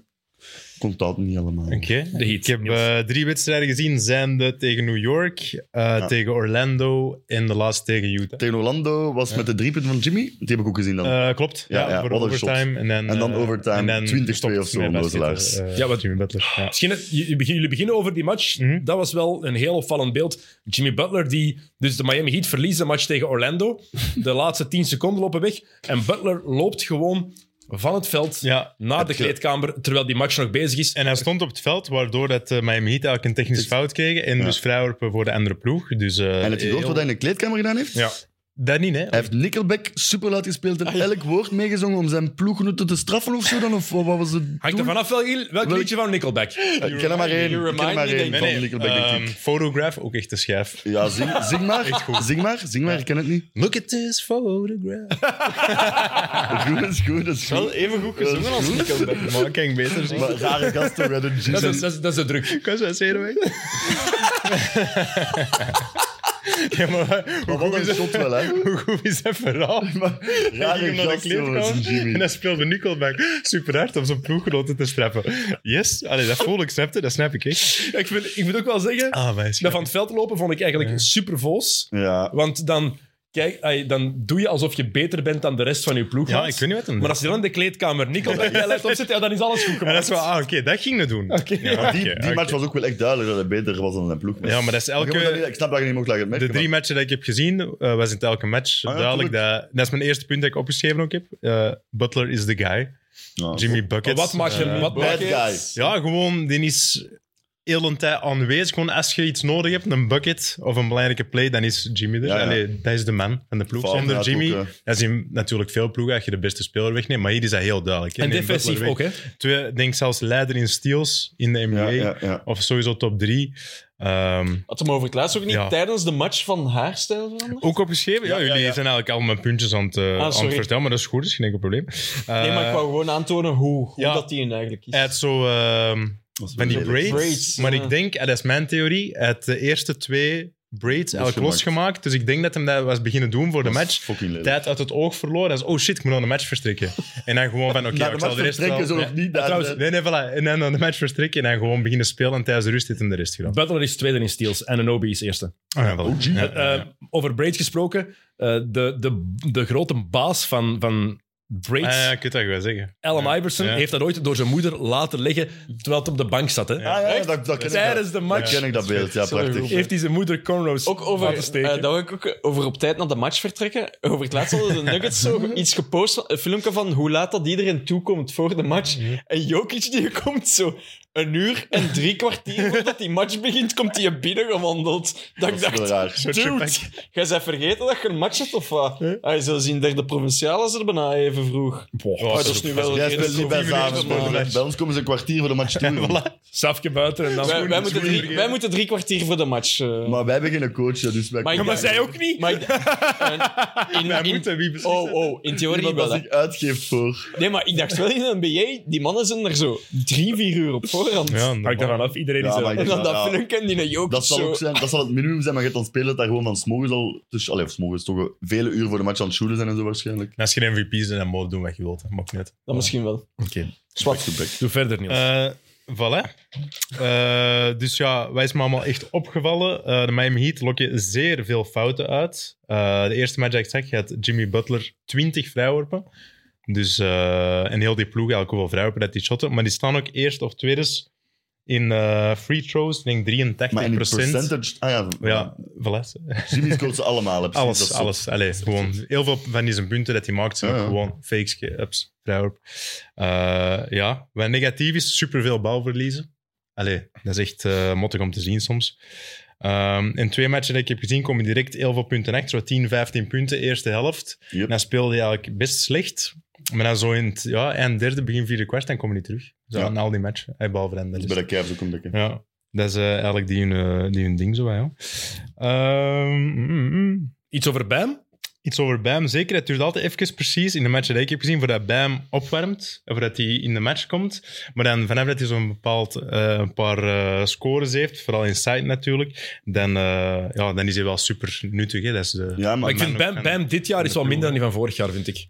Speaker 2: kon dat niet allemaal.
Speaker 5: Oké.
Speaker 1: De Heat.
Speaker 5: Ik heb eh, drie wedstrijden gezien. Zijnde tegen New York, eh, tegen Orlando en de laatste tegen Utah.
Speaker 2: Tegen Orlando was met de drie punten van Jimmy. Die heb ik ook gezien dan.
Speaker 5: Eh, klopt.
Speaker 2: Ja, ja,
Speaker 5: voor
Speaker 2: wat een shot.
Speaker 5: overtime. En dan,
Speaker 2: En dan
Speaker 5: eh,
Speaker 2: overtime,
Speaker 5: en dan
Speaker 2: 20-2
Speaker 5: gestopt
Speaker 2: of zo,
Speaker 5: met
Speaker 2: onnozelaars.
Speaker 5: basketten, eh,
Speaker 1: Ja, wat-
Speaker 5: Jimmy Butler. Ja.
Speaker 1: Misschien, het- jullie beginnen- jullie beginnen over die match.
Speaker 5: Mhm.
Speaker 1: Dat was wel een heel opvallend beeld. Jimmy Butler, die dus de Miami Heat verliest de match tegen Orlando. De laatste 10 seconden lopen weg. En Butler loopt gewoon van het veld
Speaker 5: Ja.
Speaker 1: naar de kleedkamer, terwijl die match nog bezig is.
Speaker 5: En hij stond op het veld, waardoor dat, eh, Miami Heat eigenlijk een technisch fout kregen. En dus vrijworpen voor de andere ploeg. Dus, eh,
Speaker 2: en het je gehoord
Speaker 5: heel-
Speaker 2: wat hij in de kleedkamer gedaan heeft?
Speaker 5: Ja. Dat niet, hè?
Speaker 2: Hij heeft Nickelback super laat gespeeld en elk woord meegezongen om zijn ploeggenoten te straffen of zo dan? Of wat was het?
Speaker 1: Hangt er
Speaker 2: doel?
Speaker 1: vanaf welk, welk
Speaker 2: Welk-
Speaker 1: liedje van Nickelback?
Speaker 2: Eh, Ik ken er maar één.
Speaker 3: You
Speaker 2: Ik ken er maar
Speaker 3: remind me,
Speaker 2: één
Speaker 3: denk ik.
Speaker 2: van Nickelback,
Speaker 5: ehm,
Speaker 2: denk ik.
Speaker 5: Photograph, ook echt een schijf.
Speaker 2: Ja, zing, zing maar. Zing maar, zing maar. Ik ken het niet.
Speaker 5: Look at this photograph.
Speaker 2: Goed is goed, dat is
Speaker 3: wel
Speaker 2: goed.
Speaker 3: even goed gezongen als
Speaker 2: Goed.
Speaker 3: Nickelback.
Speaker 5: Maar kan ik beter zien.
Speaker 2: Maar rare gasten werden
Speaker 1: Dat
Speaker 2: Jimmy.
Speaker 1: is, dat, is, dat is de druk.
Speaker 5: Ik was wel zeer weg. ja, maar
Speaker 2: Maar
Speaker 5: hoe
Speaker 2: wat
Speaker 5: goed,
Speaker 2: een
Speaker 5: is dat,
Speaker 2: shot wel, hè.
Speaker 5: hoe goed is dat verhaal? Hij
Speaker 2: Rare
Speaker 5: ging naar de
Speaker 2: gasten,
Speaker 5: kleedkamer
Speaker 2: jongens, Jimmy.
Speaker 5: en dan speelde Nickelback super hard om zijn ploeggenoten te straffen. Yes, allee, dat voel ik, snapte, dat snap ik Ah, echt.
Speaker 1: Ik, vind, ik moet ook wel zeggen,
Speaker 5: Ah, meisje.
Speaker 1: dat van het veld lopen vond ik eigenlijk super voos.
Speaker 2: Ja.
Speaker 1: Want dan, kijk, ai, dan doe je alsof je beter bent dan de rest van je ploeg.
Speaker 5: Ja, ik weet niet wat hem
Speaker 1: Maar
Speaker 5: doet.
Speaker 1: als je dan in de kleedkamer Nickelback bij lijst opzet, ja, dan is alles goed
Speaker 5: En dat
Speaker 1: gemaakt.
Speaker 5: is wel, ah, oké, dat ging het doen.
Speaker 1: Oké.
Speaker 5: Ja,
Speaker 2: Maar die,
Speaker 5: oké,
Speaker 2: die
Speaker 5: oké.
Speaker 2: match was ook wel echt duidelijk dat hij beter was dan zijn ploeg.
Speaker 5: Ja, maar dat is
Speaker 2: Je moet dat niet-
Speaker 5: elke...
Speaker 2: ik snap dat je niet mocht lachen.
Speaker 5: De drie matchen die ik heb gezien, eh, was in het elke match
Speaker 2: Ah, ja,
Speaker 5: duidelijk dat... Dat is mijn eerste punt dat ik opgeschreven ook heb. Eh, Butler is the guy. Jimmy
Speaker 2: Ah,
Speaker 5: eh,
Speaker 1: Maar
Speaker 5: Bucket.
Speaker 1: wat maakt je... Wat
Speaker 2: Bad
Speaker 1: maakt,
Speaker 2: guy.
Speaker 5: Ja, gewoon, die is heel de tijd aanwezig. Gewoon als je iets nodig hebt, een bucket of een belangrijke play, dan is Jimmy er.
Speaker 2: Ja, ja.
Speaker 5: Allee, dat is de man en de ploeg.
Speaker 2: Vaak
Speaker 5: Zonder
Speaker 2: inderdaad
Speaker 5: Jimmy,
Speaker 2: ook, eh. hè.
Speaker 5: dat zien natuurlijk veel ploegen als je de beste speler wegneemt. Maar hier is dat heel duidelijk. hè.
Speaker 1: En
Speaker 5: Neem
Speaker 1: defensief
Speaker 5: Butler
Speaker 1: ook,
Speaker 5: weg.
Speaker 1: hè?
Speaker 5: Twee, denk zelfs leider in steals in de NBA.
Speaker 2: Ja, ja, ja.
Speaker 5: Of sowieso top drie. Ehm,
Speaker 3: Had hem over het laatst ook niet
Speaker 5: Ja.
Speaker 3: tijdens de match van haarstijl veranderd?
Speaker 5: ook opgeschreven? Ja,
Speaker 2: Ja, ja,
Speaker 5: jullie
Speaker 2: ja.
Speaker 5: zijn eigenlijk al mijn puntjes aan het, eh, aan het
Speaker 3: sorry.
Speaker 5: vertellen, maar dat is goed, dat is geen enkel probleem.
Speaker 3: Nee, maar ik wou gewoon aantonen hoe, hoe
Speaker 5: eh, Ja. Eh,
Speaker 3: dat die eigenlijk is.
Speaker 5: Hij had zo ehm,
Speaker 2: Dat is
Speaker 5: van die
Speaker 2: wel lelijk.
Speaker 5: braids.
Speaker 3: Braids,
Speaker 5: maar
Speaker 3: ja.
Speaker 5: ik denk, eh, dat is mijn theorie, hij had de eerste twee braids elk
Speaker 2: Losgemaakt.
Speaker 5: losgemaakt. Dus ik denk dat hem dat was beginnen doen voor de
Speaker 2: Dat is
Speaker 5: match.
Speaker 2: fucking lelijk.
Speaker 5: Tijd uit het oog verloren. En zo, oh shit, ik moet nog een match verstrekken. En dan gewoon van, oké,
Speaker 2: Na
Speaker 5: ja,
Speaker 2: de
Speaker 5: ik zal de
Speaker 2: match
Speaker 5: rest
Speaker 2: vertrekken,
Speaker 5: wel...
Speaker 2: zo
Speaker 5: Ja.
Speaker 2: of niet. daar-
Speaker 1: trouwens,
Speaker 5: Nee, nee, voilà. En dan de match verstrekken en dan gewoon beginnen spelen. En tijdens de rust heeft hem de rest gedaan.
Speaker 1: Butler is tweede in steals en Anobi is eerste.
Speaker 5: Oh, ja, voilà. Ja, ja, ja.
Speaker 1: Eh, over Braids gesproken, eh, de, de, de grote baas van, van Braids,
Speaker 5: Ah, ja, ik weet dat wel zeggen.
Speaker 1: Allen Iverson,
Speaker 5: Ja.
Speaker 1: heeft dat ooit door zijn moeder laten liggen terwijl het op de bank zat. Hè?
Speaker 2: Ah, ja, dat, dat ken ik
Speaker 1: Tijdens de
Speaker 2: dat. Dat
Speaker 1: match
Speaker 2: ken ik dat beeld, ja,
Speaker 3: Sorry,
Speaker 2: prachtig.
Speaker 1: heeft hij zijn moeder cornrows
Speaker 3: Ook over,
Speaker 1: laten steken.
Speaker 3: eh, dat wil ik ook over op tijd naar de match vertrekken. Over het laatst hadden de Nuggets zo iets gepost, van- een filmpje van hoe laat dat iedereen toekomt voor de match.
Speaker 2: Mhm.
Speaker 3: En Jokic die komt zo een uur en drie kwartier voordat die match begint, komt hij er binnen gewandeld. Dat, ik
Speaker 2: Dat is wel
Speaker 3: dacht,
Speaker 2: raar.
Speaker 3: dude, jij bent vergeten dat je een match hebt of wat? Hij zou zien, derde provinciale is er bijna even vroeg.
Speaker 1: Boah,
Speaker 5: Oh,
Speaker 3: Maar dat is nu wel
Speaker 2: Jij
Speaker 3: een
Speaker 2: speelt niet bij
Speaker 3: reden
Speaker 2: samen.
Speaker 3: voor-
Speaker 2: spelen.
Speaker 5: voor de match.
Speaker 2: Bij ons komen ze een kwartier voor de match toe.
Speaker 5: Voilà.
Speaker 1: Safje buiten en dan...
Speaker 3: Wij, wij moeten drie, wij moeten drie kwartier voor de match. eh.
Speaker 2: Maar wij hebben geen coach, dus wij
Speaker 3: Maar ik
Speaker 1: Ja,
Speaker 2: kunnen-
Speaker 1: maar zij ook niet.
Speaker 3: Maar ik- en in,
Speaker 5: Wij
Speaker 3: in-
Speaker 5: moeten, wie beslist
Speaker 3: oh, oh, in theorie
Speaker 2: Iemand
Speaker 3: wel.
Speaker 2: dat
Speaker 3: hè.
Speaker 2: zich uitgeeft voor.
Speaker 3: Nee, maar ik dacht wel in de NBA, die mannen zijn er zo drie, vier uur op voorhand.
Speaker 5: Ja,
Speaker 1: Hangt daarvan af, iedereen is...
Speaker 2: Ja, maar
Speaker 1: er.
Speaker 2: ik
Speaker 3: En
Speaker 2: denk
Speaker 3: dan
Speaker 2: dat-
Speaker 3: dat
Speaker 2: ja.
Speaker 3: filmpje en die een Jokic
Speaker 2: Dat zal,
Speaker 3: zo.
Speaker 2: ook zijn, dat zal het minimum zijn, maar je hebt dan spelen dat gewoon van 's morgens al. Dus, allee, of 's morgens toch vele uren voor de match aan het shooten zijn en zo waarschijnlijk.
Speaker 5: Als je geen MVP is, dan moet je doen wat je wilt. hè. Maakt niet uit.
Speaker 3: Dat misschien wel.
Speaker 1: Oké.
Speaker 3: Zwart.
Speaker 1: Doe verder, Niels.
Speaker 5: Eh, voilà. Eh, dus ja, wij zijn me allemaal echt opgevallen. Eh, de Miami Heat lokken zeer veel fouten uit. Eh, de eerste match dat ik zag, had Jimmy Butler 20 vrijworpen. Dus, eh, en heel die ploeg eigenlijk hoeveel vrijworpen dat die shotten. Maar die staan ook eerst of tweedes in eh, free throws, ik denk 83%.
Speaker 2: Maar in het percentage. Ah ja,
Speaker 5: Ja, voilà.
Speaker 2: Jimmy scoort ze allemaal. hè, precies, dat
Speaker 5: Alles,
Speaker 2: is-
Speaker 5: alles. Allee, gewoon heel veel van die zijn punten dat hij maakt, zijn
Speaker 2: Ja,
Speaker 5: ook
Speaker 2: ja.
Speaker 5: gewoon fakes, ups, vrijworp. Eh, ja, wat negatief is, superveel balverliezen. Allee, dat is echt eh mottig om te zien soms. Ehm, in twee matchen die ik heb gezien, kom je direct heel veel punten achter. Zo 10, 15 punten, eerste helft.
Speaker 2: Yep.
Speaker 5: En dan speelde hij eigenlijk best slecht. Maar dan zo in het ja, eind derde, begin vierde kwart, dan kom je niet terug. Zo,
Speaker 2: Ja.
Speaker 5: Na al die matchen, eh, behalve dan.
Speaker 2: Dat
Speaker 5: Dat
Speaker 2: is
Speaker 5: is-
Speaker 2: bij de Cavs ook een beetje.
Speaker 5: ja, dat is eh, eigenlijk die hun, eh, die hun ding zo. Ja. Ehm, mm, mm.
Speaker 1: Iets over Bam?
Speaker 5: Iets over Bam, zeker. Het duurt altijd even precies in de match dat ik heb gezien voordat Bam opwarmt, of dat hij in de match komt. Maar dan vanaf dat hij zo'n bepaald eh, een paar eh, scores heeft, vooral in side natuurlijk, dan, eh, ja, dan is hij wel super nuttig. Hè. Dat is, eh,
Speaker 2: Ja,
Speaker 1: Maar
Speaker 2: maar
Speaker 1: ik vind
Speaker 5: Man
Speaker 1: Bam,
Speaker 5: ook
Speaker 1: Bam dit jaar is wel
Speaker 5: de
Speaker 1: minder dan die van vorig jaar, vind ik.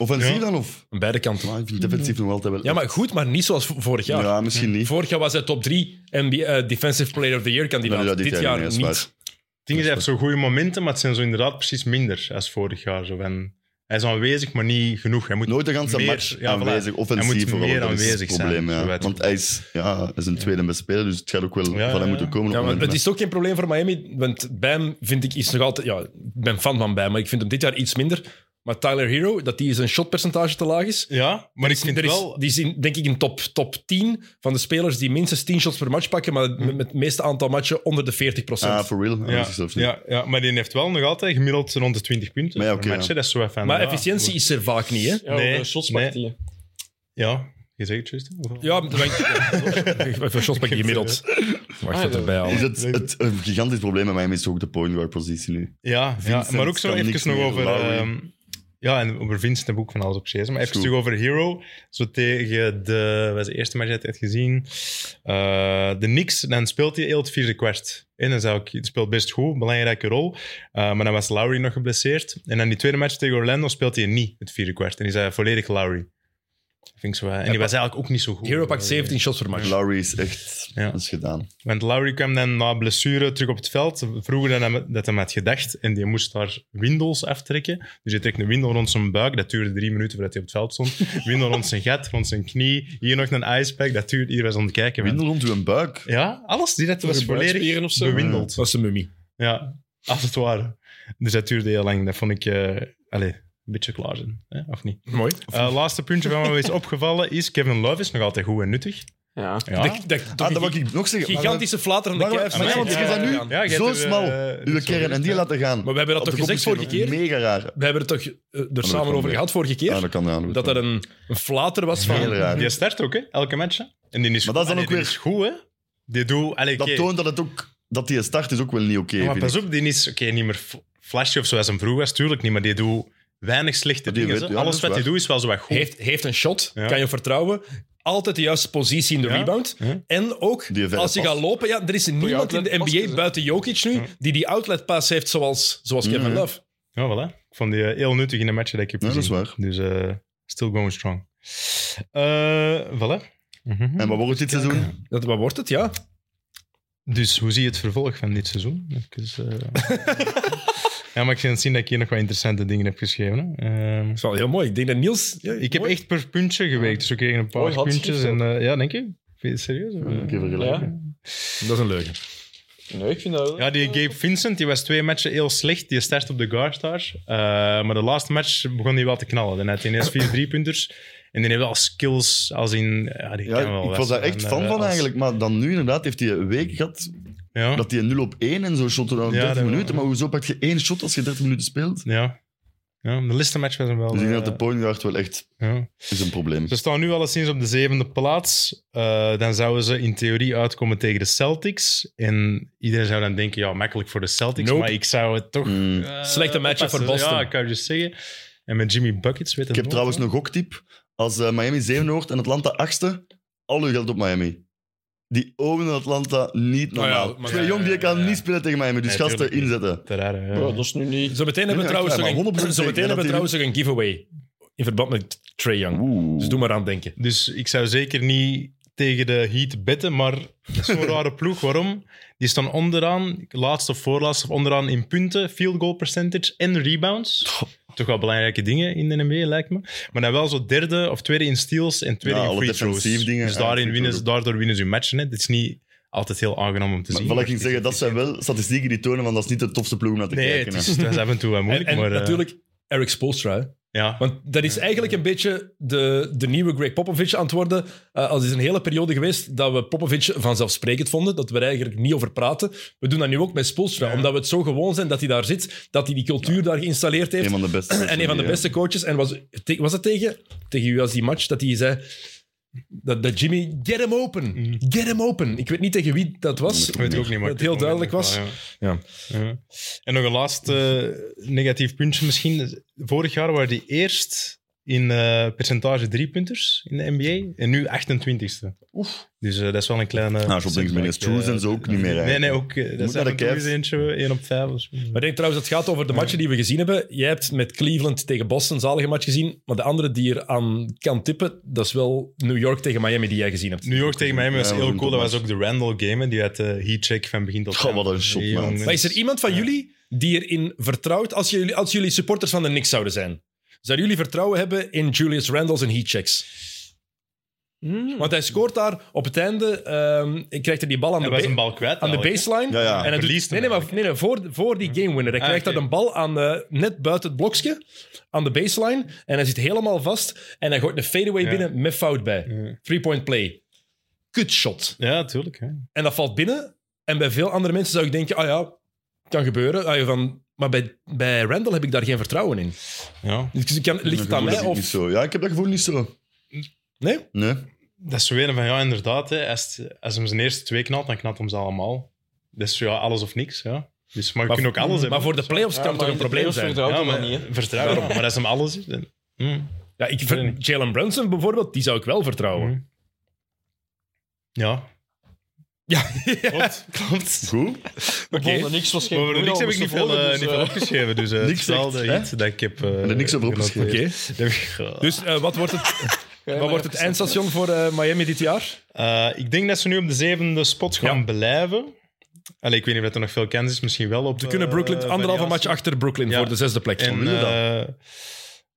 Speaker 2: offensief
Speaker 5: Ja.
Speaker 2: dan of?
Speaker 1: Aan beide kanten.
Speaker 2: Maar ik vind defensief nog altijd wel.
Speaker 1: Ja, maar goed, maar niet zoals v- vorig jaar.
Speaker 2: Ja, misschien niet.
Speaker 1: Vorig jaar was hij top 3 NBA eh, Defensive Player of the Year kandidaat.
Speaker 2: Nee, dat
Speaker 1: dit jaar
Speaker 2: niet,
Speaker 1: niet.
Speaker 2: dat is waar.
Speaker 5: Het ding is, hij heeft zo goede momenten, maar het zijn zo inderdaad precies minder als vorig jaar. Zo. van hij is aanwezig, maar niet genoeg. Hij moet
Speaker 2: Nooit de ganse
Speaker 5: meer-
Speaker 2: match
Speaker 5: ja, voilà.
Speaker 2: aanwezig,
Speaker 5: Hij
Speaker 2: offensief
Speaker 5: moet
Speaker 2: vooral.
Speaker 5: meer
Speaker 2: dat is
Speaker 5: aanwezig
Speaker 2: het probleem,
Speaker 5: zijn, zo
Speaker 2: Ja.
Speaker 5: uit-
Speaker 2: Want eh, hij is, ja, hij is een tweede beste speler, dus het gaat ook wel
Speaker 5: Ja,
Speaker 2: van hem
Speaker 5: ja,
Speaker 2: moeten
Speaker 5: ja.
Speaker 2: komen.
Speaker 1: Ja, maar
Speaker 2: op een
Speaker 1: het
Speaker 2: moment.
Speaker 1: is toch geen probleem voor Miami, want Bam vind ik is nog altijd... Ja, ik ben fan van Bam, maar ik vind hem dit jaar iets minder. Maar Tyler Hero, dat die zijn shotpercentage te laag is...
Speaker 5: Ja, maar ik vind
Speaker 1: er is,
Speaker 5: wel...
Speaker 1: Die is in, denk ik in top, top 10 van de spelers die minstens 10 shots per match pakken, maar met, met het meeste aantal matchen onder de 40
Speaker 2: Ah, for real? Ah, dat
Speaker 5: Ja,
Speaker 2: is zelfs niet.
Speaker 5: ja, ja, maar die heeft wel nog altijd gemiddeld rond de 20 punten.
Speaker 2: Maar ja,
Speaker 5: per
Speaker 2: oké,
Speaker 5: match,
Speaker 2: ja.
Speaker 5: hè. Dat is zo even,
Speaker 1: maar
Speaker 2: Ah,
Speaker 5: ja,
Speaker 1: efficiëntie is er vaak niet, hè?
Speaker 3: Ja,
Speaker 5: Nee,
Speaker 3: over de shots pakt die.
Speaker 5: Ja, je zegt het juist. hè? Of-
Speaker 1: Ja, maar- even shots pak je gemiddeld. Wacht,
Speaker 5: Ah,
Speaker 1: dat erbij
Speaker 2: Is
Speaker 1: halen.
Speaker 2: het, het een gigantisch probleem bij mij is ook de point guard positie nu.
Speaker 5: Ja, ja
Speaker 2: Vincent
Speaker 5: maar ook zo
Speaker 2: kan niks
Speaker 5: even nog
Speaker 2: meer,
Speaker 5: over...
Speaker 2: Lowry.
Speaker 5: ehm, ja, en over Vincent heb ik ook van alles op gezegd. Maar even
Speaker 2: Goed.
Speaker 5: terug over Hero. Zo tegen de... Wat is de eerste match dat je hebt gezien? Eh, de Knicks. Dan speelt hij heel het vierde kwart. En dan zou ik... Het speelt best goed. Belangrijke rol. Eh, maar dan was Lowry nog geblesseerd. En dan die tweede match tegen Orlando speelt hij niet het vierde kwart. En is hij volledig Lowry. Dat Vind ik zo, eh, en die was eigenlijk ook niet zo goed.
Speaker 1: Hero pakt 17 shots per match.
Speaker 2: Lowry is echt...
Speaker 5: Ja.
Speaker 2: Dat is gedaan.
Speaker 5: Want Lowry kwam dan na blessure terug op het veld. Vroeger dan hem- dat hij had gedacht. En die moest daar windows aftrekken. Dus hij trekt een window rond zijn buik. Dat duurde drie minuten voordat hij op het veld stond. Window rond zijn gat, rond zijn knie. Hier nog een icepack. Dat duurde. Hier was aan het kijken. man.
Speaker 2: Windel rond uw buik. Ah,
Speaker 5: Ja, alles. Die dat was
Speaker 3: je
Speaker 5: volledig
Speaker 3: buikspieren of zo?
Speaker 5: bewindeld.
Speaker 1: Dat is een mummie.
Speaker 5: Ja, als het ware. Dus dat duurde heel lang. Dat vond ik... eh, allee, een beetje klaar zijn. Hè? Of niet?
Speaker 1: Mooi.
Speaker 5: Eh, laatste puntje van wat me is opgevallen is... Kevin Love is nog altijd goed en nuttig.
Speaker 3: Ja.
Speaker 5: Ja.
Speaker 1: Dat, dat,
Speaker 2: Ah, dat wil ik nog zeggen.
Speaker 1: gigantische flaterende
Speaker 2: Waarom-
Speaker 1: kijf.
Speaker 2: maar
Speaker 5: ja, want je
Speaker 1: Ja,
Speaker 5: bent
Speaker 2: nu-
Speaker 1: ja.
Speaker 5: Ja, je hebt
Speaker 2: Zo
Speaker 5: er, eh,
Speaker 2: smal,
Speaker 5: niet
Speaker 2: uw
Speaker 5: zo
Speaker 2: kern, en die
Speaker 5: gezegd,
Speaker 2: laten gaan.
Speaker 1: Maar we hebben dat
Speaker 2: Op
Speaker 1: toch
Speaker 2: de
Speaker 1: gezegd vorige
Speaker 2: competitie
Speaker 1: keer?
Speaker 2: nog. Mega raar.
Speaker 1: We hebben het toch eh, er samen
Speaker 2: kan
Speaker 1: over
Speaker 2: ik.
Speaker 1: gehad vorige
Speaker 2: Ja,
Speaker 1: keer?
Speaker 2: dat kan ja, dat
Speaker 1: Dat
Speaker 2: kan.
Speaker 1: dat een een flater was
Speaker 2: Heel
Speaker 1: van...
Speaker 5: hè.
Speaker 2: raar.
Speaker 5: Die start ook, hè? Elke match. hè. En die is
Speaker 2: Ah, Maar dat is dan
Speaker 5: Allee,
Speaker 2: ook
Speaker 5: die
Speaker 2: weer-
Speaker 5: is goed, hè? Die doet... Allee,
Speaker 2: Dat
Speaker 5: oké.
Speaker 2: toont dat het ook... Dat die start is ook wel niet oké.
Speaker 5: Ja, maar
Speaker 2: vind ik.
Speaker 5: pas op, die is oké, niet meer f- flashy of zoals hem vroeger was, tuurlijk niet, maar die doet weinig slechte
Speaker 2: Maar die
Speaker 5: dingen.
Speaker 2: weet-
Speaker 5: hè.
Speaker 2: ja,
Speaker 5: Alles
Speaker 2: dat is
Speaker 5: wat hij
Speaker 2: waar.
Speaker 5: doet is wel zo wat goed.
Speaker 1: Heeft, heeft een shot,
Speaker 5: Ja.
Speaker 1: kan je vertrouwen. Altijd de juiste positie in de
Speaker 5: Ja.
Speaker 1: rebound.
Speaker 5: Ja.
Speaker 1: En ook,
Speaker 2: Die verre
Speaker 1: als je
Speaker 2: pas.
Speaker 1: gaat lopen... Ja, er is niemand in de
Speaker 3: outlet pas,
Speaker 1: NBA
Speaker 3: hè.
Speaker 1: buiten Jokic nu die die outletpass heeft zoals, zoals Kevin
Speaker 2: Mhm.
Speaker 1: Love.
Speaker 5: Ja, voilà. Ik vond die eh, heel nuttig in de match dat ik heb
Speaker 2: Ja, dat
Speaker 5: gezien.
Speaker 2: is waar.
Speaker 5: Dus eh, still going strong. Eh, voilà. Mhm.
Speaker 2: En wat wordt het dit seizoen?
Speaker 1: Dat, wat wordt het, ja?
Speaker 5: Dus hoe zie je het vervolg van dit seizoen? Even, eh, ja, maar ik kan zien dat ik hier nog wat interessante dingen heb geschreven. hè. Ehm,
Speaker 1: Dat is wel heel mooi. Ik denk dat Niels... ja,
Speaker 5: ik heb
Speaker 1: mooi.
Speaker 5: echt per puntje gewerkt, dus we kregen een paar
Speaker 3: Mooi handschrift
Speaker 5: puntjes. En, eh, ja, denk je? Vind je het serieus? of, eh?
Speaker 2: Ik heb er gelijk.
Speaker 3: Ja.
Speaker 1: Dat is een leuke.
Speaker 3: Nee, ik vind dat wel-
Speaker 5: Ja, die Gabe Vincent die was twee matchen heel slecht. Die start op de guard stars. Eh, maar de laatste match begon hij wel te knallen. Dan had hij ineens vier driepunters. En die heeft wel skills als in... Ja, die
Speaker 2: Ja,
Speaker 5: kan wel
Speaker 2: ik
Speaker 5: wat.
Speaker 2: was daar echt
Speaker 5: En,
Speaker 2: fan
Speaker 5: eh,
Speaker 2: van
Speaker 5: als-
Speaker 2: eigenlijk. Maar dan nu inderdaad heeft hij een week gehad
Speaker 5: Ja,
Speaker 2: dat hij 0 op 1 en zo shot dan
Speaker 5: Ja,
Speaker 2: 30
Speaker 5: dat wel.
Speaker 2: minuten. Maar hoezo pak je één shot als je 30 minuten speelt?
Speaker 5: ja. ja de laatste match was hem wel...
Speaker 2: Dus ik denk dat de
Speaker 5: eh,
Speaker 2: point guard wel echt
Speaker 5: ja.
Speaker 2: is een probleem.
Speaker 5: Ze staan nu alleszins op de zevende plaats. Eh, dan zouden ze in theorie uitkomen tegen de Celtics. En iedereen zou dan denken, ja, makkelijk voor de Celtics.
Speaker 1: Nope.
Speaker 5: Maar ik zou het toch...
Speaker 2: Mm.
Speaker 5: eh,
Speaker 1: Slechte matchup
Speaker 5: oppassen.
Speaker 1: voor Boston.
Speaker 5: Ja, ik kan je zeggen. En met Jimmy Buckets weet het
Speaker 2: Ik heb
Speaker 5: nooit,
Speaker 2: trouwens
Speaker 5: hè.
Speaker 2: een goktip. Als eh, Miami 7 wordt en Atlanta 8e, al uw geld op Miami. Die owen Atlanta niet
Speaker 1: Nou ja,
Speaker 2: normaal.
Speaker 1: maar
Speaker 2: Twee
Speaker 1: ja,
Speaker 2: jong die
Speaker 5: Oh ja,
Speaker 2: kan
Speaker 5: ja.
Speaker 2: niet spelen tegen Miami, dus
Speaker 5: Nee,
Speaker 2: gasten
Speaker 5: tuurlijk niet.
Speaker 2: inzetten.
Speaker 5: Te raar, hè.
Speaker 3: Bro, dat is nu niet...
Speaker 1: Zo meteen hebben we
Speaker 2: Ja,
Speaker 1: trouwens
Speaker 2: ja,
Speaker 1: nog
Speaker 2: maar
Speaker 1: een,
Speaker 2: 100%
Speaker 1: zo meteen
Speaker 2: zeker dat
Speaker 1: hebben we
Speaker 2: die-
Speaker 1: trouwens nog een giveaway in verband met Trey Young.
Speaker 2: Oeh.
Speaker 1: Dus doe maar aan denken.
Speaker 5: Dus ik zou zeker niet tegen de Heat betten, maar dat is zo'n rare ploeg. Waarom? Die staan onderaan, laatste of voorlaatste of onderaan in punten, field goal percentage en rebounds. Toch wel belangrijke dingen in de NBA, lijkt me. Maar dan wel zo derde of tweede in steals en tweede
Speaker 2: Ja,
Speaker 5: in
Speaker 2: alle
Speaker 5: free throws.
Speaker 2: defensief dingen,
Speaker 5: dus
Speaker 2: ja,
Speaker 5: daarin
Speaker 2: free
Speaker 5: winnen, ze-
Speaker 2: throw.
Speaker 5: daardoor winnen ze hun matchen. Hè. Dit is niet altijd heel aangenaam om te
Speaker 2: Maar
Speaker 5: zien.
Speaker 2: wat ik ging zeggen, dat zijn wel statistieken die tonen, want dat is niet de tofste ploeg om naar te
Speaker 5: Nee,
Speaker 2: kijken.
Speaker 5: het
Speaker 2: hè.
Speaker 5: is, het is af en toe wel
Speaker 1: En,
Speaker 5: moeilijk,
Speaker 1: en
Speaker 5: maar... eh,
Speaker 1: natuurlijk Eric Spoelstra. hè.
Speaker 5: ja.
Speaker 1: Want dat is eigenlijk een beetje de, de nieuwe Greg Popovich aan het worden. Eh, als het is een hele periode geweest dat we Popovich vanzelfsprekend vonden, dat we er eigenlijk niet over praten. We doen dat nu ook met Spoelstra,
Speaker 5: Ja.
Speaker 1: omdat we het zo gewoon zijn dat hij daar zit, dat hij die cultuur daar geïnstalleerd heeft.
Speaker 2: Een van de beste.
Speaker 1: en een van de
Speaker 2: Ja.
Speaker 1: beste coaches. En was, te- was dat tegen, tegen u als die match dat hij zei... Dat, dat Jimmy, get him open. Get him open. Ik weet niet tegen wie dat was.
Speaker 5: Mm. Ik weet het ook niet, maar...
Speaker 1: Dat het heel
Speaker 5: ik denk
Speaker 1: duidelijk was.
Speaker 5: wel, ja.
Speaker 1: Ja.
Speaker 5: Ja. En nog een laatste eh, negatief puntje misschien. Vorig jaar waren die eerst in eh, percentage driepunters in de NBA en nu 28ste. Oef. Dus eh, dat is wel een kleine... eh,
Speaker 2: Nou, zo denk ik, is Trues en zo ook niet meer.
Speaker 5: Nee,
Speaker 2: eigenlijk.
Speaker 5: nee, ook... eh, dat
Speaker 2: Moet
Speaker 5: zijn
Speaker 2: naar de
Speaker 5: er
Speaker 2: Cavs.
Speaker 5: eentje, 1 op 5. of zo.
Speaker 1: Maar ik denk trouwens, het gaat over de matchen die we gezien hebben. Jij hebt met Cleveland tegen Boston een zalige match gezien. Maar de andere die er aan kan tippen, dat is wel New York tegen Miami die jij gezien hebt.
Speaker 5: New York tegen Miami was
Speaker 2: Ja,
Speaker 5: heel
Speaker 2: goed,
Speaker 5: cool. Dat
Speaker 2: Thomas.
Speaker 5: was ook de Randall game. hè. Die had de heatcheck van begin tot
Speaker 2: Goh, wat een shot, man.
Speaker 5: jongens.
Speaker 1: Maar is er iemand van jullie die erin vertrouwt, als jullie, als jullie supporters van de Knicks zouden zijn? Zouden jullie vertrouwen hebben in Julius Randle's en heatchecks?
Speaker 3: Hmm.
Speaker 1: Want hij scoort daar op het einde, ehm, hij krijgt er die bal aan
Speaker 5: Hij
Speaker 1: de,
Speaker 5: was
Speaker 1: ba-
Speaker 5: een bal kwijt.
Speaker 1: aan de
Speaker 5: eigenlijk, hè.
Speaker 1: baseline.
Speaker 2: Ja, ja.
Speaker 1: En hij doet-
Speaker 5: Verliest hem
Speaker 1: nee, nee, maar nee, nee, voor, voor die game winner. Hij
Speaker 5: Ah,
Speaker 1: krijgt
Speaker 5: oké.
Speaker 1: dat een bal aan, eh, net buiten het blokje, aan de baseline. En hij zit helemaal vast. En hij gooit een fadeaway
Speaker 5: Ja.
Speaker 1: binnen met fout bij.
Speaker 5: Ja.
Speaker 1: Three-point play. Kutshot.
Speaker 5: Ja, tuurlijk. Hè.
Speaker 1: En dat valt binnen. En bij veel andere mensen zou ik denken, ah ja, kan gebeuren. Ah, je van, maar bij, bij Randall heb ik daar geen vertrouwen in.
Speaker 5: Ja.
Speaker 1: Dus ik kan, ligt het aan
Speaker 2: Dat
Speaker 1: mij
Speaker 2: gevoel is niet
Speaker 1: of...
Speaker 2: zo. Ja, ik heb dat gevoel niet zo.
Speaker 1: Nee?
Speaker 2: Nee.
Speaker 5: Dat is zo weer van, ja, inderdaad. Hè, als, als hem zijn eerste twee knalt, dan knalt hem ze allemaal. Dus ja, alles of niks. Ja. Dus, maar je kunt ook alles hebben.
Speaker 1: Maar voor de playoffs
Speaker 3: Ja,
Speaker 1: kan het
Speaker 3: maar
Speaker 1: toch een
Speaker 3: in de
Speaker 1: probleem
Speaker 3: playoffs
Speaker 1: zijn?
Speaker 3: vertrouwt
Speaker 5: ja,
Speaker 3: hem
Speaker 5: maar,
Speaker 3: dan niet, hè.
Speaker 5: vertrouwen. Maar als hem alles is... dan- Hm.
Speaker 1: Ja, ik,
Speaker 5: weet het niet.
Speaker 1: Jalen Brunson bijvoorbeeld, die zou ik wel vertrouwen.
Speaker 5: Hm. Ja.
Speaker 1: Ja,
Speaker 5: Klopt. klopt.
Speaker 2: Goed.
Speaker 1: oké.
Speaker 3: Over de niks was geen
Speaker 5: Maar voor de
Speaker 3: goeie,
Speaker 5: niks
Speaker 3: anders te
Speaker 5: heb ik niet veel,
Speaker 3: volgen,
Speaker 5: eh,
Speaker 3: dus,
Speaker 5: niet veel
Speaker 3: eh,
Speaker 5: opgeschreven. Dus eh,
Speaker 2: niks
Speaker 5: het is wel de
Speaker 2: zegt, hè?
Speaker 5: hit dat ik heb... eh,
Speaker 2: er niks over opgeschreven.
Speaker 1: Oké.
Speaker 5: Dus,
Speaker 1: Dus eh, wat wordt het...
Speaker 3: eh, ja,
Speaker 1: Wat wordt het eindstation voor eh, Miami dit jaar?
Speaker 5: Eh, ik denk dat ze nu op de zevende spot gaan blijven. Allee, ik weet niet of er nog veel kennis is. Misschien wel op... eh,
Speaker 1: Ze kunnen Brooklyn anderhalve match achter Brooklyn
Speaker 5: Ja.
Speaker 1: voor de zesde plek.
Speaker 5: En,
Speaker 2: willen
Speaker 5: eh,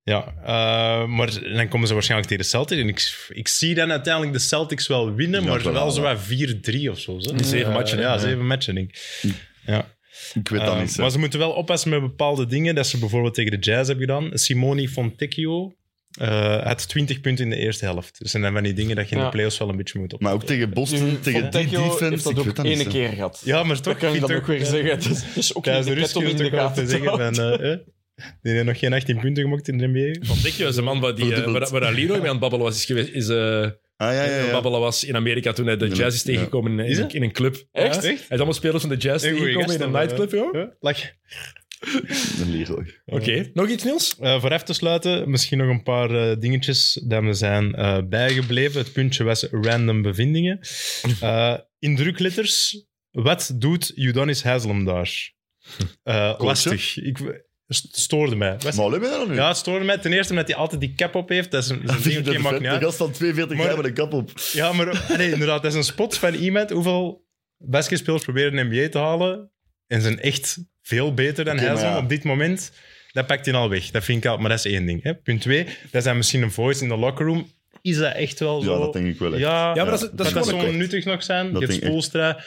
Speaker 5: ja, eh, maar dan komen ze waarschijnlijk tegen de Celtics. En ik, ik zie dan uiteindelijk de Celtics wel winnen,
Speaker 2: Ja,
Speaker 5: maar
Speaker 2: wel
Speaker 5: wel
Speaker 2: wel.
Speaker 5: zo wat 4-3 of zo. Zo.
Speaker 1: Die zeven
Speaker 5: Eh,
Speaker 1: matchen, hè?
Speaker 5: Ja,
Speaker 1: Ja.
Speaker 5: zeven matchen, denk ik. Ja.
Speaker 2: Hm. Ik weet dat
Speaker 5: Eh,
Speaker 2: niet. hè.
Speaker 5: maar ze moeten wel oppassen met bepaalde dingen. Dat ze bijvoorbeeld tegen de Jazz hebben gedaan. Simone Fontecchio eh, had 20 punten in de eerste helft. Dus en dan van die dingen dat je in
Speaker 3: Ja.
Speaker 5: de playoffs wel een beetje moet op.
Speaker 2: Maar ook tegen Boston,
Speaker 3: Van
Speaker 2: tegen die
Speaker 3: Tecchio
Speaker 2: defense.
Speaker 3: heeft
Speaker 2: ik
Speaker 3: dat
Speaker 2: weet
Speaker 3: ook
Speaker 2: dat niet,
Speaker 3: één
Speaker 2: hè.
Speaker 3: keer gehad.
Speaker 5: Ja, maar
Speaker 3: Dat
Speaker 5: toch.
Speaker 3: kan ik
Speaker 5: vind
Speaker 3: dat
Speaker 5: ik
Speaker 3: ook weer
Speaker 5: eh,
Speaker 3: zeggen. Dat is- is ook niet
Speaker 5: Tijdens
Speaker 3: de ket
Speaker 5: de rust
Speaker 3: om
Speaker 5: kun je
Speaker 3: in de
Speaker 5: toch wel
Speaker 3: gaten
Speaker 5: te
Speaker 3: te
Speaker 5: zeggen
Speaker 3: houden.
Speaker 5: van... eh, eh, die heeft nog geen 18 punten gemaakt in de NBA.
Speaker 1: Van Dikje is een man waar, die, eh,
Speaker 2: Verdubbeld.
Speaker 1: waar, waar dat Leroy mee aan het babbelen was, is geweest, is, eh,
Speaker 2: Ah, ja,
Speaker 1: aan
Speaker 2: ja,
Speaker 1: het
Speaker 2: ja.
Speaker 1: babbelen was in Amerika toen hij de
Speaker 2: Ja.
Speaker 1: jazz is tegengekomen in,
Speaker 5: Is
Speaker 1: in,
Speaker 5: het?
Speaker 1: een club.
Speaker 3: Echt?
Speaker 1: Ja. Hij
Speaker 5: Echt?
Speaker 1: is allemaal spelers van de jazz
Speaker 5: Een goeie
Speaker 1: tegengekomen in
Speaker 5: gast
Speaker 1: een
Speaker 5: dan,
Speaker 1: nightclub,
Speaker 5: eh.
Speaker 1: joh.
Speaker 5: Huh? Lach.
Speaker 2: Een Leroy.
Speaker 1: Oké, nog iets Niels?
Speaker 5: Eh, voor af te sluiten, misschien nog een paar eh, dingetjes dat me zijn eh, bijgebleven. Het puntje was random bevindingen. Eh, in drukletters, wat doet Udonis Haslem daar? Eh, lastig. Ik het stoorde mij. Was-
Speaker 2: Maar alleen ben je dat nu?
Speaker 5: ja, het stoorde mij ten eerste omdat hij altijd die cap op heeft. Dat is een, dat is een
Speaker 2: Vind je
Speaker 5: ding,
Speaker 2: dat
Speaker 5: oké, maakt
Speaker 2: vet?
Speaker 5: niet
Speaker 2: de
Speaker 5: uit.
Speaker 2: gast van 42
Speaker 5: Maar-
Speaker 2: jaar met een kap op.
Speaker 5: Ja, maar allee, inderdaad, dat is een spot van iemand. Hoeveel basketspelers proberen een NBA te halen en zijn echt veel beter dan
Speaker 2: Oké,
Speaker 5: hij
Speaker 2: maar ja.
Speaker 5: op dit moment. Dat pakt hij al weg. Dat vind ik al, maar dat is één ding. Hè. Punt twee, dat zijn misschien een voice in de locker room. Is dat echt wel zo?
Speaker 2: Ja, dat denk ik wel echt.
Speaker 5: Ja,
Speaker 1: Ja, maar
Speaker 5: maar
Speaker 1: dat is, dat is
Speaker 5: dat,
Speaker 1: gewoon
Speaker 5: zou
Speaker 1: een-
Speaker 5: nuttig nog
Speaker 2: Dat
Speaker 5: zijn. je hebt
Speaker 2: denk ik.
Speaker 5: Spoelstra,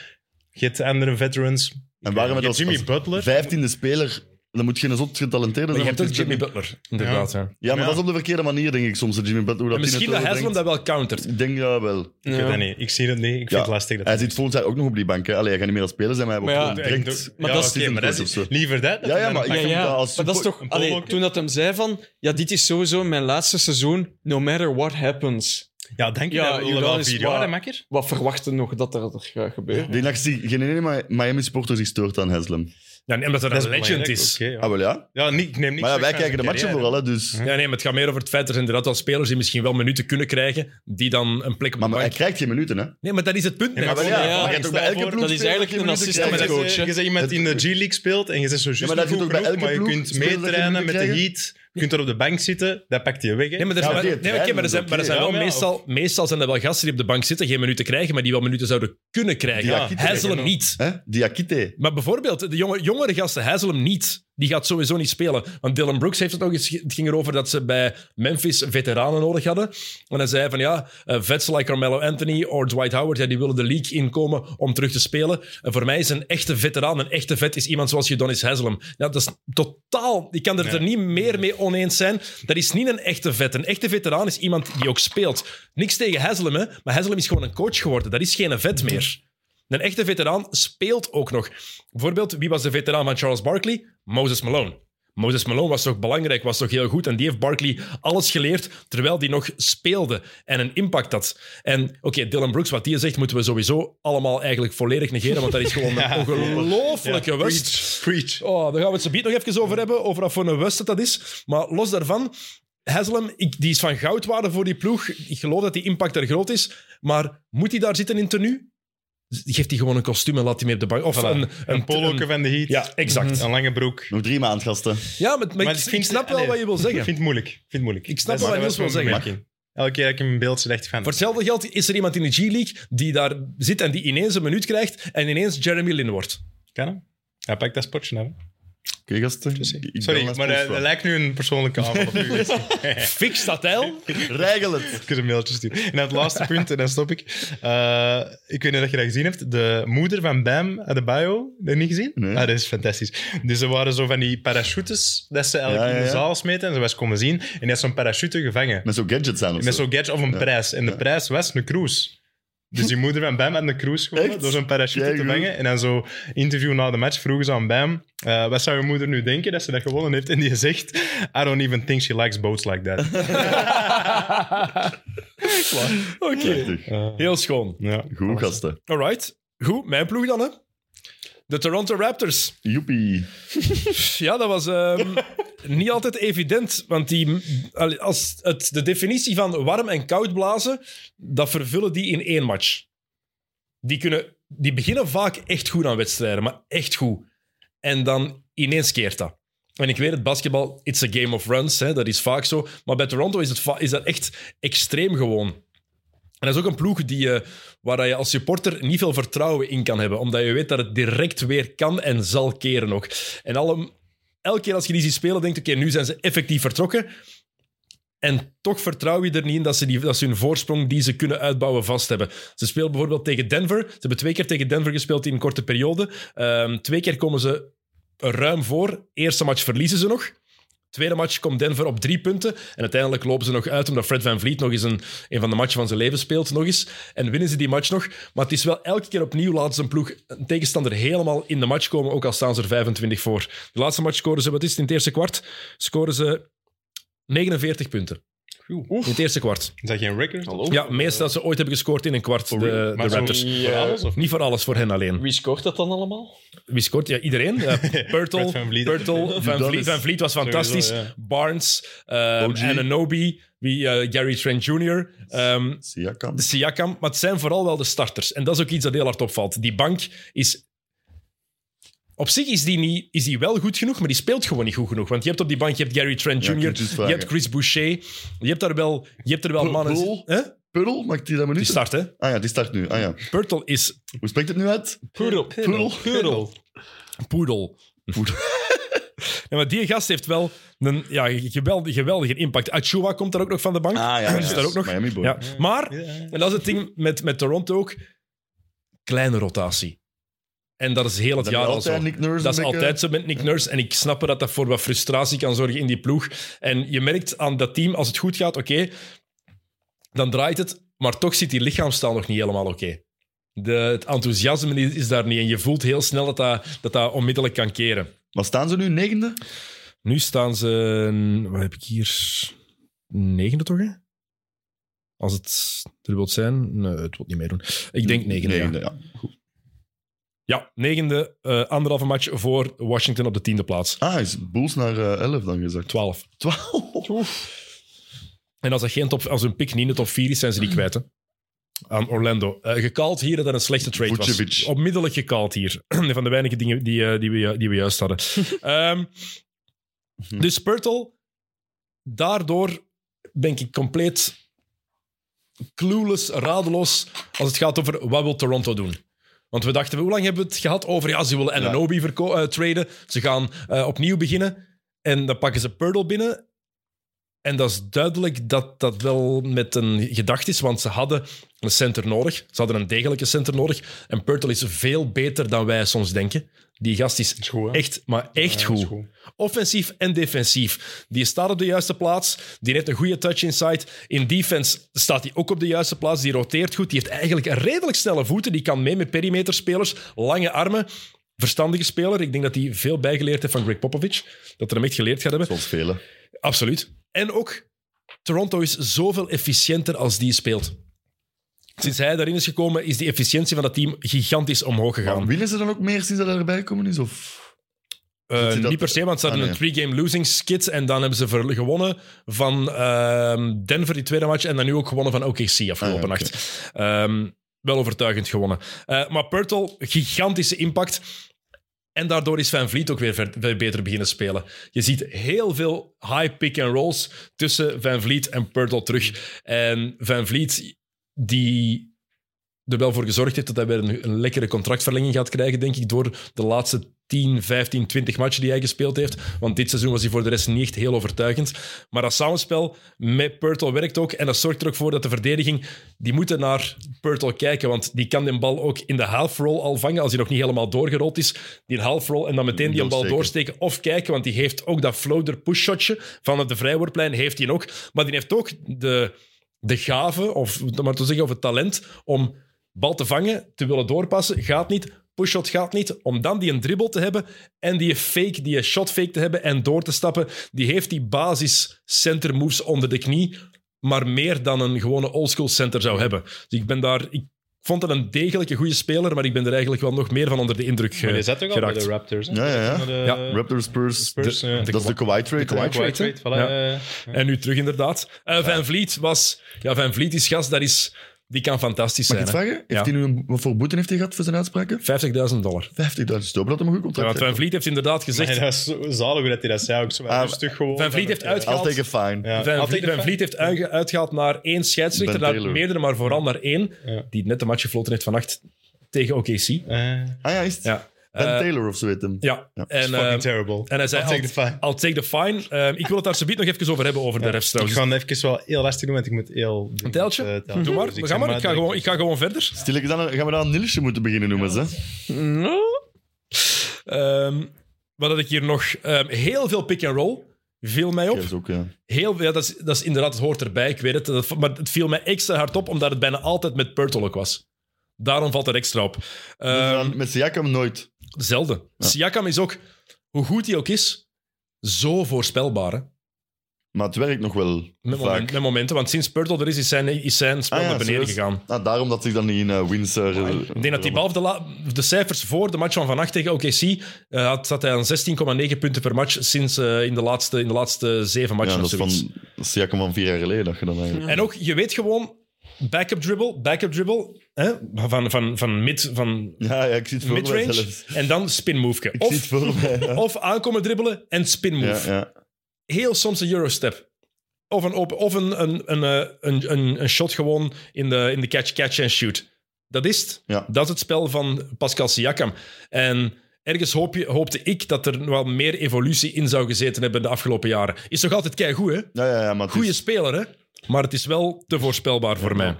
Speaker 5: je hebt andere veterans.
Speaker 2: En waarom
Speaker 5: je
Speaker 2: het
Speaker 5: hebt
Speaker 2: als-
Speaker 5: Jimmy
Speaker 2: als
Speaker 5: Butler.
Speaker 2: 15e speler, dan moet je een zot getalenteerde
Speaker 1: Maar je
Speaker 2: zijn.
Speaker 1: hebt
Speaker 2: want
Speaker 1: ook
Speaker 2: het
Speaker 1: Jimmy
Speaker 2: is-
Speaker 1: Butler, inderdaad. hè.
Speaker 2: Ja, maar
Speaker 5: Ja.
Speaker 2: dat is op de verkeerde manier, denk ik soms. de Jimmy Butler, hoe dat
Speaker 1: En misschien dat
Speaker 2: hij
Speaker 1: Haslem
Speaker 2: het
Speaker 1: dat wel countert.
Speaker 2: overbrengt. Ik denk ja wel.
Speaker 5: Ik weet dat niet. Ik zie het niet. Ik vind
Speaker 2: Ja.
Speaker 5: het lastig. Dat
Speaker 2: Hij zit volgens jaar ook nog op die bank. Hè. Allee, hij gaat niet meer als speler zijn, maar hij
Speaker 3: Maar ja,
Speaker 2: wordt gewoon direct.
Speaker 5: maar
Speaker 3: Ja,
Speaker 5: dat is,
Speaker 3: het is
Speaker 5: oké,
Speaker 2: een
Speaker 5: maar dat
Speaker 2: coach
Speaker 5: is
Speaker 2: of zo.
Speaker 5: liever dat. dat
Speaker 2: Ja,
Speaker 5: hij
Speaker 2: ja,
Speaker 5: dan
Speaker 2: maar
Speaker 5: een
Speaker 2: ik
Speaker 3: Ja,
Speaker 2: vind dat
Speaker 3: ja.
Speaker 2: als
Speaker 3: maar dat is
Speaker 2: support-
Speaker 5: een
Speaker 3: toch... Allee,
Speaker 5: polo-
Speaker 3: toen dat hem zei van... Ja, dit is sowieso mijn laatste seizoen. No matter what happens.
Speaker 5: Ja, denk je
Speaker 3: Ja,
Speaker 5: dat we wel
Speaker 3: Udonis
Speaker 5: vier
Speaker 3: wa-
Speaker 5: jaar, hè, makker?
Speaker 3: Wat verwachten nog dat er, er gaat gebeuren?
Speaker 2: Ik denk dat ik geen ene Miami-sporter zich stoort aan Haslem.
Speaker 1: Ja, nee, omdat dat, een legend
Speaker 5: belangrijk,
Speaker 1: is.
Speaker 5: oké, ja.
Speaker 2: Ah, wel ja.
Speaker 5: Ja, niet, ik neem niks
Speaker 2: Maar ja, wij
Speaker 5: weg van
Speaker 2: kijken de
Speaker 5: zijn
Speaker 2: matchen
Speaker 5: carrière.
Speaker 2: vooral, hè, dus...
Speaker 1: Ja, nee, maar het gaat meer over het feit dat er inderdaad wel spelers die misschien wel minuten kunnen krijgen, die dan een plek op
Speaker 2: Maar
Speaker 1: de
Speaker 2: maar hij
Speaker 1: bank...
Speaker 2: krijgt geen minuten, hè.
Speaker 1: Nee, maar dat is het punt.
Speaker 5: Ja,
Speaker 1: net.
Speaker 5: maar
Speaker 2: wel,
Speaker 5: ja,
Speaker 2: maar je hebt ook bij
Speaker 5: stel
Speaker 2: elke
Speaker 5: voor,
Speaker 2: ploeg
Speaker 3: dat is
Speaker 2: speler
Speaker 3: eigenlijk
Speaker 2: geen
Speaker 3: een
Speaker 2: minuten
Speaker 3: assist
Speaker 5: Ja,
Speaker 2: krijgt.
Speaker 5: maar
Speaker 3: coach,
Speaker 5: dat is,
Speaker 3: hè.
Speaker 5: je bent iemand die in de G-League speelt en je zit zo juist
Speaker 2: Ja, maar dat
Speaker 5: goed
Speaker 2: zit ook bij
Speaker 5: genoeg,
Speaker 2: elke
Speaker 5: maar je
Speaker 2: ploeg.
Speaker 5: kunt
Speaker 2: Spelers dat je
Speaker 5: meetrainen
Speaker 2: minuten
Speaker 5: met de
Speaker 2: krijgen.
Speaker 5: heat, je kunt er op de bank zitten, dat pakt je weg. hè.
Speaker 1: Nee, maar er
Speaker 2: Ja,
Speaker 1: zijn,
Speaker 2: oké,
Speaker 1: nee,
Speaker 2: het
Speaker 1: oké, maar er
Speaker 2: rijden
Speaker 1: zijn,
Speaker 2: is
Speaker 1: maar er
Speaker 2: oké.
Speaker 1: zijn wel
Speaker 5: Ja, maar ja,
Speaker 1: meestal, meestal zijn er wel gasten die op de bank zitten, geen minuten krijgen, maar die wel minuten zouden kunnen krijgen.
Speaker 2: Ja,
Speaker 1: Haslem Hazelem niet.
Speaker 2: Hè? Diakite.
Speaker 1: Maar bijvoorbeeld, de jonge, jongere gasten, Hazelem niet. Die gaat sowieso niet spelen. Want Dylan Brooks heeft het nog eens... Het ging erover dat ze bij Memphis veteranen nodig hadden. En hij zei van ja, eh, vets like Carmelo Anthony of Dwight Howard, ja, die willen de league inkomen om terug te spelen. En voor mij is een echte veteraan, een echte vet, is iemand zoals Udonis Haslem. Ja, dat is totaal... Ik kan er,
Speaker 5: Nee.
Speaker 1: er niet meer mee oneens zijn. Dat is niet een echte vet. Een echte veteraan is iemand die ook speelt. Niks tegen Haslem, hè. Maar Haslem is gewoon een coach geworden. Dat is geen vet meer. Een echte veteraan speelt ook nog. Bijvoorbeeld, wie was de veteraan van Charles Barkley? Moses Malone. Moses Malone was toch belangrijk, was toch heel goed. En die heeft Barkley alles geleerd terwijl die nog speelde en een impact had. En oké, Dylan Brooks, wat die zegt, moeten we sowieso allemaal eigenlijk volledig negeren, want dat is gewoon een ongelooflijke West.
Speaker 5: Preach.
Speaker 1: Oh, daar gaan we het zo nog even over hebben, over wat voor een West dat is. Maar los daarvan, Haslem, ik, die is van goudwaarde voor die ploeg. Ik geloof dat die impact er groot is. Maar moet hij daar zitten in tenue? Geeft hij gewoon een kostuum en laat hij mee op de bank. Of een, een,
Speaker 5: Een poloke
Speaker 1: een-
Speaker 5: van de heat,
Speaker 1: Ja, exact.
Speaker 5: een lange broek.
Speaker 2: Nog drie maanden, gasten.
Speaker 1: Ja, maar, maar
Speaker 5: Maar
Speaker 1: ik,
Speaker 5: vind-
Speaker 1: ik snap wel
Speaker 5: allee,
Speaker 1: wat je wil
Speaker 5: Ik
Speaker 1: zeggen.
Speaker 5: vind het moeilijk. Ik vind het moeilijk.
Speaker 1: Ik snap
Speaker 5: Dat is-
Speaker 1: wel wat
Speaker 5: dat
Speaker 1: Niels
Speaker 5: was
Speaker 1: wil
Speaker 5: mijn bemerking. Elke keer dat ik hem in beeld zit, dacht ik van...
Speaker 1: Voor hetzelfde geld is er iemand in de G-League die daar zit en die ineens een minuut krijgt en ineens Jeremy Lin wordt.
Speaker 5: Kan hem? Hij pakt dat spotje af.
Speaker 2: Oké, gasten. Ik- ik bel
Speaker 5: Sorry,
Speaker 2: naar
Speaker 5: maar eh, dat
Speaker 2: Spoelstra.
Speaker 5: lijkt nu een persoonlijke aanval op u.
Speaker 1: Fix dat heil.
Speaker 2: Regel het.
Speaker 5: Ik een mailtje sturen. En dan het laatste punt, en dan stop ik. Eh, ik weet niet of je dat gezien hebt. De moeder van Bam Adebayo, dat niet gezien?
Speaker 2: Nee.
Speaker 5: Ah, dat is fantastisch. Dus ze waren zo van die parachutes dat ze eigenlijk
Speaker 2: Ja, ja,
Speaker 5: in de
Speaker 2: ja.
Speaker 5: zaal smeten. En ze was komen zien. En die had zo'n parachute gevangen.
Speaker 2: Met zo'n gadgets aan of
Speaker 5: Met
Speaker 2: zo.
Speaker 5: zo'n gadget of een
Speaker 2: Ja.
Speaker 5: prijs. En de
Speaker 2: Ja.
Speaker 5: prijs was een cruise. Dus die moeder van Bam had een cruise gewonnen
Speaker 2: Echt?
Speaker 5: door zo'n parachute
Speaker 2: Kijk,
Speaker 5: te
Speaker 2: goed.
Speaker 5: vangen. En dan zo interview na de match vroegen ze aan Bam, eh, wat zou je moeder nu denken dat ze dat gewonnen heeft? En die zegt, I don't even think she likes boats like that.
Speaker 1: Oké.
Speaker 2: Prachtig.
Speaker 5: Eh,
Speaker 1: Heel schoon.
Speaker 5: ja.
Speaker 2: Goed, gasten.
Speaker 1: Alright. Goed, mijn ploeg dan, hè? De Toronto Raptors.
Speaker 2: Joepie.
Speaker 1: Ja, dat was ehm, niet altijd evident. Want die, allee, als het, de definitie van warm en koud blazen, dat vervullen die in één match. Die, kunnen, die beginnen vaak echt goed aan wedstrijden, maar echt goed. En dan ineens keert dat. En ik weet het, basketbal, it's a game of runs, hè, dat is vaak zo. Maar bij Toronto is, het va- is dat echt extreem gewoon. En dat is ook een ploeg die, eh, waar je als supporter niet veel vertrouwen in kan hebben. Omdat je weet dat het direct weer kan en zal keren ook. En alle, elke keer als je die ziet spelen, denkt oké, nu zijn ze effectief vertrokken. En toch vertrouw je er niet in dat ze, die, dat ze hun voorsprong die ze kunnen uitbouwen vast hebben. Ze spelen bijvoorbeeld tegen Denver. Ze hebben twee keer tegen Denver gespeeld in een korte periode. Ehm, twee keer komen ze ruim voor. Eerste match verliezen ze nog. Tweede match komt Denver op drie punten. En uiteindelijk lopen ze nog uit omdat Fred Van Vliet nog eens een, een van de matchen van zijn leven speelt. Nog eens. En winnen ze die match nog. Maar het is wel elke keer opnieuw laten ze een ploeg, een tegenstander, helemaal in de match komen. Ook al staan ze er 25 voor. De laatste match scoren ze, wat is het, in het eerste kwart? Scoren ze 49 punten. In het eerste kwart.
Speaker 5: Is dat geen record?
Speaker 3: Hallo?
Speaker 1: Ja, meest dat ze ooit hebben gescoord in een kwart, de, de
Speaker 5: Maar zo-
Speaker 1: Raptors.
Speaker 5: Voor alles, of
Speaker 1: Niet voor alles, voor hen alleen.
Speaker 3: Wie scoort dat dan allemaal?
Speaker 1: Wie scoort? Ja, iedereen. Eh Pirtle,
Speaker 5: Fred Van Vliet.
Speaker 1: Pirtle, Van,
Speaker 2: dat
Speaker 1: Vliet,
Speaker 2: is
Speaker 1: Van Vliet was fantastisch.
Speaker 5: sowieso, ja.
Speaker 1: Barnes, ehm
Speaker 2: OG.
Speaker 1: Ananobi, wie, eh, Gary Trent Jr., ehm,
Speaker 2: Siakam.
Speaker 1: de Siakam. Maar het zijn vooral wel de starters. En dat is ook iets dat heel hard opvalt. Die bank is... Op zich is die, niet, is die wel goed genoeg, maar die speelt gewoon niet goed genoeg. Want je hebt op die bank je hebt Gary Trent
Speaker 2: Ja, ik
Speaker 1: Jr.,
Speaker 2: moet het
Speaker 1: je
Speaker 2: vragen.
Speaker 1: hebt Chris Boucher, je hebt, daar wel, je hebt er wel
Speaker 2: Bro-
Speaker 1: mannen...
Speaker 2: Bro-
Speaker 1: Hè?
Speaker 2: Puddle, mag ik die dat maar
Speaker 1: Die
Speaker 2: niet?
Speaker 1: start, hè?
Speaker 2: Ah ja, die start nu. Ah ja.
Speaker 1: Pirtle is
Speaker 2: Hoe spreekt het nu uit?
Speaker 3: Poedel.
Speaker 2: Puddle.
Speaker 3: Poedel.
Speaker 1: poedel. Ja, maar die gast heeft wel een ja, geweldige, geweldige impact. Achua komt daar ook nog van de bank.
Speaker 2: Ah ja,
Speaker 1: Is daar ook nog?
Speaker 2: Miami Boy.
Speaker 1: Ja. Maar,
Speaker 5: Ja.
Speaker 1: en dat is het ding met, met Toronto ook, kleine rotatie. En dat is heel het
Speaker 2: Dat
Speaker 1: jaar
Speaker 2: is
Speaker 1: al zo.
Speaker 2: altijd Nick Nurse.
Speaker 1: Dat is
Speaker 2: een beetje-
Speaker 1: altijd zo met Nick Nurse. En ik snap dat dat voor wat frustratie kan zorgen in die ploeg. En je merkt aan dat team, als het goed gaat, oké, dan draait het. Maar toch zit die lichaamstaal nog niet helemaal oké. De- Het enthousiasme is, is daar niet. En je voelt heel snel dat dat, dat dat onmiddellijk kan keren.
Speaker 2: Maar staan ze nu negende?
Speaker 1: Nu staan ze. Wat heb ik hier? Negende toch? Hè? Als het er wilt zijn. Nee, het wil niet meedoen. Ik denk negende. ja.
Speaker 2: Negende, ja.
Speaker 1: Ja, negende. eh, anderhalve match voor Washington op de tiende plaats.
Speaker 2: Ah, is Bulls naar eh, 11 dan gezakt.
Speaker 1: Twaalf.
Speaker 2: 12.
Speaker 1: En als, dat geen top, als hun pick niet in de top vier is, zijn ze die kwijt. Hè? Aan Orlando. Eh gekald hier dat dat een slechte trade was.
Speaker 2: Vucevic.
Speaker 1: Onmiddellijk gekald hier. Een van de weinige dingen die, eh, die, we, ju- die we juist hadden. Ehm, dus Pirtle, daardoor ben ik compleet clueless, radeloos als het gaat over wat wil Toronto doen. Want we dachten, hoe lang hebben we het gehad over? Ja, ze willen Ananobi verko- eh, traden, ze gaan eh, opnieuw beginnen. En dan pakken ze Pirtle binnen. En dat is duidelijk dat dat wel met een gedachte is, want ze hadden een center nodig. Ze hadden een degelijke center nodig. En Pirtle is veel beter dan wij soms denken. Die gast is
Speaker 5: is goed, hè?
Speaker 1: echt, maar echt
Speaker 5: Ja, dat
Speaker 1: goed.
Speaker 5: is
Speaker 1: Offensief en defensief. Die staat op de juiste plaats. Die heeft een goede touch inside. In defense staat hij ook op de juiste plaats. Die roteert goed. Die heeft eigenlijk een redelijk snelle voeten. Die kan mee met perimeterspelers. Lange armen. Verstandige speler. Ik denk dat hij veel bijgeleerd heeft van Greg Popovich. Dat hij hem echt geleerd gaat hebben.
Speaker 2: Zoals velen.
Speaker 1: Absoluut. En ook, Toronto is zoveel efficiënter als die speelt. Sinds hij daarin is gekomen, is die efficiëntie van dat team gigantisch omhoog gegaan.
Speaker 2: Maar winnen ze dan ook meer sinds dat hij erbij gekomen is? Of...
Speaker 1: Eh,
Speaker 2: Vindt u dat-
Speaker 1: niet per se, want ze hadden
Speaker 2: Ah,
Speaker 1: een three-game losing skit en dan hebben ze ver- gewonnen van ehm, Denver die tweede match en dan nu ook gewonnen van OKC afgelopen
Speaker 2: Ah, ja, oké.
Speaker 1: nacht. Ehm, wel overtuigend gewonnen. Eh, maar Pirtle, gigantische impact. En daardoor is Van Vliet ook weer ver- veel beter beginnen spelen. Je ziet heel veel high pick-and-rolls tussen Van Vliet en Pirtle terug. En Van Vliet, die er wel voor gezorgd heeft dat hij weer een, een lekkere contractverlenging gaat krijgen, denk ik, door de laatste 10, 15, 20 matchen die hij gespeeld heeft. Want dit seizoen was hij voor de rest niet echt heel overtuigend. Maar dat samenspel met Pirtle werkt ook. En dat zorgt er ook voor dat de verdediging, die moeten naar Pirtle kijken, want die kan den bal ook in de half roll al vangen, als hij nog niet helemaal doorgerold is. Die half roll en dan meteen die
Speaker 2: Dat
Speaker 1: een bal
Speaker 2: zeker.
Speaker 1: doorsteken of kijken, want die heeft ook dat floater pushshotje van op de vrijwoordplein, heeft hij ook. Maar die heeft ook de, de gave, of om maar te zeggen, of het talent om bal te vangen, te willen doorpassen, gaat niet. Pushshot gaat niet. Om dan die een dribbel te hebben en die fake, die shot fake te hebben en door te stappen, die heeft die basis center moves onder de knie, maar meer dan een gewone oldschool center zou hebben. Dus ik ben daar... Ik vond dat een degelijke goede speler, maar ik ben er eigenlijk wel nog meer van onder de indruk
Speaker 5: Maar
Speaker 1: ge-
Speaker 5: die zat toch al bij
Speaker 1: geraakt.
Speaker 5: de Raptors? hè?
Speaker 2: Ja, ja, ja.
Speaker 5: Naar de-
Speaker 1: Ja,
Speaker 2: Raptors, Spurs.
Speaker 5: Spurs,
Speaker 2: de-
Speaker 5: ja.
Speaker 2: dat is de Kawhi trade. hè?
Speaker 5: Kawhi
Speaker 1: Kawhi
Speaker 5: trade, voilà,
Speaker 1: Ja.
Speaker 5: ja.
Speaker 1: En nu terug, inderdaad. Eh, Van Vliet was... Ja, Van Vliet is gast, dat is... Die kan fantastisch
Speaker 2: Mag ik iets
Speaker 1: zijn.
Speaker 2: vragen? Heeft
Speaker 1: Ja.
Speaker 2: hij nu een, wat voor boete heeft hij gehad voor zijn uitspraken? 50.000
Speaker 1: hè. 50.000 dollar.
Speaker 2: euro dat hem een goed
Speaker 1: Ja, want
Speaker 2: contract
Speaker 1: Van Vliet heeft inderdaad gezegd...
Speaker 5: Nee, dat is zo zalig hoe dat hij dat zei. Ook zo wel
Speaker 2: Ah,
Speaker 5: rustig gewoon.
Speaker 1: Van Vliet heeft
Speaker 5: Ja.
Speaker 1: uitge-
Speaker 2: I'll take a fine.
Speaker 5: Ja.
Speaker 1: Van,
Speaker 5: Altijd
Speaker 1: Vliet,
Speaker 5: de
Speaker 1: Van
Speaker 5: fan.
Speaker 1: Vliet heeft uitge- uitgehaald naar één scheidsrechter,
Speaker 2: Ben
Speaker 1: naar
Speaker 2: Taylor.
Speaker 1: meerdere, maar vooral naar één,
Speaker 5: Ja.
Speaker 1: die net de match gefloten heeft vannacht tegen OKC.
Speaker 5: Eh,
Speaker 2: Ah ja, is het?
Speaker 1: Ja.
Speaker 2: Ben
Speaker 1: Eh,
Speaker 2: Taylor of zo heet hem.
Speaker 1: ja.
Speaker 2: Ja.
Speaker 1: En,
Speaker 5: fucking
Speaker 1: eh,
Speaker 5: terrible.
Speaker 1: en hij zei,
Speaker 5: I'll take the fine.
Speaker 1: I'll take the fine. Eh, ik wil het daar zo nog even over hebben, over de refs
Speaker 5: Ik
Speaker 1: trouwens.
Speaker 5: ga het even wel heel lastig doen, want ik moet heel... Een
Speaker 1: Teltje? Doe maar, we gaan maar. Ik ga gewoon, ik ga gewoon verder.
Speaker 2: Stilletjes aan, gaan we dan een Nilsje moeten beginnen noemen, ze?
Speaker 1: Ehm, wat had ik hier nog? Ehm, heel veel pick-and-roll. viel mij op.
Speaker 2: Dat is ook, ja.
Speaker 1: Heel, ja, dat, is, dat is inderdaad, het hoort erbij, ik weet het. Dat- maar het viel mij extra hard op, omdat het bijna altijd met Pertolok was. Daarom valt het extra op.
Speaker 2: Dus
Speaker 1: Ehm,
Speaker 2: dan met Siakam nooit.
Speaker 1: Zelden. Siakam is ook, hoe goed hij ook is, zo voorspelbaar. Hè?
Speaker 2: Maar het werkt nog wel
Speaker 1: Met,
Speaker 2: vaak.
Speaker 1: momen- met momenten, want sinds Purtle er is, is zijn, is zijn spel
Speaker 2: Ah ja,
Speaker 1: naar beneden
Speaker 2: serieus?
Speaker 1: gegaan.
Speaker 2: Ah, daarom dat zich dan niet in eh, wins... eh,
Speaker 1: Ik denk dat hij behalve de, la- de cijfers voor de match van vannacht tegen OKC eh, had, zat hij aan 16,9 punten per match sinds eh, in, de laatste, in de laatste zeven matchen
Speaker 2: Ja,
Speaker 1: of
Speaker 2: dat is
Speaker 1: zoiets.
Speaker 2: van Siakam van vier jaar geleden dat je dan eigenlijk...
Speaker 1: En ook, je weet gewoon, backup dribble, backup dribble, hè? van, van, van, mid, van
Speaker 2: Ja, ja, ik zie het voor mij
Speaker 1: midrange
Speaker 2: zelfs.
Speaker 1: en dan spin move.
Speaker 2: Ik zie het
Speaker 1: Of,
Speaker 2: voor mij. ja.
Speaker 1: of aankomen dribbelen en spin move.
Speaker 2: Ja, ja.
Speaker 1: heel soms een Eurostep. Of een, open, of een, een, een, eh, een, een, een shot gewoon in de, in de catch, catch en shoot. Dat is het.
Speaker 2: Ja.
Speaker 1: Dat is het spel van Pascal Siakam. En ergens hoop je, hoopte ik dat er wel meer evolutie in zou gezeten hebben de afgelopen jaren. Is toch altijd keigoed, hè?
Speaker 2: Ja, ja, ja, maar het
Speaker 1: Goeie
Speaker 2: is-
Speaker 1: speler, hè? Maar het is wel te voorspelbaar voor mij.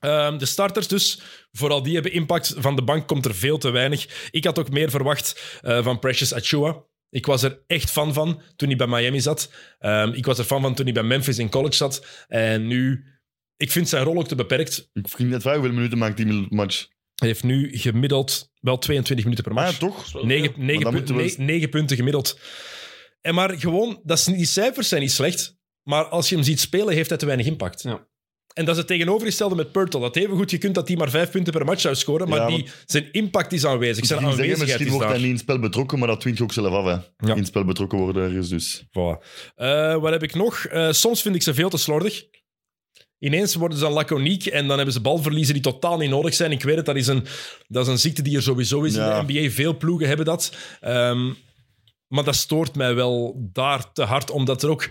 Speaker 1: Ehm, de starters dus, vooral die hebben impact. Van de bank komt er veel te weinig. Ik had ook meer verwacht eh, van Precious Achua. Ik was er echt fan van toen hij bij Miami zat. Ehm, ik was er fan van toen hij bij Memphis in college zat. En nu... Ik vind zijn rol ook te beperkt.
Speaker 2: Ik ging net vragen hoeveel minuten maakt die match.
Speaker 1: Hij heeft nu gemiddeld wel 22 minuten per
Speaker 2: Maar Ah ja,
Speaker 1: match.
Speaker 2: toch?
Speaker 1: Negen, negen,
Speaker 2: dan
Speaker 1: pu-
Speaker 2: moeten we
Speaker 1: ne-
Speaker 2: eens-
Speaker 1: negen punten gemiddeld. En maar gewoon, dat is, niet- die cijfers zijn niet slecht. Maar als je hem ziet spelen, heeft hij te weinig impact.
Speaker 3: Ja.
Speaker 1: En dat is het tegenovergestelde met Purtle. Dat even goed je kunt dat hij maar vijf punten per match zou scoren. Maar
Speaker 2: Ja,
Speaker 1: die, zijn impact is aanwezig. Zijn
Speaker 2: Misschien, zeggen,
Speaker 1: aanwezigheid
Speaker 2: misschien
Speaker 1: is
Speaker 2: wordt
Speaker 1: daar.
Speaker 2: hij niet in het spel betrokken, maar dat dwingt je ook zelf af. Hè.
Speaker 1: Ja.
Speaker 2: In het spel betrokken worden ergens dus.
Speaker 1: Voilà. Eh, wat heb ik nog? Eh, soms vind ik ze veel te slordig. Ineens worden ze dan laconiek en dan hebben ze balverliezen die totaal niet nodig zijn. Ik weet het, dat is een, dat is een ziekte die er sowieso is
Speaker 2: Ja.
Speaker 1: in de NBA. Veel ploegen hebben dat. Ehm, maar dat stoort mij wel daar te hard, omdat er ook...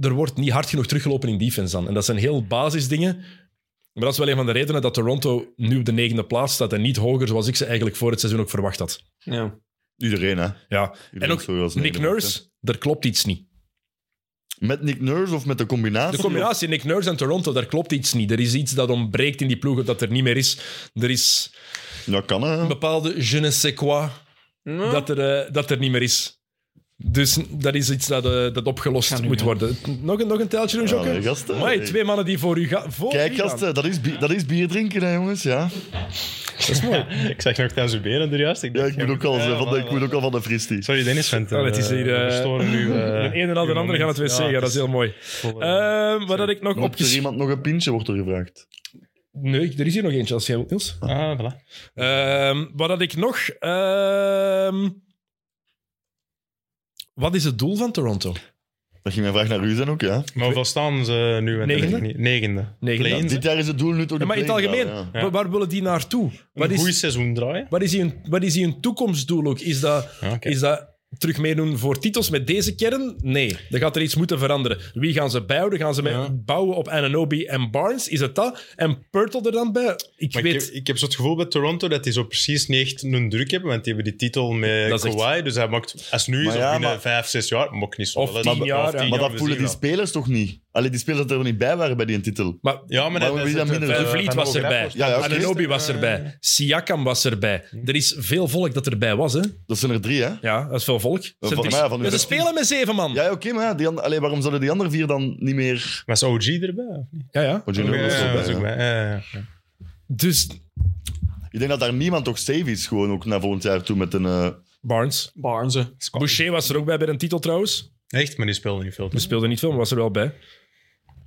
Speaker 1: Er wordt niet hard genoeg teruggelopen in defense dan. En dat zijn heel basisdingen. Maar dat is wel een van de redenen dat Toronto nu op de negende plaats staat en niet hoger, zoals ik ze eigenlijk voor het seizoen ook verwacht had.
Speaker 3: Ja.
Speaker 2: Iedereen, hè.
Speaker 1: Ja. En
Speaker 2: Iedereen
Speaker 1: ook
Speaker 2: zo als een
Speaker 1: Nick
Speaker 2: hele markt,
Speaker 1: Nurse, daar klopt iets niet.
Speaker 2: hè. Met Nick Nurse of met de
Speaker 1: De
Speaker 2: combinatie?
Speaker 1: combinatie Nick Nurse en Toronto, daar klopt iets niet. Er is iets dat ontbreekt in die ploegen dat er niet meer is. Er is
Speaker 2: Ja, kan hè.
Speaker 1: een bepaalde je ne sais quoi
Speaker 3: Nou,
Speaker 1: dat er, eh, dat er niet meer is. Dus dat is iets dat, eh, dat
Speaker 3: Ga
Speaker 1: opgelost
Speaker 3: nu,
Speaker 1: moet
Speaker 3: ja.
Speaker 1: worden. Nog een, nog een tijltje doen, Jokke?
Speaker 2: Allee, gasten.
Speaker 1: Amai, twee mannen die voor u gaan. Voor
Speaker 2: Kijk,
Speaker 1: u gaan.
Speaker 2: gasten, dat is, bi- dat is bier drinken, hè, jongens. Ja,
Speaker 5: ik zag nog tijdens uw benen er juist.
Speaker 2: ja ik, moet ook al,
Speaker 5: Ja,
Speaker 2: eh, van de,
Speaker 5: voilà,
Speaker 2: ik moet ook al van de fristie.
Speaker 5: Sorry, Dennis, vent.
Speaker 1: Oh, het is hier, eh,
Speaker 5: we storen nu, eh,
Speaker 1: De een en
Speaker 5: uw
Speaker 1: de ander gaan het weer
Speaker 5: moment.
Speaker 1: zeggen.
Speaker 5: Ja,
Speaker 1: dat is heel mooi.
Speaker 5: vol, eh,
Speaker 1: Ehm wat had ik nog
Speaker 2: Moet er
Speaker 1: opgeschreven?
Speaker 2: iemand nog een pintje, wordt er gevraagd.
Speaker 1: Nee, er is hier nog eentje als jij wilt, Niels.
Speaker 5: ah, voilà.
Speaker 1: Ehm, wat had ik nog? Ehm, wat is het doel van Toronto?
Speaker 2: Dat ging mijn vraag naar u zijn ook, ja.
Speaker 5: Maar hoeveel staan ze nu? met de
Speaker 1: Negende?
Speaker 5: techniek? Negende.
Speaker 1: Negende.
Speaker 5: Play-ins,
Speaker 2: Dit
Speaker 5: hè?
Speaker 2: jaar is het doel nu toch
Speaker 1: Ja, maar in het
Speaker 2: de play-in
Speaker 1: algemeen,
Speaker 2: wel, ja.
Speaker 5: ja.
Speaker 1: wa- waar willen die naartoe? Wat
Speaker 5: Een goed
Speaker 1: is,
Speaker 5: seizoen draaien.
Speaker 1: wat, is hun, wat is hun toekomstdoel ook? Is dat,
Speaker 5: Ja, oké.
Speaker 1: is dat terug meedoen voor titels met deze kern? Nee, dan gaat er iets moeten veranderen. Wie gaan ze bouwen? Gaan ze met-
Speaker 5: Ja.
Speaker 1: bouwen op Ananobi en Barnes? Is het dat? En Purtle er dan bij? Ik
Speaker 5: Maar
Speaker 1: weet...
Speaker 5: ik, heb, ik heb zo het gevoel bij Toronto dat die zo precies niet echt een druk hebben, want die hebben die titel met
Speaker 1: Dat is echt-
Speaker 5: Kawhi, dus hij maakt, als het nu is,
Speaker 2: Maar
Speaker 5: of
Speaker 2: ja,
Speaker 5: binnen
Speaker 2: maar-
Speaker 5: vijf, zes jaar, maakt niet zo.
Speaker 1: Of
Speaker 5: wel uit.
Speaker 1: tien
Speaker 5: Maar- of
Speaker 1: jaar, ja.
Speaker 5: tien
Speaker 2: Maar dat
Speaker 5: we
Speaker 2: voelen
Speaker 5: zien
Speaker 2: die
Speaker 5: wel.
Speaker 2: spelers toch niet? Alleen die spelers dat er niet bij waren bij die titel.
Speaker 1: maar
Speaker 5: Ja, maar
Speaker 2: Waarom wie dat
Speaker 5: zit,
Speaker 2: minder
Speaker 5: eh,
Speaker 1: Van Vliet
Speaker 5: Van
Speaker 1: was
Speaker 5: Hoogrijp
Speaker 1: erbij.
Speaker 5: wordt-
Speaker 2: Ja, ja, oké.
Speaker 1: Ananobi was
Speaker 2: eh,
Speaker 1: erbij. Siakam was erbij. Er is veel volk dat erbij was, hè?
Speaker 2: Dat zijn er drie, hè?
Speaker 1: Ja, dat is veel volk. Ze-
Speaker 2: voor
Speaker 1: het is-
Speaker 2: mij, van u
Speaker 1: Ja, ze
Speaker 2: dat-
Speaker 1: spelen met zeven man.
Speaker 2: Ja,
Speaker 1: Ja,
Speaker 2: ja, oké, maar ja, die an- allee, waarom zouden die andere vier dan niet meer... Oh,
Speaker 5: Was OG erbij? of niet?
Speaker 1: ja.
Speaker 2: Want Junior was
Speaker 5: Ja,
Speaker 2: er
Speaker 5: was
Speaker 2: bij,
Speaker 5: ook
Speaker 2: ja.
Speaker 5: bij. ja, ja, ja.
Speaker 1: Dus
Speaker 2: Ik denk dat daar niemand toch safe is, gewoon ook naar volgend jaar toe met een... eh,
Speaker 1: Barnes.
Speaker 3: Barnes. hè.
Speaker 1: Boucher was er ook bij bij een titel trouwens.
Speaker 5: Echt, maar die speelde niet veel.
Speaker 1: We speelden niet veel, maar was er wel bij.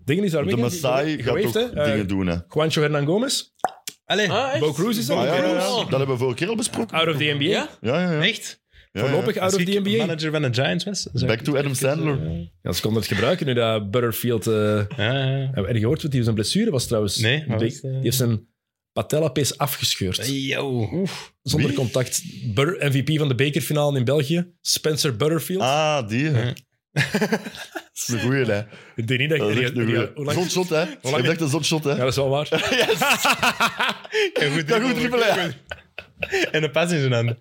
Speaker 1: Dingen is daar
Speaker 2: de
Speaker 1: weg, hè?
Speaker 2: Maasai
Speaker 1: Die-
Speaker 2: gaat
Speaker 1: gewaved,
Speaker 2: toch
Speaker 1: hè? Eh,
Speaker 2: dingen doen, hè.
Speaker 1: Juancho Hernan Gomez.
Speaker 5: Allee,
Speaker 3: Ah, echt?
Speaker 1: Bo Cruz is er.
Speaker 2: Ah, ja, ja, ja.
Speaker 3: Cruz.
Speaker 2: Dat hebben we vorige keer al besproken.
Speaker 1: Out of the NBA.
Speaker 3: Ja?
Speaker 2: Ja, ja, ja.
Speaker 5: echt?
Speaker 2: Ja, ja.
Speaker 1: Ah. Voorlopig out
Speaker 5: Als
Speaker 1: of
Speaker 5: ik
Speaker 1: the NBA.
Speaker 5: manager van de Giants was? zou ik-
Speaker 2: Back to Adam
Speaker 1: eh,
Speaker 2: Sandler.
Speaker 1: Ja, ze konden het gebruiken nu dat Butterfield... eh hebben
Speaker 5: Ja, ja, ja.
Speaker 1: we erg gehoord wat die zijn blessure was trouwens?
Speaker 5: Nee, wat
Speaker 1: Die,
Speaker 5: was het, eh?
Speaker 1: die heeft zijn patellapees afgescheurd. Zonder
Speaker 2: Wie?
Speaker 1: contact. Butter- MVP van de bekerfinale in België. Spencer Butterfield.
Speaker 2: Ah, die. hè. dat is een goeie, hè.
Speaker 1: Ik denk niet dat...
Speaker 2: Dat is echt
Speaker 1: die-
Speaker 2: een
Speaker 1: die-
Speaker 2: goeie.
Speaker 1: hoe lang-
Speaker 2: Zot shot, hè. Ik
Speaker 1: lang-
Speaker 2: dacht een zot shot, hè.
Speaker 1: Ja, dat is wel waar.
Speaker 5: Ja, goed
Speaker 2: Ja, goed dribbelen, ja.
Speaker 5: En een pas in zijn handen.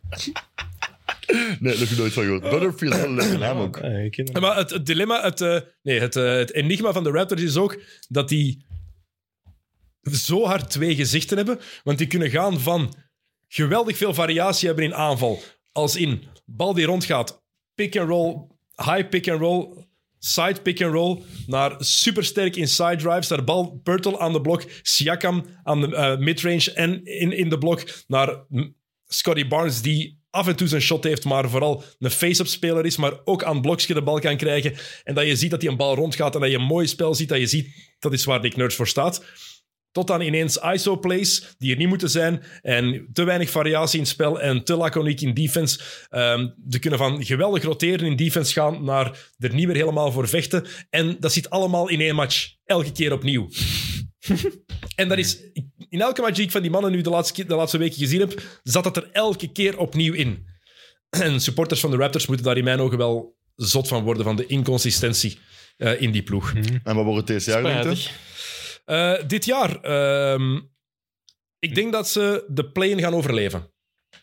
Speaker 2: Nee, dat heb ik nooit van gehoord. Butterfield, wel een leuke naam ook.
Speaker 5: Ah, ik ken
Speaker 1: Ja,
Speaker 5: hem.
Speaker 1: Maar het, het dilemma, het, eh, nee, het, eh, het enigma van de Raptors is ook dat die zo hard twee gezichten hebben. Want die kunnen gaan van geweldig veel variatie hebben in aanval. Als in bal die rondgaat, pick and roll, high pick and roll, side pick and roll, naar supersterk inside drives, naar bal Pirtle aan de blok, Siakam aan de eh, midrange en in, in de blok, naar mm, Scotty Barnes die af en toe zijn shot heeft, maar vooral een face-up speler is, maar ook aan het blokje de bal kan krijgen. En dat je ziet dat hij een bal rondgaat en dat je een mooi spel ziet, dat je ziet, dat is waar Nick Nerds voor staat. Tot dan ineens ISO-plays die er niet moeten zijn. En te weinig variatie in het spel en te laconiek in defense. Ehm ze kunnen van geweldig roteren in defense gaan naar er niet meer helemaal voor vechten. En dat zit allemaal in één match. Elke keer opnieuw. en dat is... In elke match die ik van die mannen nu de laatste, keer- de laatste weken gezien heb, zat dat er elke keer opnieuw in. En supporters van de Raptors moeten daar in mijn ogen wel zot van worden, van de inconsistentie eh, in die ploeg.
Speaker 2: En wat wordt het deze jaar, denk je?
Speaker 3: Spijtig.
Speaker 1: Eh, dit jaar. ehm, ik denk dat ze de play-in gaan overleven.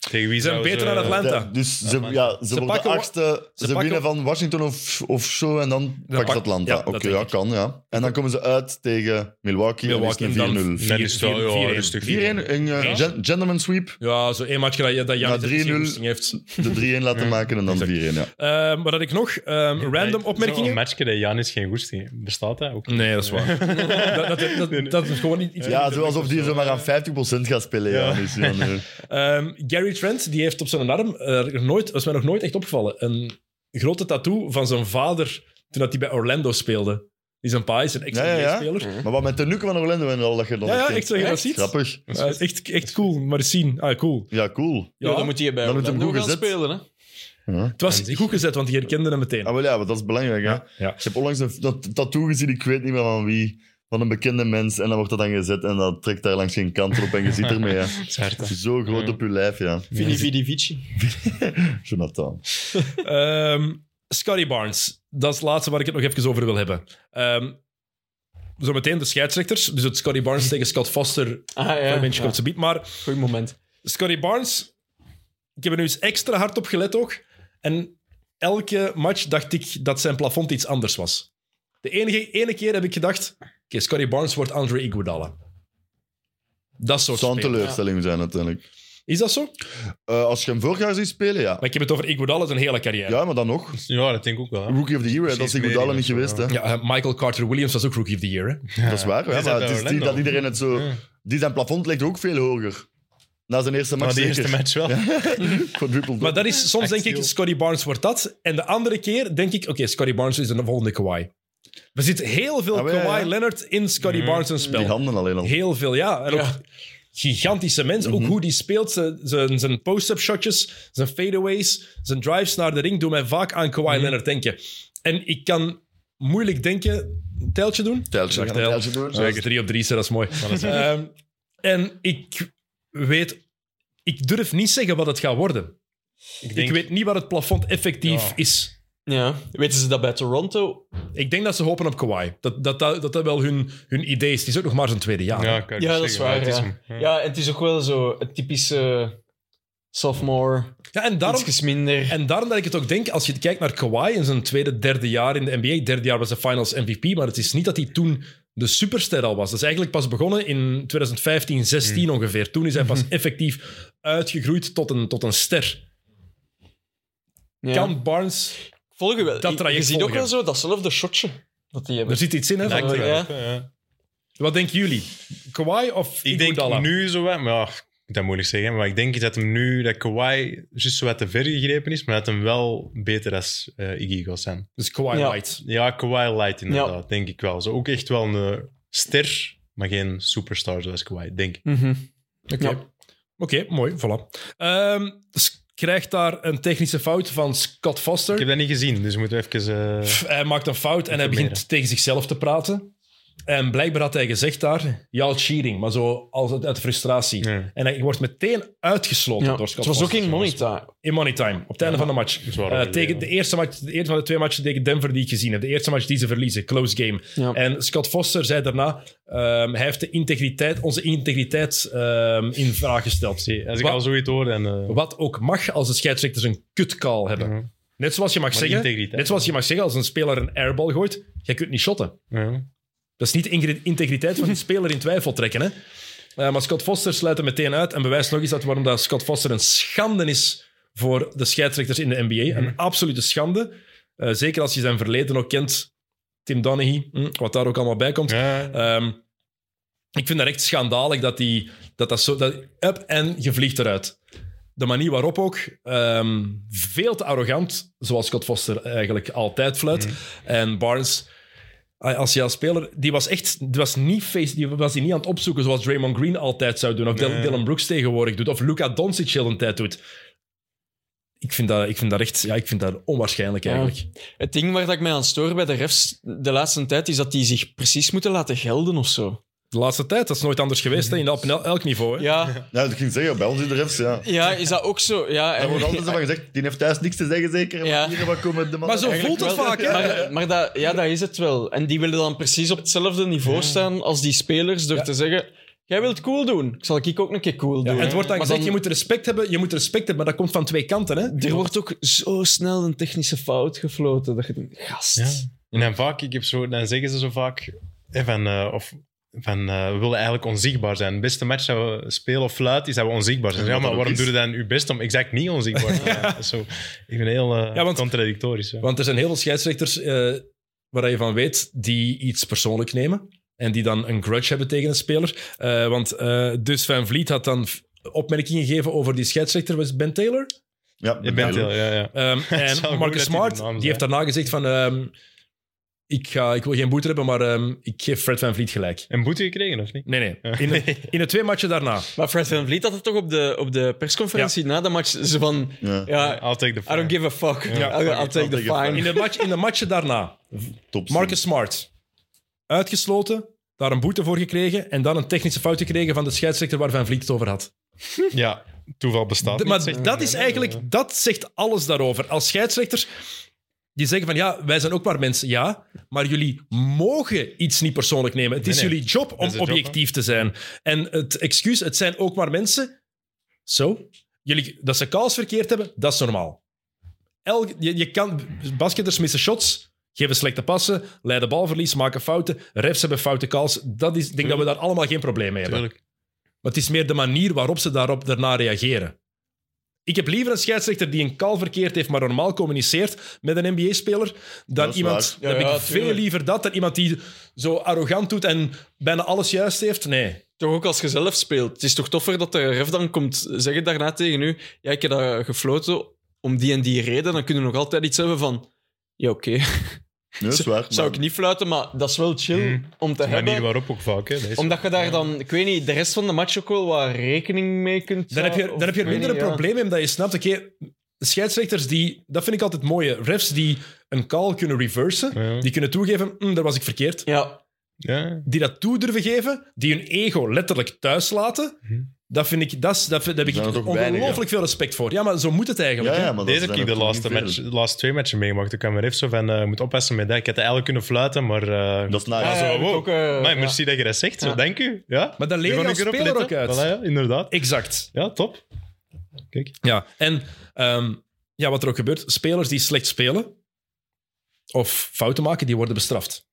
Speaker 5: Tegen wie
Speaker 1: Ze zijn
Speaker 5: zou
Speaker 1: beter dan
Speaker 5: ze-
Speaker 1: Atlanta.
Speaker 2: Ja, dus ze, ja, ze, worden
Speaker 1: pakken wa-
Speaker 2: achtste, ze,
Speaker 1: pakken-
Speaker 2: winnen van Washington of, of zo en dan pakt
Speaker 1: pak-
Speaker 2: Atlanta.
Speaker 1: ja, dat
Speaker 2: Oké,
Speaker 1: denk
Speaker 2: ja,
Speaker 1: ik.
Speaker 2: kan, ja. En dan komen ze uit tegen Milwaukee,
Speaker 1: Milwaukee
Speaker 2: Milwaukee
Speaker 1: en dan
Speaker 2: en is het een 4-0.
Speaker 5: Dat is wel,
Speaker 1: Vier-
Speaker 5: ja,
Speaker 1: vier- vier-
Speaker 5: rustig.
Speaker 2: 4-1, een eh,
Speaker 1: Ja?
Speaker 2: gen- gentleman sweep,
Speaker 1: Ja, zo één matchje dat, je- dat Janis
Speaker 2: Na
Speaker 1: er misschien
Speaker 2: 3-0.
Speaker 1: goesting heeft.
Speaker 2: de 3-1 laten maken en dan 4-1, ja.
Speaker 1: Ehm wat had ik nog? Ehm, random
Speaker 5: Een
Speaker 1: opmerkingen?
Speaker 5: matchje dat Janis geen goest heeft. Bestaat dat ook?
Speaker 1: Nee, dat is waar. dat, dat, dat, dat is gewoon niet iets.
Speaker 2: Ja, zo alsof die zomaar aan 50% gaat spelen. Ja. dus ja, nee.
Speaker 1: Ehm, Gary Trent die heeft op zijn arm, eh, nooit, dat is mij nog nooit echt opgevallen, een grote tattoo van zijn vader toen dat hij bij Orlando speelde. Die is een paai, is een
Speaker 2: Ja, ja, ja. Mm-hmm.
Speaker 1: ex-NBA-speler. Ja, ja,
Speaker 2: Maar wat met de nuke van Orlando en al dat je dan
Speaker 1: ja,
Speaker 2: herkent.
Speaker 1: echt zo, je dat ziet.
Speaker 2: Grappig.
Speaker 1: Ja, is echt, echt cool, maar eens zien. Ah, cool.
Speaker 2: Ja, cool.
Speaker 1: Ja,
Speaker 3: Ja, dan moet hij bij
Speaker 2: Dan moet hem
Speaker 3: Orlando
Speaker 2: goed
Speaker 3: gaan
Speaker 2: gezet.
Speaker 3: spelen. Hè?
Speaker 1: Het was goed gezet, want je herkende hem meteen.
Speaker 2: Ah, wel ja, maar dat is belangrijk.
Speaker 1: Ja,
Speaker 2: Hè?
Speaker 1: ja.
Speaker 2: Ik heb onlangs een dat tattoo gezien, ik weet niet meer van wie. Van een bekende mens. En dan wordt dat dan gezet en dat trekt daar langs geen kant op. En je ziet ermee. Ja. Zo groot op je lijf, ja.
Speaker 3: Vini Vidi Vici.
Speaker 2: Jonathan.
Speaker 1: Ehm, Scotty Barnes, dat is het laatste waar ik het nog even over wil hebben. Ehm Zometeen de scheidsrechters. Dus het Scotty Barnes tegen Scott Foster.
Speaker 3: Ah ja,
Speaker 1: Ja,
Speaker 3: ja.
Speaker 1: Bench komt ze biedt. Maar
Speaker 3: Goed moment.
Speaker 1: Scotty Barnes, ik heb er nu eens extra hard op gelet ook. En elke match dacht ik dat zijn plafond iets anders was. De enige, ene keer heb ik gedacht, oké, Scotty Barnes wordt Andre Iguodala. Dat soort
Speaker 2: Zou een
Speaker 1: speler.
Speaker 2: teleurstelling zijn, uiteindelijk.
Speaker 1: Is dat zo? Maar
Speaker 2: Eh, als je hem vorig jaar ziet spelen, ja.
Speaker 1: ik heb het over Iguodala zijn hele carrière.
Speaker 2: Ja, maar dan nog.
Speaker 5: Ja, dat denk ik ook wel. hè.
Speaker 2: Rookie of the Year, hè, dat is
Speaker 5: Precies,
Speaker 2: Iguodala
Speaker 5: meer
Speaker 2: niet
Speaker 5: in het
Speaker 2: geweest. Hè.
Speaker 1: Ja, eh, Michael Carter Williams was ook Rookie of the Year. Hè?
Speaker 2: Dat is waar.
Speaker 5: Hij
Speaker 2: Ja,
Speaker 5: zat
Speaker 2: maar
Speaker 5: bij
Speaker 2: het is die,
Speaker 5: Orlando.
Speaker 2: dat iedereen het zo...
Speaker 5: Ja.
Speaker 2: Die zijn plafond ligt ook veel hoger. Na zijn eerste match
Speaker 5: Maar die eerste
Speaker 2: zeker.
Speaker 5: match wel.
Speaker 2: Quadrupled
Speaker 1: Maar
Speaker 2: up.
Speaker 1: dat is, soms
Speaker 5: Echt
Speaker 1: denk ik,
Speaker 5: heel-
Speaker 1: Scotty Barnes wordt dat. En de andere keer denk ik, oké, Scotty Barnes is de volgende Kawhi. Er zit heel veel
Speaker 2: Ah, wel, ja,
Speaker 1: Kawhi
Speaker 2: ja.
Speaker 1: Leonard in Scotty Barnes' een spel.
Speaker 2: Die handen alleen al.
Speaker 1: Heel veel, ja. En ook
Speaker 3: Ja.
Speaker 1: gigantische mensen. Ook hoe die speelt. Zijn- Zijn, zijn post-up shotjes, zijn fadeaways, zijn drives naar de ring doen mij vaak aan Kawhi Leonard denken. En ik kan moeilijk denken... Een Tijltje doen?
Speaker 2: Teltje, we
Speaker 1: Dag,
Speaker 2: gaan een
Speaker 1: Tijl.
Speaker 2: teltje doen.
Speaker 1: Zeker. Drie op drie, zo, dat is mooi. Ehm, en ik weet... Ik durf niet zeggen wat het gaat worden.
Speaker 5: Ik denk,
Speaker 1: Ik weet niet wat het plafond effectief
Speaker 5: Ja.
Speaker 1: is.
Speaker 3: Ja. Weten ze dat bij Toronto?
Speaker 1: Ik denk dat ze hopen op Kawhi. Dat dat, dat, dat dat wel hun, hun idee is. Het is ook nog maar zijn tweede jaar.
Speaker 5: Ja, kan ik dus
Speaker 3: Ja, dat is
Speaker 5: zeggen,
Speaker 3: waar.
Speaker 5: maar het
Speaker 3: Ja.
Speaker 5: hem.
Speaker 3: ja, en het is ook wel zo het typische sophomore,
Speaker 1: Ja, en daarom...
Speaker 3: ietsjes minder.
Speaker 1: En daarom dat ik het ook denk, als je kijkt naar Kawhi in zijn tweede, derde jaar in de NBA. Derde jaar was hij finals MVP, maar het is niet dat hij toen de superster al was. Dat is eigenlijk pas begonnen in 2015, 16
Speaker 5: Hmm.
Speaker 1: ongeveer. Toen is hij pas effectief uitgegroeid tot een, tot een ster.
Speaker 3: Ja.
Speaker 1: Kan Barnes...
Speaker 3: Volg je wel.
Speaker 1: Dat
Speaker 3: Je-
Speaker 1: traject
Speaker 3: Je ziet ook
Speaker 1: volgen.
Speaker 3: wel zo datzelfde shotje dat die
Speaker 1: Er
Speaker 3: hebben.
Speaker 1: zit iets in, hè?
Speaker 5: Lijkt
Speaker 1: van-
Speaker 5: er wel
Speaker 3: Ja.
Speaker 5: op, hè, ja.
Speaker 1: Wat denken jullie? Kawhi of
Speaker 5: Ik denk
Speaker 1: Iguodala?
Speaker 5: nu zo wat, maar ja, ik moet dat moeilijk zeggen, maar ik denk dat hem nu, dat Kawhi juist zo wat te ver gegrepen is, maar dat hem wel beter als eh, Iggy gaat zijn.
Speaker 1: Dus Kawhi
Speaker 3: Ja.
Speaker 1: Light.
Speaker 5: Ja, Kawhi Light inderdaad, denk ik wel. Zo ook echt wel een ster, maar geen superstar zoals Kawhi, denk ik.
Speaker 3: Mhm.
Speaker 1: Oké,
Speaker 3: Ja.
Speaker 1: Oké, mooi, voilà. Ehm, s- krijgt daar een technische fout van Scott Foster.
Speaker 5: Ik heb dat niet gezien, dus we moeten even... eh,
Speaker 1: Pff, Hij maakt een fout en hij
Speaker 5: Informeren.
Speaker 1: begint tegen zichzelf te praten. En blijkbaar had hij gezegd daar, y'all cheating, maar zo als uit, uit frustratie.
Speaker 5: Ja.
Speaker 1: En hij wordt meteen uitgesloten
Speaker 3: Ja.
Speaker 1: door Scott
Speaker 3: Het was ook
Speaker 1: Foster.
Speaker 3: in Monita.
Speaker 1: In money time, op het einde van de match.
Speaker 5: is wel
Speaker 1: Eh,
Speaker 5: overleden,
Speaker 1: tegen
Speaker 5: ja.
Speaker 1: de eerste, match, de eerste van de twee matchen tegen Denver die ik gezien heb. De eerste match die ze verliezen, close game.
Speaker 3: Ja.
Speaker 1: En Scott Foster zei daarna, ehm, hij heeft de integriteit, onze integriteit ehm, in vraag gesteld.
Speaker 5: zie, als ik
Speaker 1: Wat-
Speaker 5: al zoiets hoor, en eh
Speaker 1: Wat ook mag als de scheidsrechters een kutcall hebben.
Speaker 5: Ja.
Speaker 1: Net zoals je mag zeggen,
Speaker 5: integriteit.
Speaker 1: net zoals je mag zeggen als een speler een airball gooit, jij kunt niet shotten.
Speaker 5: ja.
Speaker 1: Dat is niet de ingre- integriteit van die speler in twijfel trekken. Hè? Eh, maar Scott Foster sluit hem meteen uit en bewijst nog eens dat waarom dat Scott Foster een schande is voor de scheidsrechters in de NBA. Een absolute schande. Eh, zeker als je zijn verleden ook kent. Tim Donaghy, hm, wat daar ook allemaal bij komt.
Speaker 5: Ja.
Speaker 1: Ehm, ik vind dat echt schandalig dat die, dat, dat zo... Dat, up en je vliegt eruit. De manier waarop ook. ehm, veel te arrogant, zoals Scott Foster eigenlijk altijd fluit. En Barnes, ah, als je als speler... Die was echt... Die was niet, face, die was die niet aan het opzoeken zoals Draymond Green altijd zou doen. Of Dylan-
Speaker 5: Nee.
Speaker 1: Dylan Brooks tegenwoordig doet. Of Luca Doncic heel een tijd doet. Ik vind dat, ik vind dat echt... Ja, ik vind dat onwaarschijnlijk eigenlijk.
Speaker 3: Het ding waar dat ik mij aan stoor bij de refs de laatste tijd is dat die zich precies moeten laten gelden of zo.
Speaker 1: De laatste tijd, dat is nooit anders geweest. Hè, in elk, in elk niveau. Hè.
Speaker 3: Ja,
Speaker 2: Ja, dat ging zeggen, bij ons in de refs, ja.
Speaker 3: ja is dat ook zo? Ja,
Speaker 2: Er wordt altijd zo van gezegd, die heeft thuis niks te zeggen, zeker.
Speaker 3: Ja.
Speaker 2: Ja. Hier wat komen de
Speaker 1: Maar
Speaker 2: mannen...
Speaker 1: zo voelt het vaak, hè?
Speaker 3: Maar, maar dat, ja, dat is het wel. En die willen dan precies op hetzelfde niveau staan als die spelers door te zeggen: Jij wilt cool doen, ik zal ik ook een keer cool doen.
Speaker 1: En het wordt dan
Speaker 3: Maar
Speaker 1: gezegd, je moet respect hebben, je moet respect hebben, maar dat komt van twee kanten, hè?
Speaker 3: Er wordt ook zo snel een technische fout gefloten. Dat je denkt, gast.
Speaker 5: Ja. En dan, vaak, ik heb zo, dan zeggen ze zo vaak hè, van, eh, of, van eh, we willen eigenlijk onzichtbaar zijn. Het beste match dat we spelen of fluiten is dat we onzichtbaar zijn.
Speaker 2: En
Speaker 5: Ja,
Speaker 2: wat
Speaker 5: maar
Speaker 2: dat
Speaker 5: waarom
Speaker 2: ook
Speaker 5: doe
Speaker 2: is.
Speaker 5: je dan je best om exact niet onzichtbaar te zijn? Dat is zo, ik vind het heel eh,
Speaker 1: Ja, want-
Speaker 5: contradictorisch. ja.
Speaker 1: Want er zijn heel veel scheidsrechters eh, waar je van weet die iets persoonlijk nemen en die dan een grudge hebben tegen een speler. Eh, want eh, dus Van Vliet had dan v- opmerkingen gegeven over die scheidsrechter, was Ben Taylor.
Speaker 2: Ja,
Speaker 5: Je bent heel, ja, ja.
Speaker 1: Ehm,
Speaker 5: is wel
Speaker 1: en
Speaker 5: goed dat die
Speaker 1: Marcus
Speaker 5: de
Speaker 1: Smart,
Speaker 5: naam
Speaker 1: die,
Speaker 5: zei.
Speaker 1: heeft daarna gezegd van... ehm, ik, ga, ik wil geen boete hebben, maar ehm, ik geef Fred Van Vliet gelijk.
Speaker 5: Een boete gekregen, of niet?
Speaker 1: Nee, nee. In de, in de twee matchen daarna.
Speaker 3: Maar Fred Van Vliet had het toch op de, op de persconferentie na de match zo van:
Speaker 2: Ja,
Speaker 3: Ja,
Speaker 5: I'll take the
Speaker 3: I don't
Speaker 5: fine.
Speaker 3: give a fuck.
Speaker 5: Ja.
Speaker 3: I'll, I'll take the
Speaker 2: I'll take a
Speaker 3: fine.
Speaker 1: In de, match, in de matchen daarna.
Speaker 2: top.
Speaker 1: Marcus Smart. Uitgesloten, daar een boete voor gekregen en dan een technische fout gekregen van de scheidsrechter waar Van Vliet het over had.
Speaker 5: Ja, toeval bestaat
Speaker 1: De-
Speaker 5: niet, zegt
Speaker 1: maar dat
Speaker 5: hij.
Speaker 1: is eigenlijk, dat zegt alles daarover. Als scheidsrechters, die zeggen van ja, wij zijn ook maar mensen, ja, maar jullie mogen iets niet persoonlijk nemen. Het is
Speaker 5: Nee, nee.
Speaker 1: jullie job om
Speaker 5: is de job,
Speaker 1: objectief te zijn. En het excuus, het zijn ook maar mensen. Zo, jullie, dat ze kals verkeerd hebben, dat is normaal. Elk, je, je kan, basketters missen shots, geven slechte passen, leiden balverlies, maken fouten. Refs hebben foute calls. Dat is, ik denk dat we daar allemaal geen probleem mee hebben.
Speaker 5: Tuurlijk.
Speaker 1: Maar het is meer de manier waarop ze daarop daarna reageren. Ik heb liever een scheidsrechter die een kal verkeerd heeft, maar normaal communiceert met een NBA-speler, dan
Speaker 2: Dat is
Speaker 1: iemand... dan
Speaker 3: waar. Ja,
Speaker 1: heb
Speaker 3: ja,
Speaker 1: ik veel
Speaker 3: tuurlijk.
Speaker 1: liever dat, dan iemand die zo arrogant doet en bijna alles juist heeft. Nee.
Speaker 3: Toch ook als je zelf speelt. Het is toch toffer dat de ref dan komt zeggen daarna tegen u: Ja, ik heb dat gefloten om die en die reden. Dan kunnen we nog altijd iets hebben van: Ja, oké.
Speaker 2: Nee, dat is waar.
Speaker 3: Zou
Speaker 2: maar-
Speaker 3: ik niet fluiten, maar dat is wel chill
Speaker 5: Hmm.
Speaker 3: om te
Speaker 5: De manier
Speaker 3: hebben.
Speaker 5: waarop ook vaak. Hè. Dat is-
Speaker 3: Omdat je daar dan, ik weet niet, de rest van de match ook wel wat rekening mee kunt.
Speaker 1: Dan heb je,
Speaker 3: of-
Speaker 1: dan heb je er
Speaker 3: ik weet
Speaker 1: minder een
Speaker 3: niet, ja.
Speaker 1: probleem mee, omdat je snapt, oké, scheidsrechters die... Dat vind ik altijd mooi. Refs die een call kunnen reversen,
Speaker 5: Ja.
Speaker 1: die kunnen toegeven, "Mm, daar was ik verkeerd.
Speaker 3: Ja,
Speaker 5: Ja.
Speaker 1: Die dat toe durven geven, die hun ego letterlijk thuis laten...
Speaker 5: Mhm.
Speaker 1: Dat vind ik, dat, is- dat, vind- daar
Speaker 2: Er
Speaker 1: heb
Speaker 2: zijn
Speaker 1: ik
Speaker 2: er toch weinig,
Speaker 1: ongelooflijk veel respect voor. Ja, maar zo moet het eigenlijk.
Speaker 2: Ja,
Speaker 1: hè?
Speaker 2: ja, maar dat
Speaker 5: Deze heb
Speaker 2: zijn
Speaker 5: ik de
Speaker 2: er toch
Speaker 5: laatste,
Speaker 2: niet
Speaker 5: match,
Speaker 2: veel.
Speaker 5: de laatste twee matchen meegemaakt. Ik kwam er even zo van, eh, je moet oppassen met dat. Ik had eigenlijk kunnen fluiten, maar... eh,
Speaker 2: Dat is nice.
Speaker 3: Ja,
Speaker 5: zo,
Speaker 3: ja, heb ik
Speaker 5: wow.
Speaker 3: ook, eh,
Speaker 5: Amai,
Speaker 3: ja.
Speaker 5: merci dat je dat zegt.
Speaker 3: Ja.
Speaker 5: Zo, dank u. Ja?
Speaker 1: Maar dat leer je
Speaker 5: Daar ga
Speaker 1: als
Speaker 5: ik erop
Speaker 1: speler
Speaker 5: letten.
Speaker 1: ook uit.
Speaker 5: Voilà, ja, inderdaad.
Speaker 1: Exact.
Speaker 5: Ja, top. Kijk.
Speaker 1: Ja, en ehm, ja, wat er ook gebeurt, spelers die slecht spelen of fouten maken, die worden bestraft.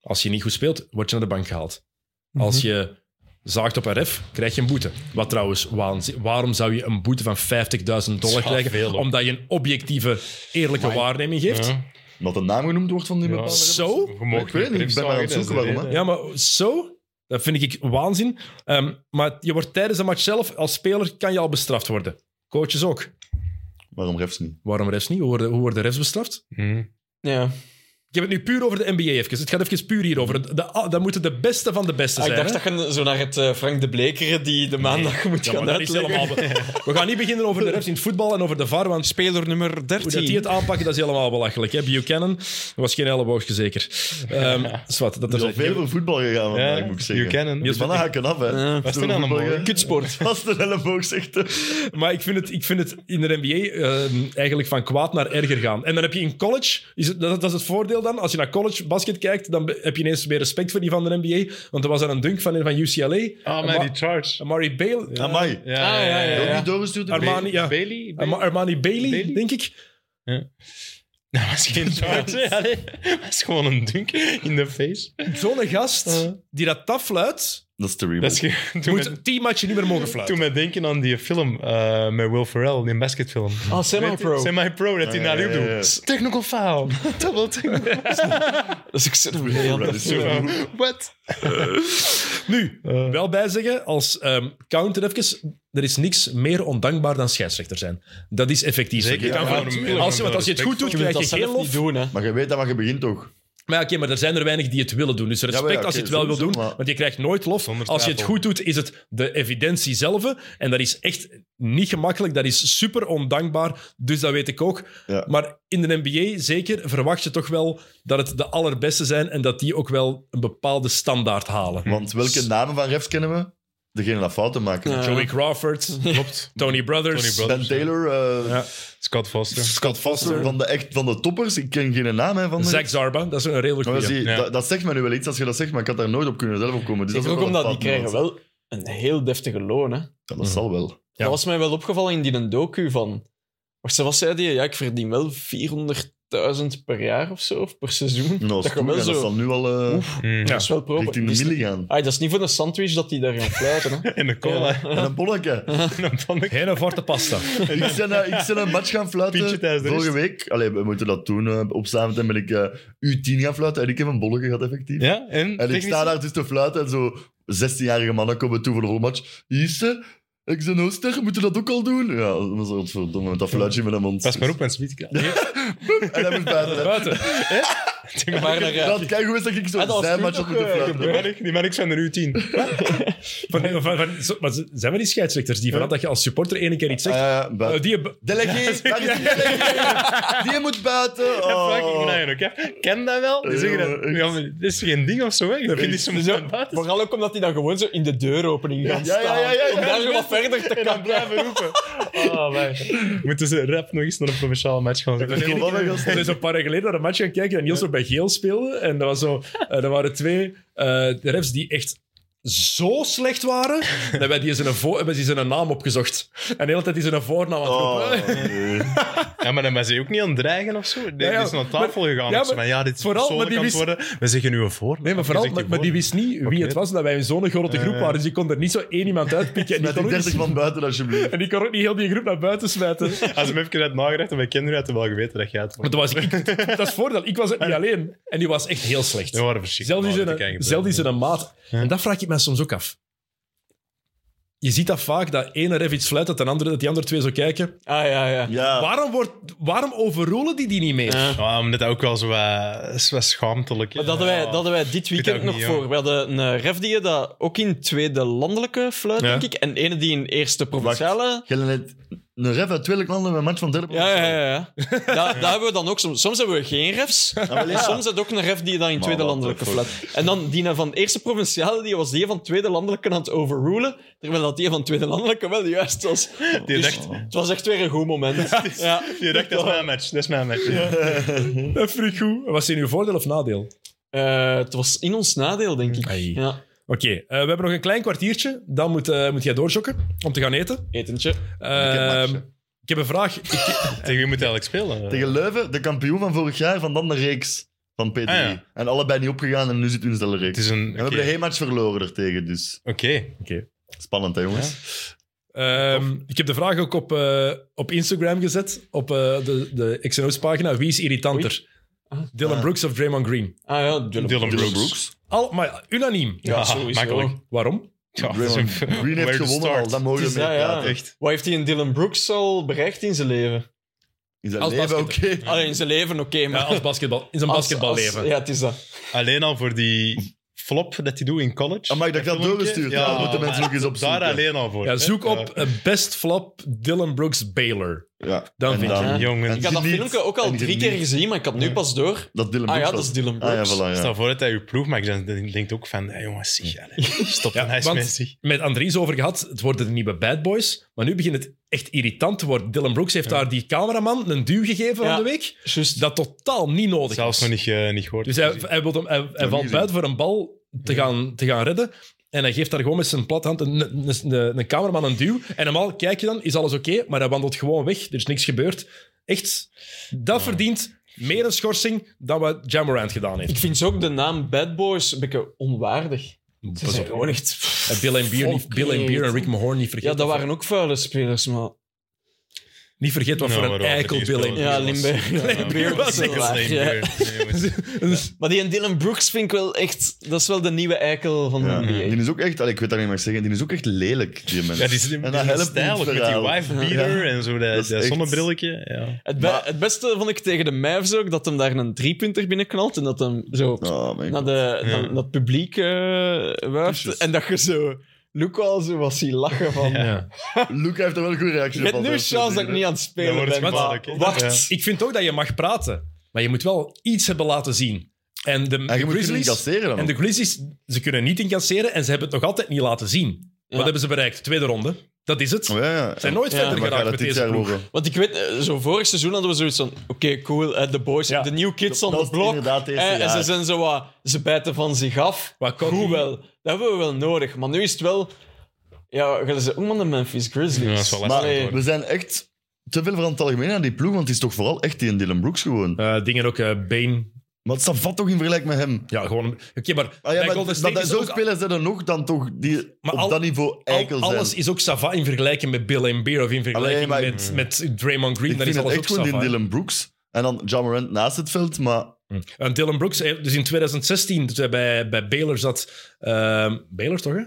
Speaker 1: Als je niet goed speelt, word je naar de bank gehaald.
Speaker 5: Mhm.
Speaker 1: Als je zaagt op RF, krijg je een boete. Wat trouwens, waanzin- waarom zou je een boete van 50.000 dollar
Speaker 5: Ja,
Speaker 1: krijgen?
Speaker 5: veel, hoor.
Speaker 1: omdat je een objectieve, eerlijke waarneming geeft. Ja.
Speaker 5: Ja.
Speaker 2: Wat de naam genoemd wordt van die
Speaker 5: Ja.
Speaker 2: bepaalde refs.
Speaker 1: Zo?
Speaker 5: Je mag
Speaker 2: Ik weet niet, ik ben maar aan het
Speaker 5: dat is de
Speaker 2: zoeken waarom,
Speaker 5: reden.
Speaker 1: maar zo, dat vind ik waanzin. Ehm, maar je wordt tijdens een match zelf, als speler, kan je al bestraft worden. Coaches ook.
Speaker 2: Waarom refs niet?
Speaker 1: Waarom refs niet? Hoe worden, hoe worden refs bestraft?
Speaker 5: Hm.
Speaker 3: ja.
Speaker 1: Ik heb het nu puur over de NBA even. Het gaat even puur hierover. De, de- dat moeten de beste van de beste
Speaker 3: Ah,
Speaker 1: zijn.
Speaker 3: ik dacht
Speaker 1: hè?
Speaker 3: dat je zo naar het eh, Frank de Blekeren die de maandag moet
Speaker 1: Ja, maar
Speaker 3: gaan
Speaker 1: dat is
Speaker 3: uitleggen.
Speaker 1: helemaal be- We gaan niet beginnen over de refs in het voetbal en over de VAR, want
Speaker 3: Speler nummer
Speaker 1: hoe dat
Speaker 3: 13.
Speaker 1: die het aanpakken, dat is helemaal belachelijk. Hè? Buchanan was geen elleboogje zeker. Ehm zwart, dat er
Speaker 2: Er is al veel voor voetbal gegaan vandaag,
Speaker 5: Ja,
Speaker 2: moet ik
Speaker 5: you
Speaker 2: zeggen.
Speaker 5: can.
Speaker 1: Niels
Speaker 2: Dus van haken af, hè.
Speaker 3: Ja.
Speaker 5: Wat is er dan allemaal, hè?
Speaker 3: Kutsport.
Speaker 2: Als de elleboog zegt... hè.
Speaker 1: Maar ik vind, het, ik vind het in de NBA ehm, eigenlijk van kwaad naar erger gaan. En dan heb je in college, is het, dat, dat is het voordeel dan, als je naar college basket kijkt, dan be- heb je ineens meer respect voor die van de NBA. Want er was dan een dunk van, een van UCLA.
Speaker 5: Ah, maar
Speaker 1: Ama-
Speaker 5: die charge.
Speaker 1: Amari Bale.
Speaker 2: Amai.
Speaker 5: Ja, Ah,
Speaker 3: Ah, ja, ja,
Speaker 2: Ook
Speaker 3: ja.
Speaker 2: niet doorgestuurd? door de
Speaker 1: Armani, ja.
Speaker 5: Bailey?
Speaker 1: Ama- Armani Bailey,
Speaker 5: Bailey?
Speaker 1: denk ik.
Speaker 5: Dat was geen charge. hè. Allee, Dat was gewoon een dunk in de face.
Speaker 1: Zo'n gast die dat tafluit,
Speaker 2: Dat is terrible.
Speaker 5: Dat is ge-
Speaker 1: Je
Speaker 5: toen, met-
Speaker 1: moet tien matchen niet meer mogen
Speaker 5: toen
Speaker 1: fluiten.
Speaker 5: mij denken aan die film eh, met Will Ferrell, die basketfilm.
Speaker 3: Ah, semi-pro.
Speaker 5: Semi-pro, dat hij
Speaker 2: Ah, ja,
Speaker 5: naar u
Speaker 2: ja, ja.
Speaker 5: doet. Technical foul. Double technical.
Speaker 3: Dat is ook zo'n briljante
Speaker 2: Right.
Speaker 3: film.
Speaker 5: What?
Speaker 1: Nu,
Speaker 5: Eh,
Speaker 1: wel bijzeggen, als ehm, counter even, er is niks meer ondankbaar dan scheidsrechter zijn. Dat is effectief.
Speaker 5: Zeker.
Speaker 1: Je kan
Speaker 5: Ja,
Speaker 1: van-
Speaker 5: natuurlijk.
Speaker 1: als, je- want als je het goed doet,
Speaker 3: Je moet
Speaker 1: krijg
Speaker 3: dat
Speaker 1: je geen
Speaker 3: zelf niet
Speaker 1: lof.
Speaker 3: doen, hè.
Speaker 2: Maar je weet dat wat je begint toch?
Speaker 1: Maar ja, oké, maar er zijn er weinig die het willen doen. Dus respect
Speaker 2: Ja, maar ja,
Speaker 1: als je het
Speaker 2: oké,
Speaker 1: wel wil doen,
Speaker 2: sowieso, maar-
Speaker 1: want je krijgt nooit lof.
Speaker 5: Zonder
Speaker 1: Als je het
Speaker 5: twijfel.
Speaker 1: goed doet, is het de evidentie zelf. En dat is echt niet gemakkelijk. Dat is super ondankbaar. Dus dat weet ik ook.
Speaker 2: Ja.
Speaker 1: Maar in de NBA zeker verwacht je toch wel dat het de allerbeste zijn en dat die ook wel een bepaalde standaard halen.
Speaker 2: Want welke namen van refs kennen we? Degene dat fouten maken.
Speaker 3: Ja.
Speaker 1: Joey Crawford,
Speaker 5: Klopt.
Speaker 1: Tony Brothers.
Speaker 5: Tony Brothers.
Speaker 2: Ben Taylor, eh,
Speaker 1: Ja.
Speaker 5: Scott Foster.
Speaker 2: Scott Foster, van de, echt, van de toppers. Ik ken geen naam hè, van de
Speaker 1: Zach Zarba, dat is een redelijk
Speaker 2: Maar
Speaker 1: goede.
Speaker 2: dat, zie-
Speaker 5: Ja.
Speaker 2: dat, dat zegt mij nu wel iets als je dat zegt, maar ik had daar nooit op kunnen zelf op komen. Dus dat
Speaker 3: Zeker
Speaker 2: is
Speaker 3: ook
Speaker 2: wel een
Speaker 3: omdat die
Speaker 2: fout,
Speaker 3: krijgen
Speaker 2: man.
Speaker 3: wel een heel deftige loon, hè.
Speaker 2: Ja, dat zal wel.
Speaker 1: Ja.
Speaker 3: Dat was mij wel opgevallen in die docu van... Wacht, ze- wat zei die? Ja, ik verdien wel 400.000 per jaar of zo, of per seizoen.
Speaker 2: Nou, dat,
Speaker 3: dat je
Speaker 2: stoer,
Speaker 3: wel
Speaker 2: ja, dat
Speaker 3: zo...
Speaker 2: zal nu al eh,
Speaker 5: Mm.
Speaker 3: Dat is wel proper.
Speaker 2: richting
Speaker 3: Die
Speaker 2: de
Speaker 3: is-
Speaker 2: milli gaan.
Speaker 3: Ah, dat is niet voor een sandwich dat die daar gaan fluiten, hè.
Speaker 5: En de cola.
Speaker 3: Ja.
Speaker 2: En een bolletje.
Speaker 5: En dan ik-
Speaker 1: Geen forte pasta.
Speaker 2: ik, ben, eh, ik ben een match gaan
Speaker 5: Pintje
Speaker 2: fluiten
Speaker 5: tijdens de
Speaker 2: vorige
Speaker 5: rust.
Speaker 2: week. Allee, we moeten dat doen. eh, op samen en ben ik eh, U10 gaan fluiten en ik heb een bolletje gehad, effectief.
Speaker 5: Ja, en?
Speaker 2: En ik sta daar dus te fluiten en zo 16-jarige mannen komen toe voor de rolmatch. Hier is ze. Ik ben Ooster, moeten we dat ook al doen? Ja, dat was godverdomme, met dat fluitje met een mond.
Speaker 5: Pas maar op, mensen. Weet ik
Speaker 2: En hij moest buiten. hè.
Speaker 1: Buiten.
Speaker 5: Die
Speaker 3: Maar
Speaker 5: man-
Speaker 3: naar, eh,
Speaker 2: Dat kijk hoe is dat ik
Speaker 3: Ah, dat
Speaker 2: zo
Speaker 3: was
Speaker 2: zijn
Speaker 3: nu
Speaker 2: match had
Speaker 3: toch,
Speaker 2: moeten
Speaker 3: eh,
Speaker 2: fluiten.
Speaker 5: Die man- Die man, ik zijn er u
Speaker 1: Oh.
Speaker 5: tien.
Speaker 1: Van, van, van, zo- maar zijn we die scheidsrechters die vanaf dat je als supporter één keer iets zegt?
Speaker 2: Ah, ja, buiten.
Speaker 1: eh, die,
Speaker 2: Delegeer, daar is die delegeer. Die moet buiten.
Speaker 5: Fucking
Speaker 2: Oh.
Speaker 5: lion ook, hè. Ken dat wel? Die
Speaker 2: Ja,
Speaker 5: zeggen
Speaker 2: maar
Speaker 5: dat...
Speaker 2: echt.
Speaker 5: Ja, maar dit is geen ding of zo, hè. Ik vind die soms aan buiten.
Speaker 3: Vooral ook omdat die dan gewoon zo in de deuropening gaan
Speaker 2: Ja,
Speaker 3: staan.
Speaker 2: ja, ja, ja, ja.
Speaker 3: Om daar zo wat verder te
Speaker 5: En dan
Speaker 3: komen.
Speaker 5: blijven roepen. Oh, man. Moeten ze rap nog eens naar een provinciale match gaan?
Speaker 1: Ik
Speaker 2: Kom op, hè, gast.
Speaker 1: Er is een paar jaar geleden naar een match gaan kijken en Niels nog bij Geel speelde. En dat was zo, eh, er waren twee eh refs die echt zo slecht waren, dat wij die zijn, een vo- hebben ze zijn een naam opgezocht. En de hele tijd is een voornaam aan het roepen.
Speaker 2: Oh, nee.
Speaker 5: Ja, maar dan ben ze ook niet aan het dreigen of zo. Die
Speaker 1: Ja, ja.
Speaker 5: die is naar tafel
Speaker 1: Maar-
Speaker 5: gegaan.
Speaker 1: ja,
Speaker 5: of zo.
Speaker 1: maar
Speaker 5: Maar ja, dit is
Speaker 1: vooral, maar die
Speaker 5: persoonlijk aan het worden. We zeggen nu een voornaam.
Speaker 1: Nee, maar vooral,
Speaker 5: Je zegt
Speaker 1: maar,
Speaker 5: uw
Speaker 1: maar die
Speaker 5: voornaam.
Speaker 1: wist niet wie het was, dat wij in zo'n grote groep waren. Dus die kon er niet zo één iemand uitpikken. En die,
Speaker 2: Met
Speaker 1: kon
Speaker 2: die
Speaker 1: ook
Speaker 2: 30
Speaker 1: niet,
Speaker 2: van buiten, alsjeblieft.
Speaker 1: en die kon ook niet heel die groep naar buiten smijten.
Speaker 5: Als ik hem even had nagedacht en mijn kinderen hadden wel geweten dat jij het was.
Speaker 1: Want dat, was ik, dat is het voordeel. Ik was het niet alleen. En die was echt heel slecht.
Speaker 5: Die waren verschrikkelijk.
Speaker 1: Zelfs is
Speaker 5: om
Speaker 1: een,
Speaker 5: te kijken.
Speaker 1: zelfs is er een maat. En dat vraag ik mij soms ook af. Je ziet dat vaak, dat ene ref iets fluit, dat, de andere, dat die andere twee zo kijken.
Speaker 3: Ah, ja, ja.
Speaker 2: Ja,
Speaker 1: Waarom, wordt, waarom overroelen die die niet meer?
Speaker 3: Ja.
Speaker 5: Ja, omdat dat ook wel zo wat, zo wat schaamtelijk
Speaker 3: Maar dat hadden, wij, dat hadden wij dit
Speaker 5: dat
Speaker 3: weekend
Speaker 5: ook
Speaker 3: nog
Speaker 5: niet, ja.
Speaker 3: voor. We hadden een eh, ref die dat ook in tweede landelijke fluit,
Speaker 5: Ja.
Speaker 3: denk ik. En ene die in eerste provinciale.
Speaker 2: jij net een ref uit twee landen met een match van derde
Speaker 3: Ja, ja, ja. ja. Da- daar hebben we dan ook soms. Soms hebben we geen refs.
Speaker 2: wel, ja.
Speaker 3: En soms heb je ook een ref die dat in tweede
Speaker 2: wat
Speaker 3: landelijke
Speaker 2: een
Speaker 3: fluit. En dan die van eerste provinciale, die was die van tweede landelijke aan het overrulen. Terwijl dat die van tweede landelijke wel juist was.
Speaker 5: Die
Speaker 3: Dus
Speaker 5: dacht-
Speaker 3: het was echt weer een goed moment. Ja.
Speaker 5: Je dacht, dat is mijn match. Dat is mijn match.
Speaker 1: Dat vind ik goed. Was in uw voordeel of nadeel?
Speaker 3: Eh, het was in ons nadeel, denk ik.
Speaker 1: Ai.
Speaker 3: Ja,
Speaker 1: Oké, eh, we hebben nog een klein kwartiertje. Dan moet, eh, moet jij doorjokken om te gaan eten.
Speaker 3: etentje.
Speaker 1: Ehm,
Speaker 2: matchen.
Speaker 1: ik heb een vraag. Ik-
Speaker 5: Tegen wie moet hij eigenlijk spelen?
Speaker 2: Tegen Leuven, de kampioen van vorig jaar, van dan de reeks van P3.
Speaker 5: Ah, ja.
Speaker 2: En allebei niet opgegaan en nu zit hun zelf
Speaker 5: Het
Speaker 2: reeks.
Speaker 5: is een...
Speaker 2: En we
Speaker 5: Oké.
Speaker 2: hebben de heenmatch verloren ertegen, dus
Speaker 5: Oké.
Speaker 2: spannend hè jongens.
Speaker 1: Ehm, ik heb de vraag ook op, eh, op Instagram gezet, op eh, de, de XNO's pagina. Wie is irritanter? Dylan Brooks of Draymond Green?
Speaker 3: Ah ja, Dylan.
Speaker 5: Dylan
Speaker 2: Dylan
Speaker 5: Brooks.
Speaker 2: Brooks.
Speaker 1: Al, maar unaniem.
Speaker 3: Ja, sowieso.
Speaker 5: makkelijk.
Speaker 1: Waarom?
Speaker 5: Ja, dat is
Speaker 2: Draymond
Speaker 5: een-
Speaker 2: Green heeft
Speaker 5: where to
Speaker 2: gewonnen
Speaker 5: start.
Speaker 2: al, dat mogen
Speaker 3: Het
Speaker 2: we
Speaker 3: is- ja,
Speaker 2: mee
Speaker 3: ja.
Speaker 2: praten. Echt.
Speaker 3: Wat heeft hij in Dylan Brooks al bereikt in zijn leven?
Speaker 2: Is dat
Speaker 1: Als
Speaker 2: leven oké?
Speaker 1: basketter.
Speaker 3: Alleen in zijn leven, oké, maar...
Speaker 1: Ja, als basketbal, in zijn
Speaker 3: als-
Speaker 1: basketballeven.
Speaker 3: als- Ja, het is dat.
Speaker 5: Alleen al voor die flop dat hij doet in college.
Speaker 2: Amai, dat Ah, ik dat
Speaker 5: filmpje?
Speaker 2: doorgestuurd. Ja, dat moeten mensen
Speaker 5: maar
Speaker 2: ook eens opzoeken.
Speaker 5: Daar alleen al voor.
Speaker 1: Ja,
Speaker 5: hè.
Speaker 1: zoek op eh, Best Flop Dylan Brooks Baylor.
Speaker 2: Ja.
Speaker 1: Dan
Speaker 2: En
Speaker 1: vind je.
Speaker 2: dan-
Speaker 5: Ja, jongen.
Speaker 2: en
Speaker 5: Ik
Speaker 3: Ik had dat
Speaker 2: geniet.
Speaker 3: filmpje ook al
Speaker 2: En
Speaker 3: drie
Speaker 2: geniet.
Speaker 3: keer gezien, maar ik had nu pas door.
Speaker 2: Dat Dylan
Speaker 3: Ah
Speaker 2: Brooks
Speaker 3: ja,
Speaker 2: was.
Speaker 3: dat is Dylan
Speaker 2: Ah ja,
Speaker 3: Brooks.
Speaker 2: voilà, ja.
Speaker 5: Stel voor dat hij je ploeg maakt. Dan dan denkt ook van, hey, jongens, zie je. Stop,
Speaker 1: Ja,
Speaker 5: hij is
Speaker 1: want-
Speaker 5: messy.
Speaker 1: Met Andries over gehad, het worden de nieuwe bad boys. Maar nu begint het echt irritant te worden. Dylan Brooks heeft daar die cameraman een duw gegeven
Speaker 3: Ja.
Speaker 1: van de week.
Speaker 3: Juist.
Speaker 1: Dat totaal niet nodig
Speaker 5: Zelfs
Speaker 1: was.
Speaker 5: nog niet, eh, niet gehoord.
Speaker 1: Dus hij, hij, wil hem, hij, hij valt
Speaker 2: gezien.
Speaker 1: buiten voor een bal te gaan, te gaan redden. En hij geeft daar gewoon met zijn platte hand een, een, een, een cameraman een duw. En normaal kijk je dan, is alles oké, maar hij wandelt gewoon weg. Er is niks gebeurd. Echt, dat verdient meer een schorsing dan wat Jamorant gedaan heeft.
Speaker 3: Ik vind ze ook de naam Bad Boys een beetje onwaardig. Ze zijn gewoon echt...
Speaker 1: En Bill en Beer, niet, Bill en Beer en Rick Mahorn niet vergeten.
Speaker 3: Ja, dat waren ook vuile spelers, maar...
Speaker 1: Niet vergeten wat
Speaker 5: Nou,
Speaker 1: voor
Speaker 5: maar
Speaker 1: een
Speaker 5: wel,
Speaker 1: eikel
Speaker 5: drie
Speaker 1: Bill en
Speaker 5: spelers.
Speaker 1: Beer
Speaker 3: Ja,
Speaker 1: was.
Speaker 3: Limburg. Limburg was
Speaker 1: was
Speaker 3: heel
Speaker 1: echt
Speaker 3: laag, ja. Maar die en Dylan Brooks vind ik wel echt... Dat is wel de nieuwe eikel van de
Speaker 2: Ja.
Speaker 3: NBA.
Speaker 2: Die is ook echt, allee, ik weet dat niet meer zeggen, die is ook echt lelijk, die mens.
Speaker 5: Ja, die is die
Speaker 2: En dat
Speaker 5: is
Speaker 2: helpt
Speaker 5: stijlig
Speaker 2: niet
Speaker 5: met die
Speaker 2: verhaal.
Speaker 5: wife beater en zo, dat,
Speaker 2: Dat is
Speaker 5: dat
Speaker 2: echt-
Speaker 5: zonnebrilletje. Ja.
Speaker 3: Het, be- het beste vond ik tegen de Mavs ook, dat hem daar een driepunter binnenknalt en dat hem zo
Speaker 2: Oh, mijn
Speaker 3: naar,
Speaker 2: god.
Speaker 3: de,
Speaker 5: Ja.
Speaker 3: naar, naar het publiek eh wuift.
Speaker 2: Kusjes.
Speaker 3: En dat je zo... Luca al zo was zien lachen van...
Speaker 5: Ja.
Speaker 2: Luca heeft er wel een goede reactie
Speaker 3: Je hebt
Speaker 2: op.
Speaker 3: nu een
Speaker 2: altijd.
Speaker 3: chance dat ik niet aan het
Speaker 5: Dan
Speaker 3: spelen
Speaker 5: wordt
Speaker 3: ben,
Speaker 5: het
Speaker 3: maar
Speaker 5: gevaarlijk, hè.
Speaker 3: wacht.
Speaker 1: Ik vind ook dat je mag praten, maar je moet wel iets hebben laten zien. En de
Speaker 2: En je moet kunnen
Speaker 1: Grizzlies...
Speaker 2: incasseren dan.
Speaker 1: En de
Speaker 2: ook.
Speaker 1: Grizzlies, ze kunnen niet incasseren en ze hebben het nog altijd niet laten zien. Wat
Speaker 3: Ja.
Speaker 1: hebben ze bereikt? Tweede ronde. Dat is het. Ze
Speaker 2: Oh, ja, ja.
Speaker 1: zijn nooit
Speaker 3: Ja.
Speaker 2: En
Speaker 1: verder
Speaker 2: wat gaat
Speaker 1: geraakt
Speaker 2: dat
Speaker 1: met
Speaker 2: dit
Speaker 1: deze
Speaker 2: jaar
Speaker 1: ploeg.
Speaker 2: worden?
Speaker 3: Want ik weet, eh, zo vorig seizoen hadden we zoiets van... Oké, cool, eh, de boys,
Speaker 1: Ja.
Speaker 3: de new kids
Speaker 2: Dat-
Speaker 3: on
Speaker 2: dat
Speaker 3: the
Speaker 2: is
Speaker 3: block.
Speaker 2: inderdaad het
Speaker 3: eh,
Speaker 2: eerste
Speaker 3: en ze
Speaker 2: jaar.
Speaker 3: zijn zo wat... Ze bijten van zich af.
Speaker 1: Wat kan
Speaker 3: Goed
Speaker 1: die?
Speaker 3: wel. Dat hebben we wel nodig. Maar nu is het wel... Ja, gaan ze ook maar de Memphis Grizzlies. eh,
Speaker 5: Ja, dat is wel lastig,
Speaker 2: Maar
Speaker 3: Allee,
Speaker 5: hoor.
Speaker 2: we zijn echt te veel van het algemeen aan die ploeg, want het is toch vooral echt die en Dylan Brooks gewoon.
Speaker 1: Eh, dingen ook, eh Bane.
Speaker 2: Maar het staat toch in vergelijking met hem.
Speaker 1: Ja, gewoon... Oké, maar,
Speaker 2: Ah,
Speaker 1: bij
Speaker 2: ja, maar
Speaker 1: Golden
Speaker 2: dat,
Speaker 1: State
Speaker 2: dat
Speaker 1: is
Speaker 2: zo
Speaker 1: ook-
Speaker 2: spelers zijn er nog dan toch die
Speaker 1: Maar
Speaker 2: op
Speaker 1: al-
Speaker 2: dat niveau
Speaker 1: al-
Speaker 2: eikel zijn.
Speaker 1: alles is ook Sava in vergelijking met Bill en Beer of in vergelijking
Speaker 2: maar-
Speaker 1: met, met Draymond Green.
Speaker 2: ik
Speaker 1: Dan
Speaker 2: vind
Speaker 1: is
Speaker 2: het
Speaker 1: alles
Speaker 2: echt
Speaker 1: ook
Speaker 2: gewoon die
Speaker 1: Sava.
Speaker 2: Dylan Brooks en dan John Morant naast het veld, maar
Speaker 1: En Dylan Brooks, eh, dus in 2016, toen hij bij, bij Baylor zat... ehm Baylor toch, hè?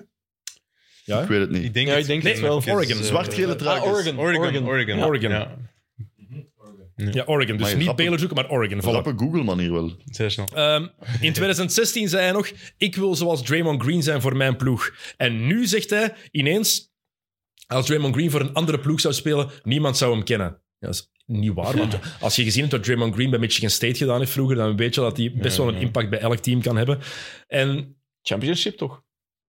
Speaker 1: Ja,
Speaker 2: ik weet het niet.
Speaker 5: Ik denk
Speaker 3: Ja,
Speaker 5: het-
Speaker 3: ik denk
Speaker 1: Nee,
Speaker 3: het wel.
Speaker 5: het is,
Speaker 1: Oregon.
Speaker 5: eh,
Speaker 2: Zwart-gele
Speaker 3: Ah,
Speaker 2: truikens.
Speaker 3: Oregon.
Speaker 5: Oregon. Oregon.
Speaker 1: Ja. Oregon.
Speaker 5: Ja,
Speaker 1: ja Oregon. Dus
Speaker 2: Maar je
Speaker 1: niet
Speaker 2: grappig.
Speaker 1: Baylor zoeken, maar Oregon. Voilà.
Speaker 2: Grappe Google-man hier wel.
Speaker 5: zeer snel.
Speaker 1: Ehm, in 2016 zei hij nog: Ik wil zoals Draymond Green zijn voor mijn ploeg. En nu zegt hij ineens: Als Draymond Green voor een andere ploeg zou spelen, niemand zou hem kennen. Ja, dat is niet waar, want als je gezien hebt wat Draymond Green bij Michigan State gedaan heeft vroeger, dan weet je dat hij best wel een
Speaker 5: ja.
Speaker 1: impact bij elk team kan hebben. En
Speaker 3: Championship toch?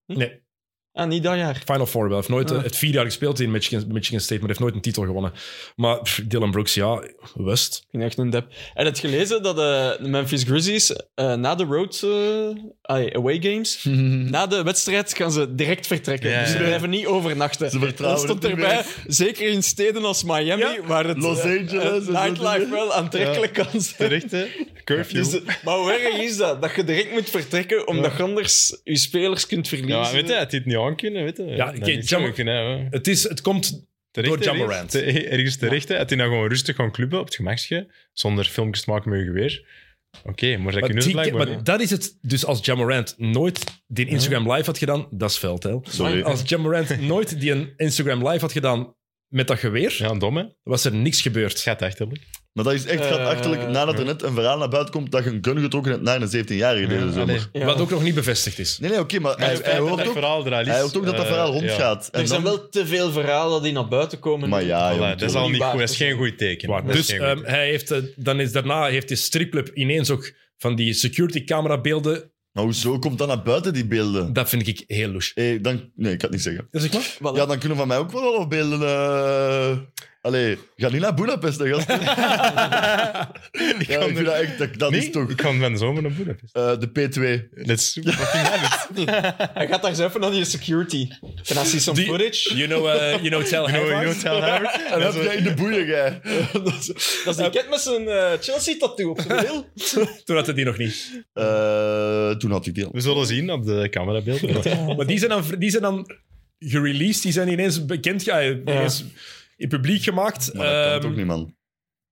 Speaker 1: nee,
Speaker 3: Ah, niet dat jaar.
Speaker 1: Final Four wel. Hij heeft nooit
Speaker 3: Ah.
Speaker 1: eh, het vier jaar gespeeld in Michigan, Michigan State, maar heeft nooit een titel gewonnen. Maar pff, Dylan Brooks, ja, West.
Speaker 3: Ik vind echt een dep. En het gelezen dat eh, de Memphis Grizzlies eh, na de road eh, ai, away games, na de wedstrijd gaan ze direct vertrekken.
Speaker 5: Ja,
Speaker 3: dus ze
Speaker 5: ja.
Speaker 3: blijven niet overnachten.
Speaker 2: Ze
Speaker 3: Dat
Speaker 2: vertrouwen
Speaker 3: stond
Speaker 2: het niet
Speaker 3: erbij,
Speaker 2: meer.
Speaker 3: zeker in steden als Miami,
Speaker 1: Ja.
Speaker 3: waar het
Speaker 2: Los
Speaker 3: eh,
Speaker 2: Angeles
Speaker 3: eh,
Speaker 2: en zo
Speaker 3: nightlife
Speaker 2: dingen.
Speaker 3: wel aantrekkelijk kan zijn.
Speaker 5: Terecht, hè? Curfew.
Speaker 3: Dus, eh, maar hoe erg is dat? Dat je direct moet vertrekken omdat je anders je spelers kunt verliezen.
Speaker 5: Ja, maar weet je, had hij het niet aan kunnen, weet je.
Speaker 1: Ja,
Speaker 5: Dat
Speaker 1: oké,
Speaker 5: is
Speaker 1: Jam-
Speaker 5: zo kunnen, hè.
Speaker 1: Het, is, het komt
Speaker 5: Terecht,
Speaker 1: Door Jam
Speaker 5: ergens-
Speaker 1: Morant.
Speaker 5: te- Ergens terecht, hè. Had hij nou gewoon rustig gaan clubben op het gemakje, zonder filmpjes te maken met je geweer. Oké, maar dat
Speaker 1: Maar,
Speaker 5: kun je
Speaker 1: die-
Speaker 5: het blijkbaar
Speaker 1: maar
Speaker 5: niet.
Speaker 1: dat is het. Dus als Jamorant nooit die Instagram live had gedaan, dat is veldheil.
Speaker 2: Sorry.
Speaker 1: Als Jamorant nooit die een Instagram live had gedaan met dat geweer,
Speaker 5: Ja, dom, hè. Het
Speaker 1: was er niks gebeurd.
Speaker 5: gaat achterlijk.
Speaker 2: Maar dat is echt
Speaker 3: Eh,
Speaker 2: achterlijk nadat er net een verhaal naar buiten komt dat je een gun getrokken hebt naar een 17-jarige deze
Speaker 5: Ja, allee.
Speaker 2: zomer.
Speaker 3: Ja.
Speaker 1: Wat ook nog niet bevestigd is.
Speaker 2: Nee, nee, oké, maar hij,
Speaker 5: Het feit
Speaker 2: hij
Speaker 5: dat
Speaker 2: hoort
Speaker 5: dat
Speaker 2: ook,
Speaker 5: verhaal er al is,
Speaker 2: hij hoort ook dat dat
Speaker 5: eh,
Speaker 2: verhaal
Speaker 5: ja.
Speaker 2: rondgaat. En
Speaker 3: Er zijn
Speaker 2: dan-
Speaker 3: wel te veel verhalen die naar buiten komen.
Speaker 2: Maar ja,
Speaker 5: Voilà,
Speaker 2: joh,
Speaker 5: dat is al niet
Speaker 3: Waar,
Speaker 5: goed. Dat is
Speaker 3: dus-
Speaker 5: geen goed teken.
Speaker 1: Waar.
Speaker 5: Dat is
Speaker 1: Dus
Speaker 5: geen goed
Speaker 1: ehm, hij heeft, eh, dan is, daarna heeft die stripclub ineens ook van die security camera beelden.
Speaker 2: Maar hoezo Nou, komt dat naar buiten, die beelden?
Speaker 1: Dat vind ik heel louche.
Speaker 2: Eh, dan, nee, ik kan het niet zeggen.
Speaker 1: Dat is ook maar.
Speaker 3: Voilà.
Speaker 2: Ja, dan kunnen van mij ook wel wat beelden... eh, Allee, ga niet naar Budapest, hè, gast.
Speaker 5: teken. ik
Speaker 2: Ja,
Speaker 5: kan
Speaker 2: ik vind
Speaker 5: er-
Speaker 2: dat echt... Dat, dat
Speaker 5: Nee,
Speaker 2: is toch...
Speaker 5: ik kan van de zomer naar Boedapest.
Speaker 2: eh, de P2.
Speaker 5: Dat is super fucking valid.
Speaker 3: Hij gaat daar zo even naar die security. Can I see some
Speaker 1: Die-
Speaker 3: footage?
Speaker 1: You know, eh, you know tell
Speaker 5: Oh,
Speaker 1: Howard.
Speaker 5: you tell Howard.
Speaker 2: En heb jij in de boeien, jij.
Speaker 3: Dat is die kid met zijn eh, Chelsea-tattoo op zijn bril.
Speaker 1: Toen had hij die nog niet.
Speaker 2: Eh, toen had ik die al.
Speaker 5: We zullen zien op de camerabeelden.
Speaker 1: Maar die zijn dan, die zijn dan gereleased, die zijn ineens bekend, ja, ineens in publiek gemaakt.
Speaker 2: Maar dat kan
Speaker 1: Ehm,
Speaker 2: toch niet, man?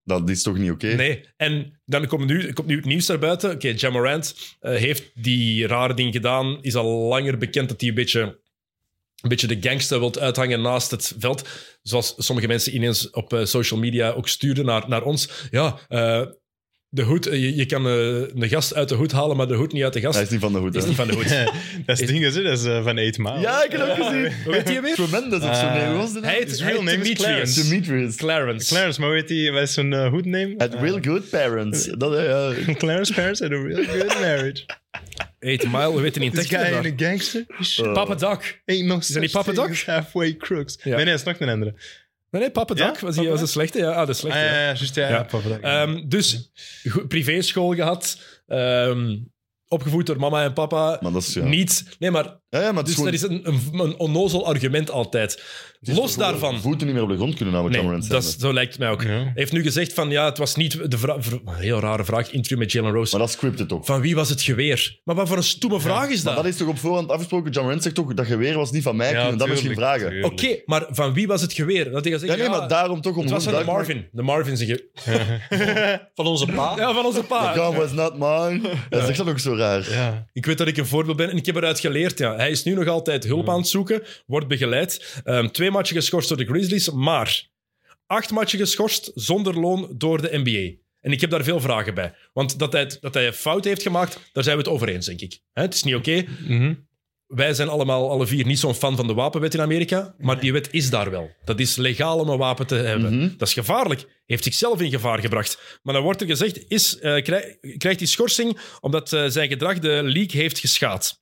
Speaker 2: Dat is toch niet oké?
Speaker 1: Nee, en dan komt nu, komt nu het nieuws naar buiten. Oké, Ja Morant eh, heeft die rare ding gedaan. Is al langer bekend dat hij een beetje, een beetje de gangster wilt uithangen naast het veld. Zoals sommige mensen ineens op eh, social media ook stuurden naar, naar ons. Ja, eh, de hoed, eh, je, je kan eh, de gast uit de hoed halen, maar de hoed niet uit de gast.
Speaker 2: Hij is niet van de hoed, hè?
Speaker 1: Is niet van de hoed.
Speaker 5: dat is dingen, dat is eh, van Eet Maal.
Speaker 2: Ja, ik heb hem gezien.
Speaker 1: Hoe heet hij weer?
Speaker 2: Tremendous of zo. Nee, hoe was dat?
Speaker 1: Hij heet,
Speaker 5: His
Speaker 1: hij
Speaker 5: real
Speaker 1: heet
Speaker 5: name is
Speaker 1: Demetrius.
Speaker 5: Clarence.
Speaker 2: Demetrius.
Speaker 1: Clarence.
Speaker 5: Clarence, maar weet hij, wat is zijn uh, hoedname?
Speaker 2: At real good parents. Dat, eh, ja.
Speaker 5: Clarence Parents had a real good marriage.
Speaker 1: Eight Mile, we weten niet.
Speaker 5: This
Speaker 1: tekenen
Speaker 5: guy
Speaker 1: daar.
Speaker 5: ain't a gangster. He sh-
Speaker 1: Papa Duck.
Speaker 5: Ain't no
Speaker 1: dat niet
Speaker 5: such
Speaker 1: Papa
Speaker 5: thing
Speaker 1: Doc?
Speaker 5: as halfway crooks.
Speaker 1: Ja.
Speaker 5: Nee, nee, dat is nog een andere.
Speaker 1: Nee, nee, Papa
Speaker 5: Ja?
Speaker 1: Duck was, die,
Speaker 5: Papa
Speaker 1: was de
Speaker 5: Duck?
Speaker 1: slechte. Ja, ah, de
Speaker 5: Ah,
Speaker 1: slechte.
Speaker 5: ja,
Speaker 1: ja.
Speaker 5: ja, juist, ja,
Speaker 1: Ja.
Speaker 5: Papa Doc.
Speaker 1: Ehm, dus go- privéschool gehad, ehm, opgevoed door mama en papa.
Speaker 2: Maar dat is... Ja.
Speaker 1: Niet, nee, maar
Speaker 2: Ja, ja, maar het
Speaker 1: Dus
Speaker 2: is gewoon-
Speaker 1: dat is een, een, een onnozel argument altijd.
Speaker 2: het is
Speaker 1: Los
Speaker 2: gewoon
Speaker 1: daarvan.
Speaker 2: voeten niet meer op de grond kunnen houden,
Speaker 1: Nee,
Speaker 2: Cameron
Speaker 1: dat
Speaker 2: Sanders.
Speaker 1: is, zo lijkt het mij ook.
Speaker 5: Ja.
Speaker 1: Hij heeft nu gezegd van ja, het was niet de vra- vra- heel rare vraag, interview met Jalen Rose.
Speaker 2: Maar dat is scripted toch?
Speaker 1: Van wie was het geweer? Maar wat voor een stomme vraag is dat?
Speaker 2: Dat is toch op voorhand afgesproken? John Rand zegt toch, dat geweer was niet van mij, kunnen we dat misschien vragen?
Speaker 1: Oké, maar van wie was het geweer? Dat hij gaat
Speaker 2: Ja,
Speaker 1: zeggen,
Speaker 2: nee,
Speaker 1: ja,
Speaker 2: maar daarom toch om
Speaker 1: het was
Speaker 2: goed
Speaker 1: van de
Speaker 2: duidelijk-
Speaker 1: Marvin. De Marvin zijn ge-
Speaker 3: Van onze pa.
Speaker 1: Ja, van onze pa.
Speaker 2: The gun was not mine. Dat is echt dan ook zo raar.
Speaker 5: Ja.
Speaker 1: Ik weet dat ik een voorbeeld ben en ik heb eruit geleerd. Ja. Hij is nu nog altijd hulp aan het zoeken, wordt begeleid. Ehm, twee matchen geschorst door de Grizzlies, maar acht matchen geschorst zonder loon door de NBA. En ik heb daar veel vragen bij. Want dat hij, het- dat hij een fout heeft gemaakt, daar zijn we het over eens, denk ik. Hè, het is niet oké. Wij zijn allemaal, alle vier, niet zo'n fan van de wapenwet in Amerika. Maar die wet is daar wel. Dat is legaal om een wapen te hebben.
Speaker 2: Mhm.
Speaker 1: Dat is gevaarlijk. Heeft zichzelf in gevaar gebracht. Maar dan wordt er gezegd, is, eh, krij- krijgt hij schorsing omdat eh, zijn gedrag de league heeft geschaad.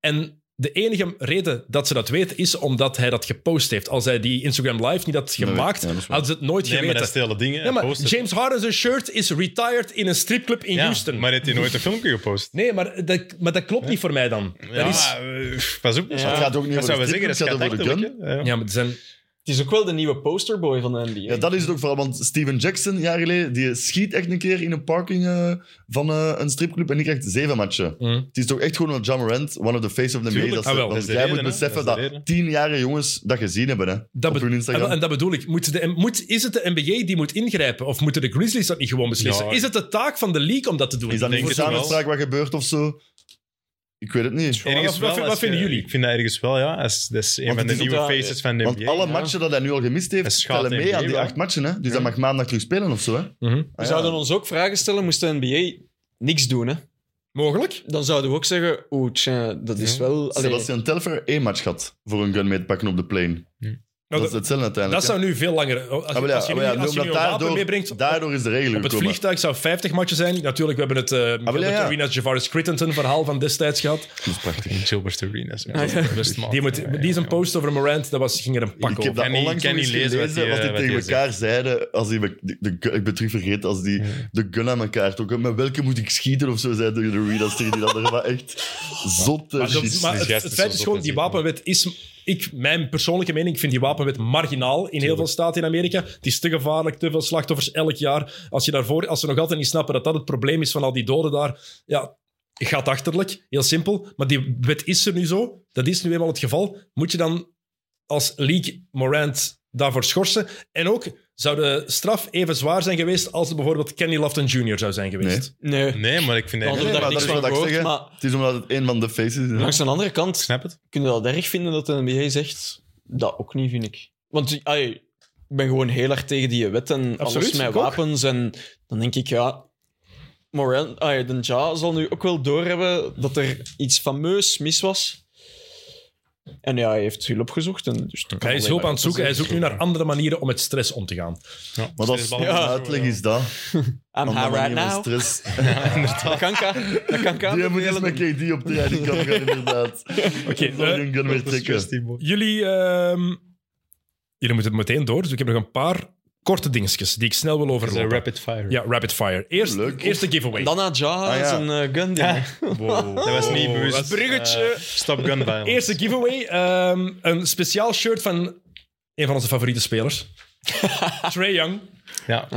Speaker 1: En de enige reden dat ze dat weet, is omdat hij dat gepost heeft. Als hij die Instagram Live niet had gemaakt,
Speaker 2: ja, dat is waar.
Speaker 1: hadden ze het nooit
Speaker 5: Nee, maar
Speaker 1: geweten.
Speaker 5: dat stelen dingen.
Speaker 1: Ja, maar
Speaker 5: posten.
Speaker 1: James Harden's shirt is retired in een stripclub in
Speaker 5: Ja,
Speaker 1: Houston.
Speaker 5: Maar heeft hij nooit een filmpje gepost?
Speaker 1: Nee, maar dat, maar dat klopt niet voor mij dan.
Speaker 5: Ja,
Speaker 1: dat is,
Speaker 5: eh, Pas op.
Speaker 3: Ja.
Speaker 2: Dus Het gaat ook niet
Speaker 5: Dat
Speaker 2: over
Speaker 5: zou
Speaker 2: de
Speaker 5: we zeggen,
Speaker 2: strip,
Speaker 5: dat
Speaker 2: het
Speaker 5: gaat
Speaker 2: gaat over de gun.
Speaker 5: achterlijk, hè? Ja.
Speaker 1: ja, maar er zijn...
Speaker 3: Het is ook wel de nieuwe posterboy van de NBA.
Speaker 2: Ja, dat is het ook vooral, want Steven Jackson, een jaar geleden, die schiet echt een keer in een parking eh, van eh, een stripclub en die krijgt zeven matchen.
Speaker 1: Mm.
Speaker 2: Het is toch echt gewoon dat John Morant, one of the face of the NBA,
Speaker 5: Mhm. Tuurlijk,
Speaker 2: dat, ze-
Speaker 1: ah, wel.
Speaker 2: dat
Speaker 1: Dat
Speaker 5: is de
Speaker 2: jij
Speaker 5: reden,
Speaker 2: moet
Speaker 5: hè.
Speaker 2: beseffen dat,
Speaker 5: Dat is de reden.
Speaker 2: tienjarige jongens dat gezien hebben hè,
Speaker 1: Dat
Speaker 2: op
Speaker 1: be- Ah,
Speaker 2: hun Instagram.
Speaker 1: En, en dat bedoel ik. Moet de, moet, is het de NBA die moet ingrijpen? Of moeten de Grizzlies dat niet gewoon beslissen?
Speaker 5: Ja.
Speaker 1: Is het de taak van de league om dat te doen?
Speaker 2: is dat
Speaker 5: denk
Speaker 2: niet voor
Speaker 5: het wel.
Speaker 2: samenspraak wat gebeurt of zo? Ik weet het niet.
Speaker 5: Ergens
Speaker 1: Wat-
Speaker 5: wel,
Speaker 1: wat- wat
Speaker 5: als
Speaker 1: vinden
Speaker 5: je-
Speaker 1: jullie?
Speaker 5: Ik vind dat ergens wel, ja. Dat is, dat is een
Speaker 2: Want
Speaker 5: van de
Speaker 2: het is
Speaker 5: nieuwe
Speaker 3: ook, ja,
Speaker 5: faces van de
Speaker 2: Want
Speaker 5: NBA.
Speaker 2: alle
Speaker 5: ja.
Speaker 2: matchen dat hij nu al gemist heeft,
Speaker 5: Dat schaadt
Speaker 2: tellen mee
Speaker 5: NBA
Speaker 2: aan die
Speaker 5: wel.
Speaker 2: acht matchen. Hè? Dus dat mag maandag terug spelen of zo. Hè?
Speaker 1: Mhm.
Speaker 3: We
Speaker 2: Ah, ja.
Speaker 3: zouden ons ook vragen stellen, moest de NBA niks doen, hè?
Speaker 1: Mogelijk?
Speaker 3: Dan zouden we ook zeggen, oeh, tja, dat is
Speaker 5: Ja.
Speaker 3: wel...
Speaker 2: Stel
Speaker 3: allee,
Speaker 2: als je een telfer één match had voor een gun mee te pakken op de plane. dat,
Speaker 1: Nou, dat-
Speaker 2: is hetzelfde uiteindelijk.
Speaker 1: Dat
Speaker 2: hè.
Speaker 1: zou nu veel langer... Als,
Speaker 2: Ah,
Speaker 1: je-
Speaker 2: wel ja,
Speaker 1: als je nu,
Speaker 2: ah, wel ja,
Speaker 1: als je nu
Speaker 2: omdat
Speaker 1: een wapen
Speaker 2: daardoor,
Speaker 1: meebrengt... op-
Speaker 2: daardoor is de regel
Speaker 1: Op het
Speaker 2: gekomen.
Speaker 1: vliegtuig zou 50 matchen zijn. Natuurlijk, we hebben het eh
Speaker 2: Ah, wel ja, ja.
Speaker 1: Arena Javaris Crittenton verhaal van destijds gehad.
Speaker 2: Dat is prachtig.
Speaker 5: Gilbert Arenas.
Speaker 3: Ah, ja.
Speaker 1: Die, moet, die is een post over Morant, dat was, ging er een pak
Speaker 2: Ik heb
Speaker 1: over.
Speaker 2: dat
Speaker 5: En die
Speaker 2: onlangs
Speaker 5: kan
Speaker 2: nog eens
Speaker 5: niet lezen
Speaker 2: gelezen,
Speaker 5: wat
Speaker 2: wat die,
Speaker 5: die, eh,
Speaker 2: tegen
Speaker 5: wat die
Speaker 2: elkaar zeiden. Als die, de, gu- ik ben terug vergeten, als die de gun aan elkaar trokken. Met welke moet ik schieten of zo, zei de Reeders tegen die andere. Maar echt zotte
Speaker 1: Maar, dat-
Speaker 2: shit.
Speaker 1: maar
Speaker 5: die
Speaker 1: het,
Speaker 5: gast
Speaker 1: het
Speaker 5: is
Speaker 1: feit
Speaker 5: zo
Speaker 1: is gewoon,
Speaker 5: zot
Speaker 1: die
Speaker 5: en zin,
Speaker 1: wapenwet is... Ik, mijn persoonlijke mening, ik vind die wapenwet marginaal in heel veel staten in Amerika. Het is te gevaarlijk, te veel slachtoffers elk jaar. Als, je daarvoor, als ze nog altijd niet snappen dat dat het probleem is van al die doden daar... Ja, gaat achterlijk, heel simpel. Maar die wet is er nu zo. Dat is nu eenmaal het geval. Moet je dan als League Morant daarvoor schorsen? En ook, zou de straf even zwaar zijn geweest als het bijvoorbeeld Kenny Lofton Jr. zou zijn geweest?
Speaker 2: Nee.
Speaker 3: Nee,
Speaker 5: Nee, maar ik vind
Speaker 3: we
Speaker 5: dat...
Speaker 3: hadden
Speaker 2: Nee,
Speaker 3: daar
Speaker 2: maar
Speaker 3: niks
Speaker 2: dat is
Speaker 3: van
Speaker 2: wat ik
Speaker 3: gehoord,
Speaker 2: zeg, hè.
Speaker 3: maar
Speaker 2: Het is omdat het een van de faces is.
Speaker 3: langs de andere kant...
Speaker 5: Ik snap het.
Speaker 3: kun je dat erg vinden dat de NBA zegt? Dat ook niet, vind ik. Want ai, ik ben gewoon heel erg tegen die wet en alles
Speaker 1: Absoluut,
Speaker 3: met
Speaker 1: ik ook.
Speaker 3: wapens. En dan denk ik, ja... Moran, ai, de Ja zal nu ook wel doorhebben dat er iets fameus mis was. En ja, hij heeft hulp gezocht. En dus dat kan
Speaker 1: Hij is
Speaker 3: alleen
Speaker 1: hulp
Speaker 3: maar
Speaker 1: aan het zoeken. Hij zoekt nu naar andere manieren om met stress om te gaan.
Speaker 5: Ja.
Speaker 2: Maar dat is
Speaker 5: Ja.
Speaker 2: een uitleg is dat.
Speaker 3: I'm
Speaker 2: Omdat men
Speaker 3: high right
Speaker 2: niet meer
Speaker 3: now.
Speaker 2: Stress.
Speaker 3: Dat kan kan. Dat kan kan.
Speaker 2: Die moet eens met KD op de die kan gaan, inderdaad.
Speaker 1: Oké,
Speaker 2: Dan zal
Speaker 1: eh,
Speaker 2: die een gun weer trekken.
Speaker 1: Jullie, ehm, jullie moeten het meteen door, dus ik heb nog een paar korte dingetjes die ik snel wil
Speaker 5: Dat is een
Speaker 1: overlopen.
Speaker 5: rapid fire.
Speaker 1: ja, rapid fire. Eerst,
Speaker 2: Leuk.
Speaker 1: eerste giveaway.
Speaker 3: Dan had Ja
Speaker 2: Ah, ja.
Speaker 3: zijn eh, gun. die-
Speaker 5: Dat was niet bewust.
Speaker 1: dat is- bruggetje.
Speaker 5: Eh, stop gun violence.
Speaker 1: Eerste giveaway, ehm, een speciaal shirt van een van onze favoriete spelers. Trey Young.
Speaker 5: Ja.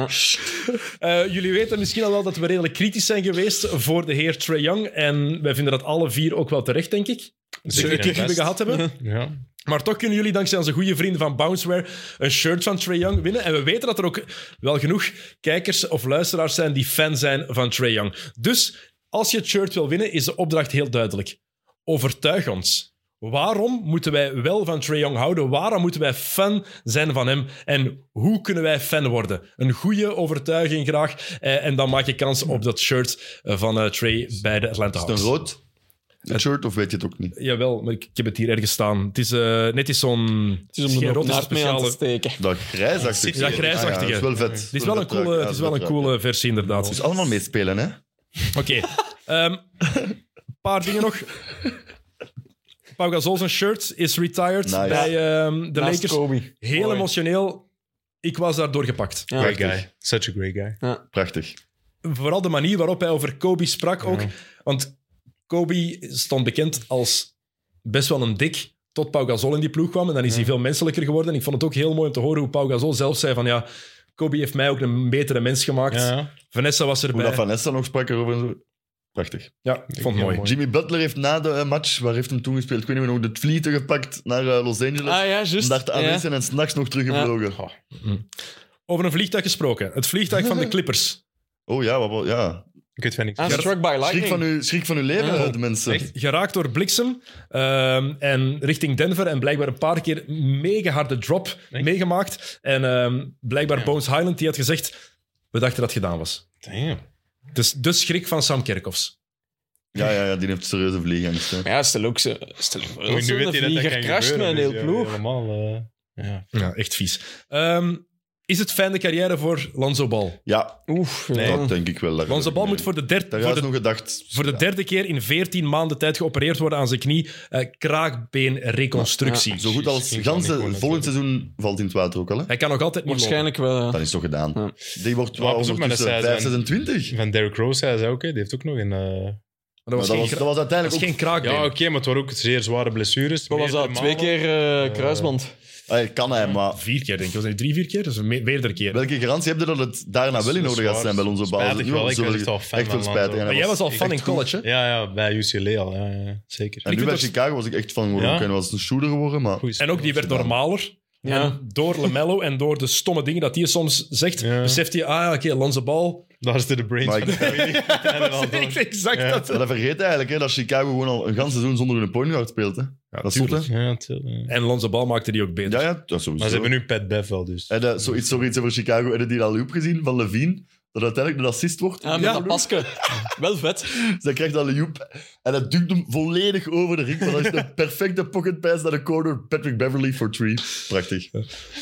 Speaker 1: Eh, jullie weten misschien al wel dat we redelijk kritisch zijn geweest voor de heer Trey Young. En wij vinden dat alle vier ook wel terecht, denk ik.
Speaker 5: Zeker
Speaker 1: Zeker
Speaker 5: en
Speaker 1: die we
Speaker 5: vast.
Speaker 1: gehad hebben.
Speaker 5: Ja.
Speaker 1: Maar toch kunnen jullie dankzij onze goede vrienden van Bounceware een shirt van Trey Young winnen. En we weten dat er ook wel genoeg kijkers of luisteraars zijn die fan zijn van Trey Young. Dus als je het shirt wil winnen, is de opdracht heel duidelijk. Overtuig ons. Waarom moeten wij wel van Trey Young houden? Waarom moeten wij fan zijn van hem? En hoe kunnen wij fan worden? Een goede overtuiging graag. Eh, en dan maak je kans op dat shirt eh, van eh, Trey bij de Atlanta
Speaker 2: Is het een
Speaker 1: Hawks.
Speaker 2: rood? Een shirt of weet je het ook niet?
Speaker 1: Jawel, maar ik, ik heb het hier ergens staan. Het is eh, net is zo'n...
Speaker 3: Het is om de
Speaker 1: geen
Speaker 3: op
Speaker 1: rotte
Speaker 3: naad mee aan te
Speaker 1: speciale-
Speaker 3: steken.
Speaker 2: Dat grijsachtige.
Speaker 1: Ja, grijsachtige.
Speaker 2: Ah ja, dat is wel vet.
Speaker 1: Het is wel een coole, het is wel een coole Ah, versie, inderdaad.
Speaker 2: Dus allemaal meespelen, hè?
Speaker 1: Oké. Ehm, een paar dingen nog. Pau Gasol zijn shirt is retired
Speaker 2: Nice.
Speaker 1: bij ehm, de
Speaker 3: Naast
Speaker 1: Lakers.
Speaker 3: Kobe.
Speaker 1: Heel
Speaker 5: Mooi.
Speaker 1: emotioneel. Ik was daardoor gepakt.
Speaker 3: Ja.
Speaker 5: Great
Speaker 2: Prachtig.
Speaker 5: guy. Such a great guy.
Speaker 2: Prachtig.
Speaker 1: Vooral de manier waarop hij over Kobe sprak ook. Want Kobe stond bekend als best wel een dik tot Pau Gasol in die ploeg kwam. En dan is hij veel menselijker geworden. En ik vond het ook heel mooi om te horen hoe Pau Gasol zelf zei van ja, Kobe heeft mij ook een betere mens gemaakt.
Speaker 5: Ja.
Speaker 1: Vanessa was
Speaker 2: Hoe dat
Speaker 1: erbij.
Speaker 2: Vanessa nog sprak erover en zo. Prachtig.
Speaker 1: Ja, ik vond het
Speaker 5: heel
Speaker 1: mooi.
Speaker 5: mooi.
Speaker 2: Jimmy Butler heeft na de eh, match, waar heeft hem toen gespeeld? Ik weet niet meer hoe, de vlieten gepakt naar eh, Los Angeles.
Speaker 3: Ah ja,
Speaker 2: om
Speaker 3: juist.
Speaker 2: daar te aanwezig
Speaker 3: Ja.
Speaker 2: zijn en s'nachts nog teruggevlogen.
Speaker 1: Over een vliegtuig gesproken. Het vliegtuig van de Clippers.
Speaker 2: Oh ja, wat, wat- ja.
Speaker 5: Ik weet van niks.
Speaker 3: Ah, struck by lightning.
Speaker 2: Schrik van, uw, schrik van uw leven,
Speaker 3: Ah.
Speaker 2: eh, de mensen.
Speaker 5: Echt?
Speaker 1: Geraakt door bliksem ehm, en richting Denver. En blijkbaar een paar keer mega harde drop
Speaker 5: Echt?
Speaker 1: meegemaakt. En ehm, blijkbaar
Speaker 5: Ja.
Speaker 1: Bones Highland die had gezegd, we dachten dat het gedaan was.
Speaker 5: Damn.
Speaker 1: Dus de schrik van Sam Kerkhoffs.
Speaker 2: Ja, ja, ja, die heeft serieuze vliegangst. hè.
Speaker 3: Maar ja, stel ook ze. Stel ook
Speaker 5: Oei, nu weet
Speaker 3: zo'n
Speaker 5: hij dat dat
Speaker 3: vlieger
Speaker 5: kan
Speaker 3: crasht met
Speaker 5: gebeuren.
Speaker 3: een
Speaker 5: dus
Speaker 3: heel
Speaker 5: ja,
Speaker 3: ploeg.
Speaker 5: Helemaal, eh, ja.
Speaker 1: Ja, echt vies. Ehm, is het fijne carrière voor Lonzo Ball?
Speaker 2: Ja,
Speaker 3: Oef.
Speaker 5: Nee.
Speaker 3: ja.
Speaker 2: dat denk ik wel. Daar
Speaker 1: Lonzo Ball
Speaker 2: nee.
Speaker 1: moet voor de, dert-
Speaker 2: Daar
Speaker 1: voor
Speaker 2: is
Speaker 1: de,
Speaker 2: nog gedacht.
Speaker 1: voor de derde keer in 14 maanden tijd geopereerd worden aan zijn knie. Eh, kraakbeenreconstructie.
Speaker 2: Zo goed als
Speaker 5: Misschien kan
Speaker 2: ganse,
Speaker 5: ik gewoon
Speaker 2: volgend seizoen valt in het water ook al. Hè?
Speaker 1: Hij kan nog altijd niet lopen.
Speaker 3: Waarschijnlijk wel. ja.
Speaker 2: Dat is toch gedaan.
Speaker 3: Ja.
Speaker 2: Die wordt
Speaker 5: Maar
Speaker 2: wel
Speaker 5: pas op, maar dat
Speaker 2: ondertussen
Speaker 5: zei
Speaker 2: 5,
Speaker 5: ze-
Speaker 2: 26. Maar
Speaker 5: Van Derrick Rose zei ze ook, hè. die heeft ook nog een... eh,
Speaker 1: Maar
Speaker 2: Dat
Speaker 1: dat was geen
Speaker 2: was,
Speaker 1: kra-
Speaker 2: dat was
Speaker 1: dat was
Speaker 2: uiteindelijk
Speaker 1: geen
Speaker 2: ook...
Speaker 1: kraakbeen.
Speaker 5: Ja, oké, maar het waren ook zeer zware blessures.
Speaker 3: Wat was dat?
Speaker 5: meerdere
Speaker 3: Twee keer eh, kruisband.
Speaker 2: Allee, kan hij, maar
Speaker 1: Vier keer, denk ik. Was het drie, vier keer? Dus me- meerdere keren.
Speaker 2: welke garantie heb je dat het daarna wel in
Speaker 5: Dat is
Speaker 2: orde gaat
Speaker 5: waar.
Speaker 2: zijn bij onze baas?
Speaker 5: Spijtig wel, ik was echt al fan
Speaker 2: Echt veel
Speaker 5: van
Speaker 2: spijt.
Speaker 5: Lonzo.
Speaker 2: En hij
Speaker 1: maar jij
Speaker 2: was-
Speaker 1: was al fan
Speaker 5: echt
Speaker 1: in college, hè?
Speaker 5: Ja, ja, bij UCLA al. Ja, ja, zeker.
Speaker 2: En
Speaker 1: Ik
Speaker 2: nu
Speaker 1: vind
Speaker 2: bij
Speaker 1: dat-
Speaker 2: Chicago was ik echt van geworden.
Speaker 5: Ja.
Speaker 2: ook. En was een shooter geworden, maar...
Speaker 5: Goeie
Speaker 1: En ook die werd
Speaker 2: gedaan.
Speaker 1: normaler.
Speaker 3: Ja.
Speaker 1: En door LaMelo en door de stomme dingen dat hij soms zegt,
Speaker 5: Ja.
Speaker 1: beseft hij, ah, ja, oké, Lonzo Ball.
Speaker 5: Daar zitten de brains
Speaker 2: Maar
Speaker 5: van
Speaker 2: ik-
Speaker 1: Dat is echt exact
Speaker 5: Ja.
Speaker 1: dat.
Speaker 2: Maar dat vergeet hij eigenlijk, hè, dat Chicago gewoon al een ganse seizoen zonder hun point guard speelt. Hè. dat is goed, hè?
Speaker 5: Ja, tuurlijk.
Speaker 1: En Lonzo Ball maakte die ook beter.
Speaker 2: Ja, ja, dat sowieso.
Speaker 5: Maar ze hebben nu Pat Bev wel, dus.
Speaker 2: Heb je zoiets, zoiets over Chicago, heb je die al loop gezien van Levine? Dat uiteindelijk de assist wordt.
Speaker 3: Ja, met
Speaker 1: Ja.
Speaker 3: dat paske. Wel vet.
Speaker 2: Dus hij krijgt dat loop en dat duwt hem volledig over de ring. Maar dat is de perfecte pocket pass naar de corner. Patrick Beverly for three. Prachtig.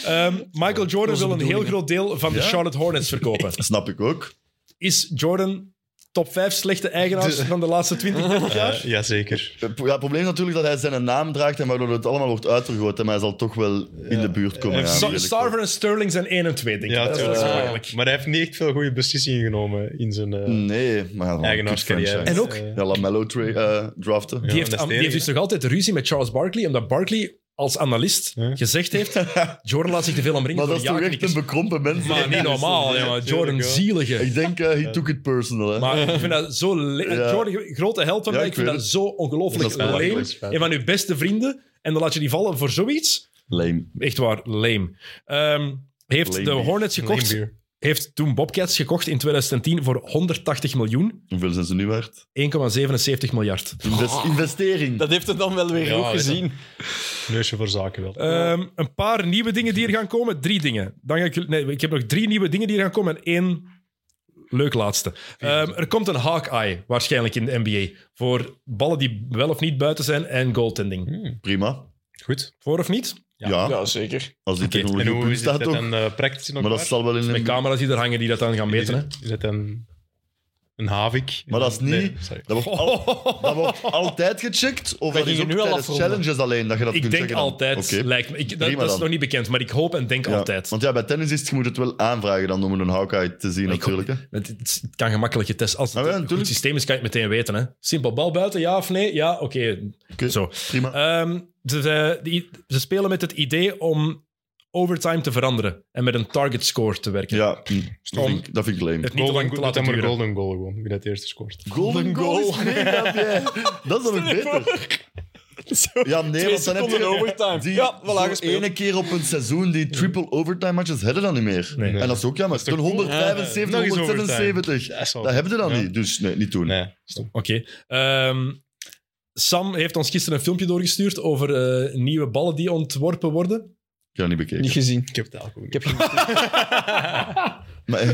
Speaker 1: Ehm, Michael Jordan wil een heel groot deel van de
Speaker 2: Ja.
Speaker 1: Charlotte Hornets verkopen.
Speaker 2: Dat snap ik ook.
Speaker 1: Is Jordan top 5 slechte eigenaars van de laatste 20 jaar?
Speaker 5: Ja, Jazeker.
Speaker 2: Ja, het probleem is natuurlijk dat hij zijn naam draagt en waardoor het allemaal wordt uitvergroot. hè, Maar hij zal toch wel in de buurt komen.
Speaker 5: Eh,
Speaker 2: Ja,
Speaker 5: Sa-
Speaker 1: Sa-
Speaker 2: eerlijk
Speaker 1: Sarver en Sterling zijn 1 en 2, denk ik.
Speaker 5: Ja,
Speaker 1: dat is wel
Speaker 5: tuurlijk.
Speaker 1: eens
Speaker 3: Ja.
Speaker 1: pijnlijk.
Speaker 5: Maar hij heeft niet echt veel goede beslissingen genomen in zijn eh,
Speaker 2: wel. Nee, maar ja,
Speaker 5: eigenaarscarrière.
Speaker 2: kutfranchise.
Speaker 1: En ook-
Speaker 5: Eh,
Speaker 2: Ja, LaMelo tra- eh, draften.
Speaker 5: Ja.
Speaker 1: Die, heeft,
Speaker 5: dat is
Speaker 1: die
Speaker 5: het
Speaker 1: heeft dus nog altijd ruzie met Charles Barkley, omdat Barkley als analist
Speaker 5: Ja.
Speaker 1: gezegd heeft: Jordan laat zich te veel omringen
Speaker 2: Maar
Speaker 1: door
Speaker 2: dat is toch echt een
Speaker 1: ja-knikkers.
Speaker 2: bekrompen mens.
Speaker 1: Maar niet normaal, jongen. Jordan
Speaker 5: Tuurlijk, ja.
Speaker 1: zielige.
Speaker 2: Ik denk, eh, he took it personal. Hè.
Speaker 1: Maar ik vind dat zo... le-
Speaker 2: Ja.
Speaker 1: Jordan, grote held van
Speaker 2: Ja,
Speaker 1: mij, ik
Speaker 2: ik
Speaker 1: vind
Speaker 2: weet
Speaker 1: dat zo ongelooflijk
Speaker 2: Dat is
Speaker 1: leem.
Speaker 2: belachelijk.
Speaker 1: Een van uw beste vrienden, en dan laat je die vallen voor zoiets.
Speaker 2: Lame.
Speaker 1: Echt waar, leem. Ehm, heeft
Speaker 2: Lame
Speaker 1: de
Speaker 2: beer.
Speaker 1: Hornets gekocht,
Speaker 5: Lame beer.
Speaker 1: heeft toen Bobcats gekocht in 2010 voor 180 miljoen,
Speaker 2: Hoeveel zijn ze nu waard?
Speaker 1: 1,77 miljard.
Speaker 2: Inves- investering.
Speaker 3: Dat heeft het dan wel weer
Speaker 5: Ja,
Speaker 3: goed
Speaker 5: weet
Speaker 3: gezien.
Speaker 5: Neusje voor zaken wel.
Speaker 1: Ehm, een paar nieuwe dingen die er gaan komen. Drie dingen. Dan ga ik, nee, ik heb nog drie nieuwe dingen die er gaan komen en één leuk laatste. Ehm, er komt een Hawkeye waarschijnlijk in de NBA. Voor ballen die wel of niet buiten zijn en goaltending.
Speaker 2: Prima.
Speaker 5: Goed.
Speaker 1: Voor of niet?
Speaker 2: Ja,
Speaker 3: Ja, zeker.
Speaker 2: als die
Speaker 5: En
Speaker 2: technologie op
Speaker 5: hoe
Speaker 2: hun
Speaker 5: is
Speaker 2: staat
Speaker 5: dat
Speaker 2: toch.
Speaker 5: dan eh, praktisch nog
Speaker 2: Maar dat
Speaker 5: waar?
Speaker 2: zal wel in
Speaker 1: Met
Speaker 2: een...
Speaker 1: camera's die er hangen die dat dan gaan
Speaker 5: Is
Speaker 1: meten. Hè?
Speaker 5: het- is het een, een havik?
Speaker 2: Maar dat is niet-
Speaker 5: Nee, sorry.
Speaker 2: Dat wordt, al- Oh, dat wordt altijd gecheckt? Of
Speaker 3: Dat
Speaker 2: dat is
Speaker 3: ging je
Speaker 2: ook
Speaker 3: nu al
Speaker 2: tijdens
Speaker 3: afronden.
Speaker 2: challenges alleen dat je dat
Speaker 1: Ik
Speaker 2: kunt
Speaker 1: denk
Speaker 2: checken dan?
Speaker 1: altijd,
Speaker 2: Oké.
Speaker 1: lijkt me. Ik, dat- dat
Speaker 2: Prima
Speaker 1: is
Speaker 2: dan.
Speaker 1: nog niet bekend, maar ik hoop en denk
Speaker 2: Ja,
Speaker 1: altijd.
Speaker 2: Want ja, bij tennis is het, je moet het wel aanvragen dan om een Hawkeye te zien
Speaker 1: Ik hoop-
Speaker 2: natuurlijk. Hè.
Speaker 1: Het, het- het kan gemakkelijk getest. Als het
Speaker 2: Ah, ja,
Speaker 1: een goed
Speaker 2: natuurlijk.
Speaker 1: systeem is, kan je het meteen weten. Hè? Simpel, bal buiten, ja of nee? Ja, oké.
Speaker 2: Oké,
Speaker 1: Zo.
Speaker 2: Prima.
Speaker 1: Ehm, ze, ze- die- ze spelen met het idee om overtime te veranderen en met een target score te werken.
Speaker 2: ja, hm, dat vind ik- dat vind ik lame.
Speaker 1: Het niet te
Speaker 5: Golden,
Speaker 1: lang te
Speaker 5: doe
Speaker 1: laten
Speaker 5: dan maar
Speaker 1: duren.
Speaker 5: golden goal gewoon, wie dat eerste scoort.
Speaker 2: Golden goal is mega, jij. Dat is dan ook beter.
Speaker 3: Zo.
Speaker 2: Ja, nee,
Speaker 3: Twee
Speaker 2: want dan heb
Speaker 3: seconden
Speaker 2: je...
Speaker 3: overtime.
Speaker 2: Die
Speaker 3: ja, voilà,
Speaker 2: zo'n
Speaker 3: gespeeld.
Speaker 2: ene keer op een seizoen die triple overtime matches hebben dan niet meer.
Speaker 1: Nee.
Speaker 2: En dat is ook jammer. Toen
Speaker 5: toch cool?
Speaker 2: 175,
Speaker 5: Ja, nog eens overtime.
Speaker 2: 176.
Speaker 5: Ja, zo.
Speaker 2: Dat hebben ze dan
Speaker 5: Ja.
Speaker 2: niet. Dus nee, niet doen.
Speaker 5: Nee, stop.
Speaker 1: Oké. Ehm, Sam heeft ons gisteren een filmpje doorgestuurd over eh, nieuwe ballen die ontworpen worden.
Speaker 2: Ik heb dat niet bekeken.
Speaker 3: Niet gezien.
Speaker 5: Ik heb het eigenlijk ook
Speaker 3: Ik
Speaker 5: niet.
Speaker 3: heb geen...
Speaker 2: Maar,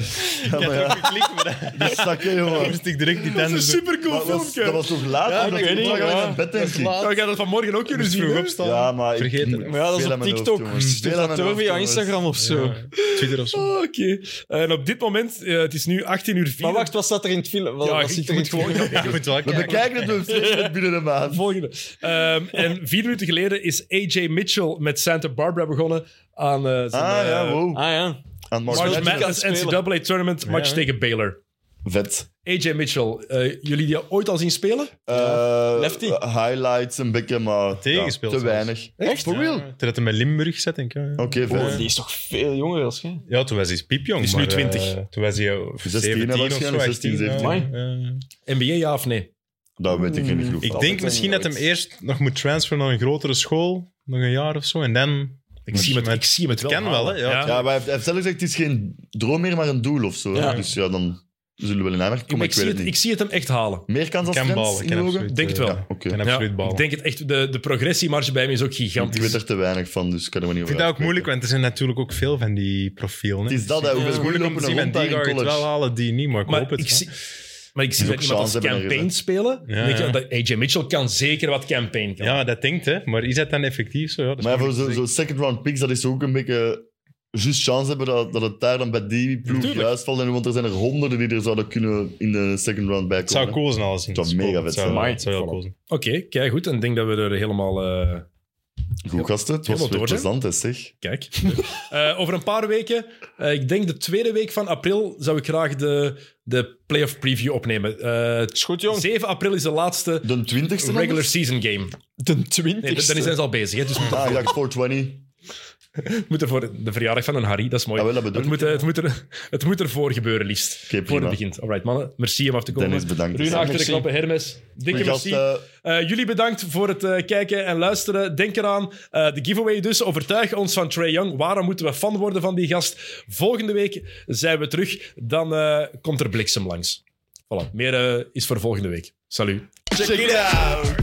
Speaker 2: ja, maar ja,
Speaker 5: geklikt, maar dan-
Speaker 2: die zakken,
Speaker 5: dan
Speaker 2: jongen.
Speaker 5: moest ik direct die
Speaker 1: Dat is een
Speaker 5: tanden
Speaker 1: supercool
Speaker 2: Dat was,
Speaker 1: filmpje.
Speaker 2: dat was toch laat?
Speaker 5: Ja,
Speaker 2: omdat
Speaker 5: ik
Speaker 2: ik
Speaker 5: weet niet,
Speaker 2: lag al
Speaker 5: ja.
Speaker 2: in mijn bed, denk
Speaker 5: Dat is
Speaker 2: ik.
Speaker 5: laat.
Speaker 1: Nou, ik had dat vanmorgen ook kunnen zien.
Speaker 5: vroeg
Speaker 1: hè?
Speaker 5: opstaan.
Speaker 2: Ja, maar ik-
Speaker 5: Vergeet het.
Speaker 3: Maar ja, dat is
Speaker 2: Veel aan
Speaker 3: op
Speaker 2: mijn hoofd,
Speaker 3: TikTok.
Speaker 2: jongens.
Speaker 3: Stuur
Speaker 2: Veel aan mijn
Speaker 3: dat door
Speaker 2: hoofd,
Speaker 3: via
Speaker 2: jongens.
Speaker 3: Instagram of zo.
Speaker 5: Ja, Twitter of zo.
Speaker 1: Oh, Oké. En op dit moment, eh, het is nu 18 uur
Speaker 3: Maar wacht, wat staat er in het film? Wat,
Speaker 1: Ja,
Speaker 3: wat
Speaker 1: ik
Speaker 3: zit er in
Speaker 1: moet
Speaker 3: het film?
Speaker 1: gewoon-
Speaker 5: Je moet wel
Speaker 2: We
Speaker 5: kijken.
Speaker 2: bekijken het door Facebook binnen een maand.
Speaker 1: Volgende. Ehm, en vier minuten geleden is AJ Mitchell met Santa Barbara begonnen aan eh, zijn
Speaker 2: Ah
Speaker 1: eh,
Speaker 2: ja, wow.
Speaker 3: Ah ja.
Speaker 2: Aan Mark
Speaker 1: March
Speaker 2: Madness.
Speaker 1: Madness
Speaker 3: spelen.
Speaker 1: NCAA Tournament match
Speaker 5: Ja.
Speaker 1: tegen Baylor.
Speaker 2: Vet.
Speaker 1: AJ Mitchell, eh, jullie die ooit al zien spelen?
Speaker 2: Eh,
Speaker 3: Lefty.
Speaker 2: Highlights een beetje, maar
Speaker 5: Tegengespeeld
Speaker 2: ja, te
Speaker 5: zelfs.
Speaker 2: weinig.
Speaker 3: Echt?
Speaker 2: For real?
Speaker 5: Terwijl hij met Limburg zat, denk ik. ja.
Speaker 2: Oké, vet.
Speaker 3: Oh, die is toch veel jonger als jij?
Speaker 5: Ja, toen was hij piepjong.
Speaker 1: Die is nu
Speaker 5: maar, eh,
Speaker 1: 20.
Speaker 5: toen was hij eh,
Speaker 2: 16
Speaker 5: 17 of zo,
Speaker 2: waarschijnlijk,
Speaker 5: 18.
Speaker 2: 17.
Speaker 5: ja. Ja.
Speaker 1: NBA ja of nee?
Speaker 2: Dat weet ik niet genoeg
Speaker 5: Ik
Speaker 2: van.
Speaker 5: denk misschien dat hem eerst nog moet transferen naar een grotere school. Nog een jaar of zo. En dan...
Speaker 1: Ik zie hem het, ik zie hem het wel.
Speaker 5: kan wel, hè?
Speaker 1: halen.
Speaker 5: Ja.
Speaker 2: Ja, maar hij heeft, hij heeft zelf gezegd, het is geen droom meer, maar een doel of zo. hè.
Speaker 3: Ja.
Speaker 2: Dus ja, dan zullen we wel in aanmerking
Speaker 1: Ik,
Speaker 2: komen.
Speaker 1: ik
Speaker 2: Ik,
Speaker 1: zie
Speaker 2: weet
Speaker 1: het,
Speaker 2: het
Speaker 1: ik
Speaker 2: niet.
Speaker 1: zie het hem echt halen.
Speaker 2: Meer kans als
Speaker 5: Kan
Speaker 2: Friends
Speaker 5: balen.
Speaker 2: in
Speaker 5: Kan
Speaker 2: je ogen?
Speaker 5: absoluut,
Speaker 1: Denk het
Speaker 5: eh,
Speaker 1: wel.
Speaker 2: Ja, oké.
Speaker 5: Kan
Speaker 1: Ja,
Speaker 5: absoluut balen.
Speaker 1: ik denk het echt. De, de progressiemarge bij hem is ook gigantisch.
Speaker 2: Ik weet er te weinig van, dus ik kan er maar niet
Speaker 5: Ik
Speaker 2: over
Speaker 5: vind dat
Speaker 2: uitspreken.
Speaker 5: ook moeilijk, want er zijn natuurlijk ook veel van die profielen. hè.
Speaker 2: Het is dat, hè.
Speaker 5: Het
Speaker 2: Hoeveel
Speaker 5: moeilijk om
Speaker 2: goeie
Speaker 5: te zien,
Speaker 2: lopen
Speaker 5: want
Speaker 2: er
Speaker 5: die
Speaker 2: rond
Speaker 5: ga
Speaker 2: daar
Speaker 5: je
Speaker 2: in
Speaker 5: het wel
Speaker 2: college.
Speaker 5: halen, die niet, maar ik hoop
Speaker 1: Maar
Speaker 5: het.
Speaker 1: ik
Speaker 5: ja.
Speaker 1: zie, maar ik zie
Speaker 2: ook
Speaker 1: dat iemand als
Speaker 2: chance hebben
Speaker 1: campaign
Speaker 2: ergens,
Speaker 1: spelen.
Speaker 5: Ja,
Speaker 1: denk je,
Speaker 5: ja.
Speaker 1: dat AJ Mitchell kan zeker wat campaign. Kan.
Speaker 5: Ja, dat denkt, hè. Maar is dat dan effectief zo? Ja, dat is
Speaker 2: Maar ja, voor
Speaker 5: moeilijk te
Speaker 2: zo'n zo second round picks, dat is ook een beetje... Juist chance hebben dat, dat het daar dan bij die ploeg
Speaker 1: Tuurlijk.
Speaker 2: juist valt. En, want er zijn er honderden die er zouden kunnen in de second round bij
Speaker 5: Het
Speaker 2: komen.
Speaker 5: zou cool zijn, alles in.
Speaker 2: Het zou mega vet zijn.
Speaker 5: zou, het zou heel
Speaker 2: Voilà.
Speaker 5: cool zijn.
Speaker 1: Oké, kijk goed. En ik denk dat we er helemaal. eh,
Speaker 2: Goed, gasten. Het
Speaker 1: Helemaal
Speaker 2: was weer
Speaker 1: door, hè?
Speaker 2: plezant, hè, zeg.
Speaker 1: kijk. Eh, over een paar weken, eh, ik denk de tweede week van april, zou ik graag de, de playoff preview opnemen. Eh,
Speaker 3: Is goed, jong.
Speaker 1: 7 april is de laatste
Speaker 2: De twintigste dus?
Speaker 1: regular season game.
Speaker 3: De
Speaker 1: Nee, dan
Speaker 3: twintigste.
Speaker 1: zijn ze al bezig. Hè, dus we
Speaker 2: Ah, ik dacht 420.
Speaker 1: moeten voor de verjaardag van een Harry, dat is mooi.
Speaker 2: Ah, wel, dat bedoel
Speaker 1: het, moet, eh, het, moet er, het moet ervoor gebeuren, liefst.
Speaker 2: Oké, prima.
Speaker 1: voor het begint. Alright, mannen. Merci om af te komen.
Speaker 2: Dennis, bedankt.
Speaker 1: Ruud achter de
Speaker 3: Merci.
Speaker 1: knoppen, Hermes. Dikke
Speaker 2: Mijn gast,
Speaker 1: merci.
Speaker 2: eh,
Speaker 1: Eh, jullie bedankt voor het eh, kijken en luisteren. Denk eraan, eh, de giveaway dus. Overtuig ons van Trey Young. Waarom moeten we fan worden van die gast? Volgende week zijn we terug. Dan eh, komt er bliksem langs. Voilà, meer eh, is voor volgende week. Salut.
Speaker 2: check it out.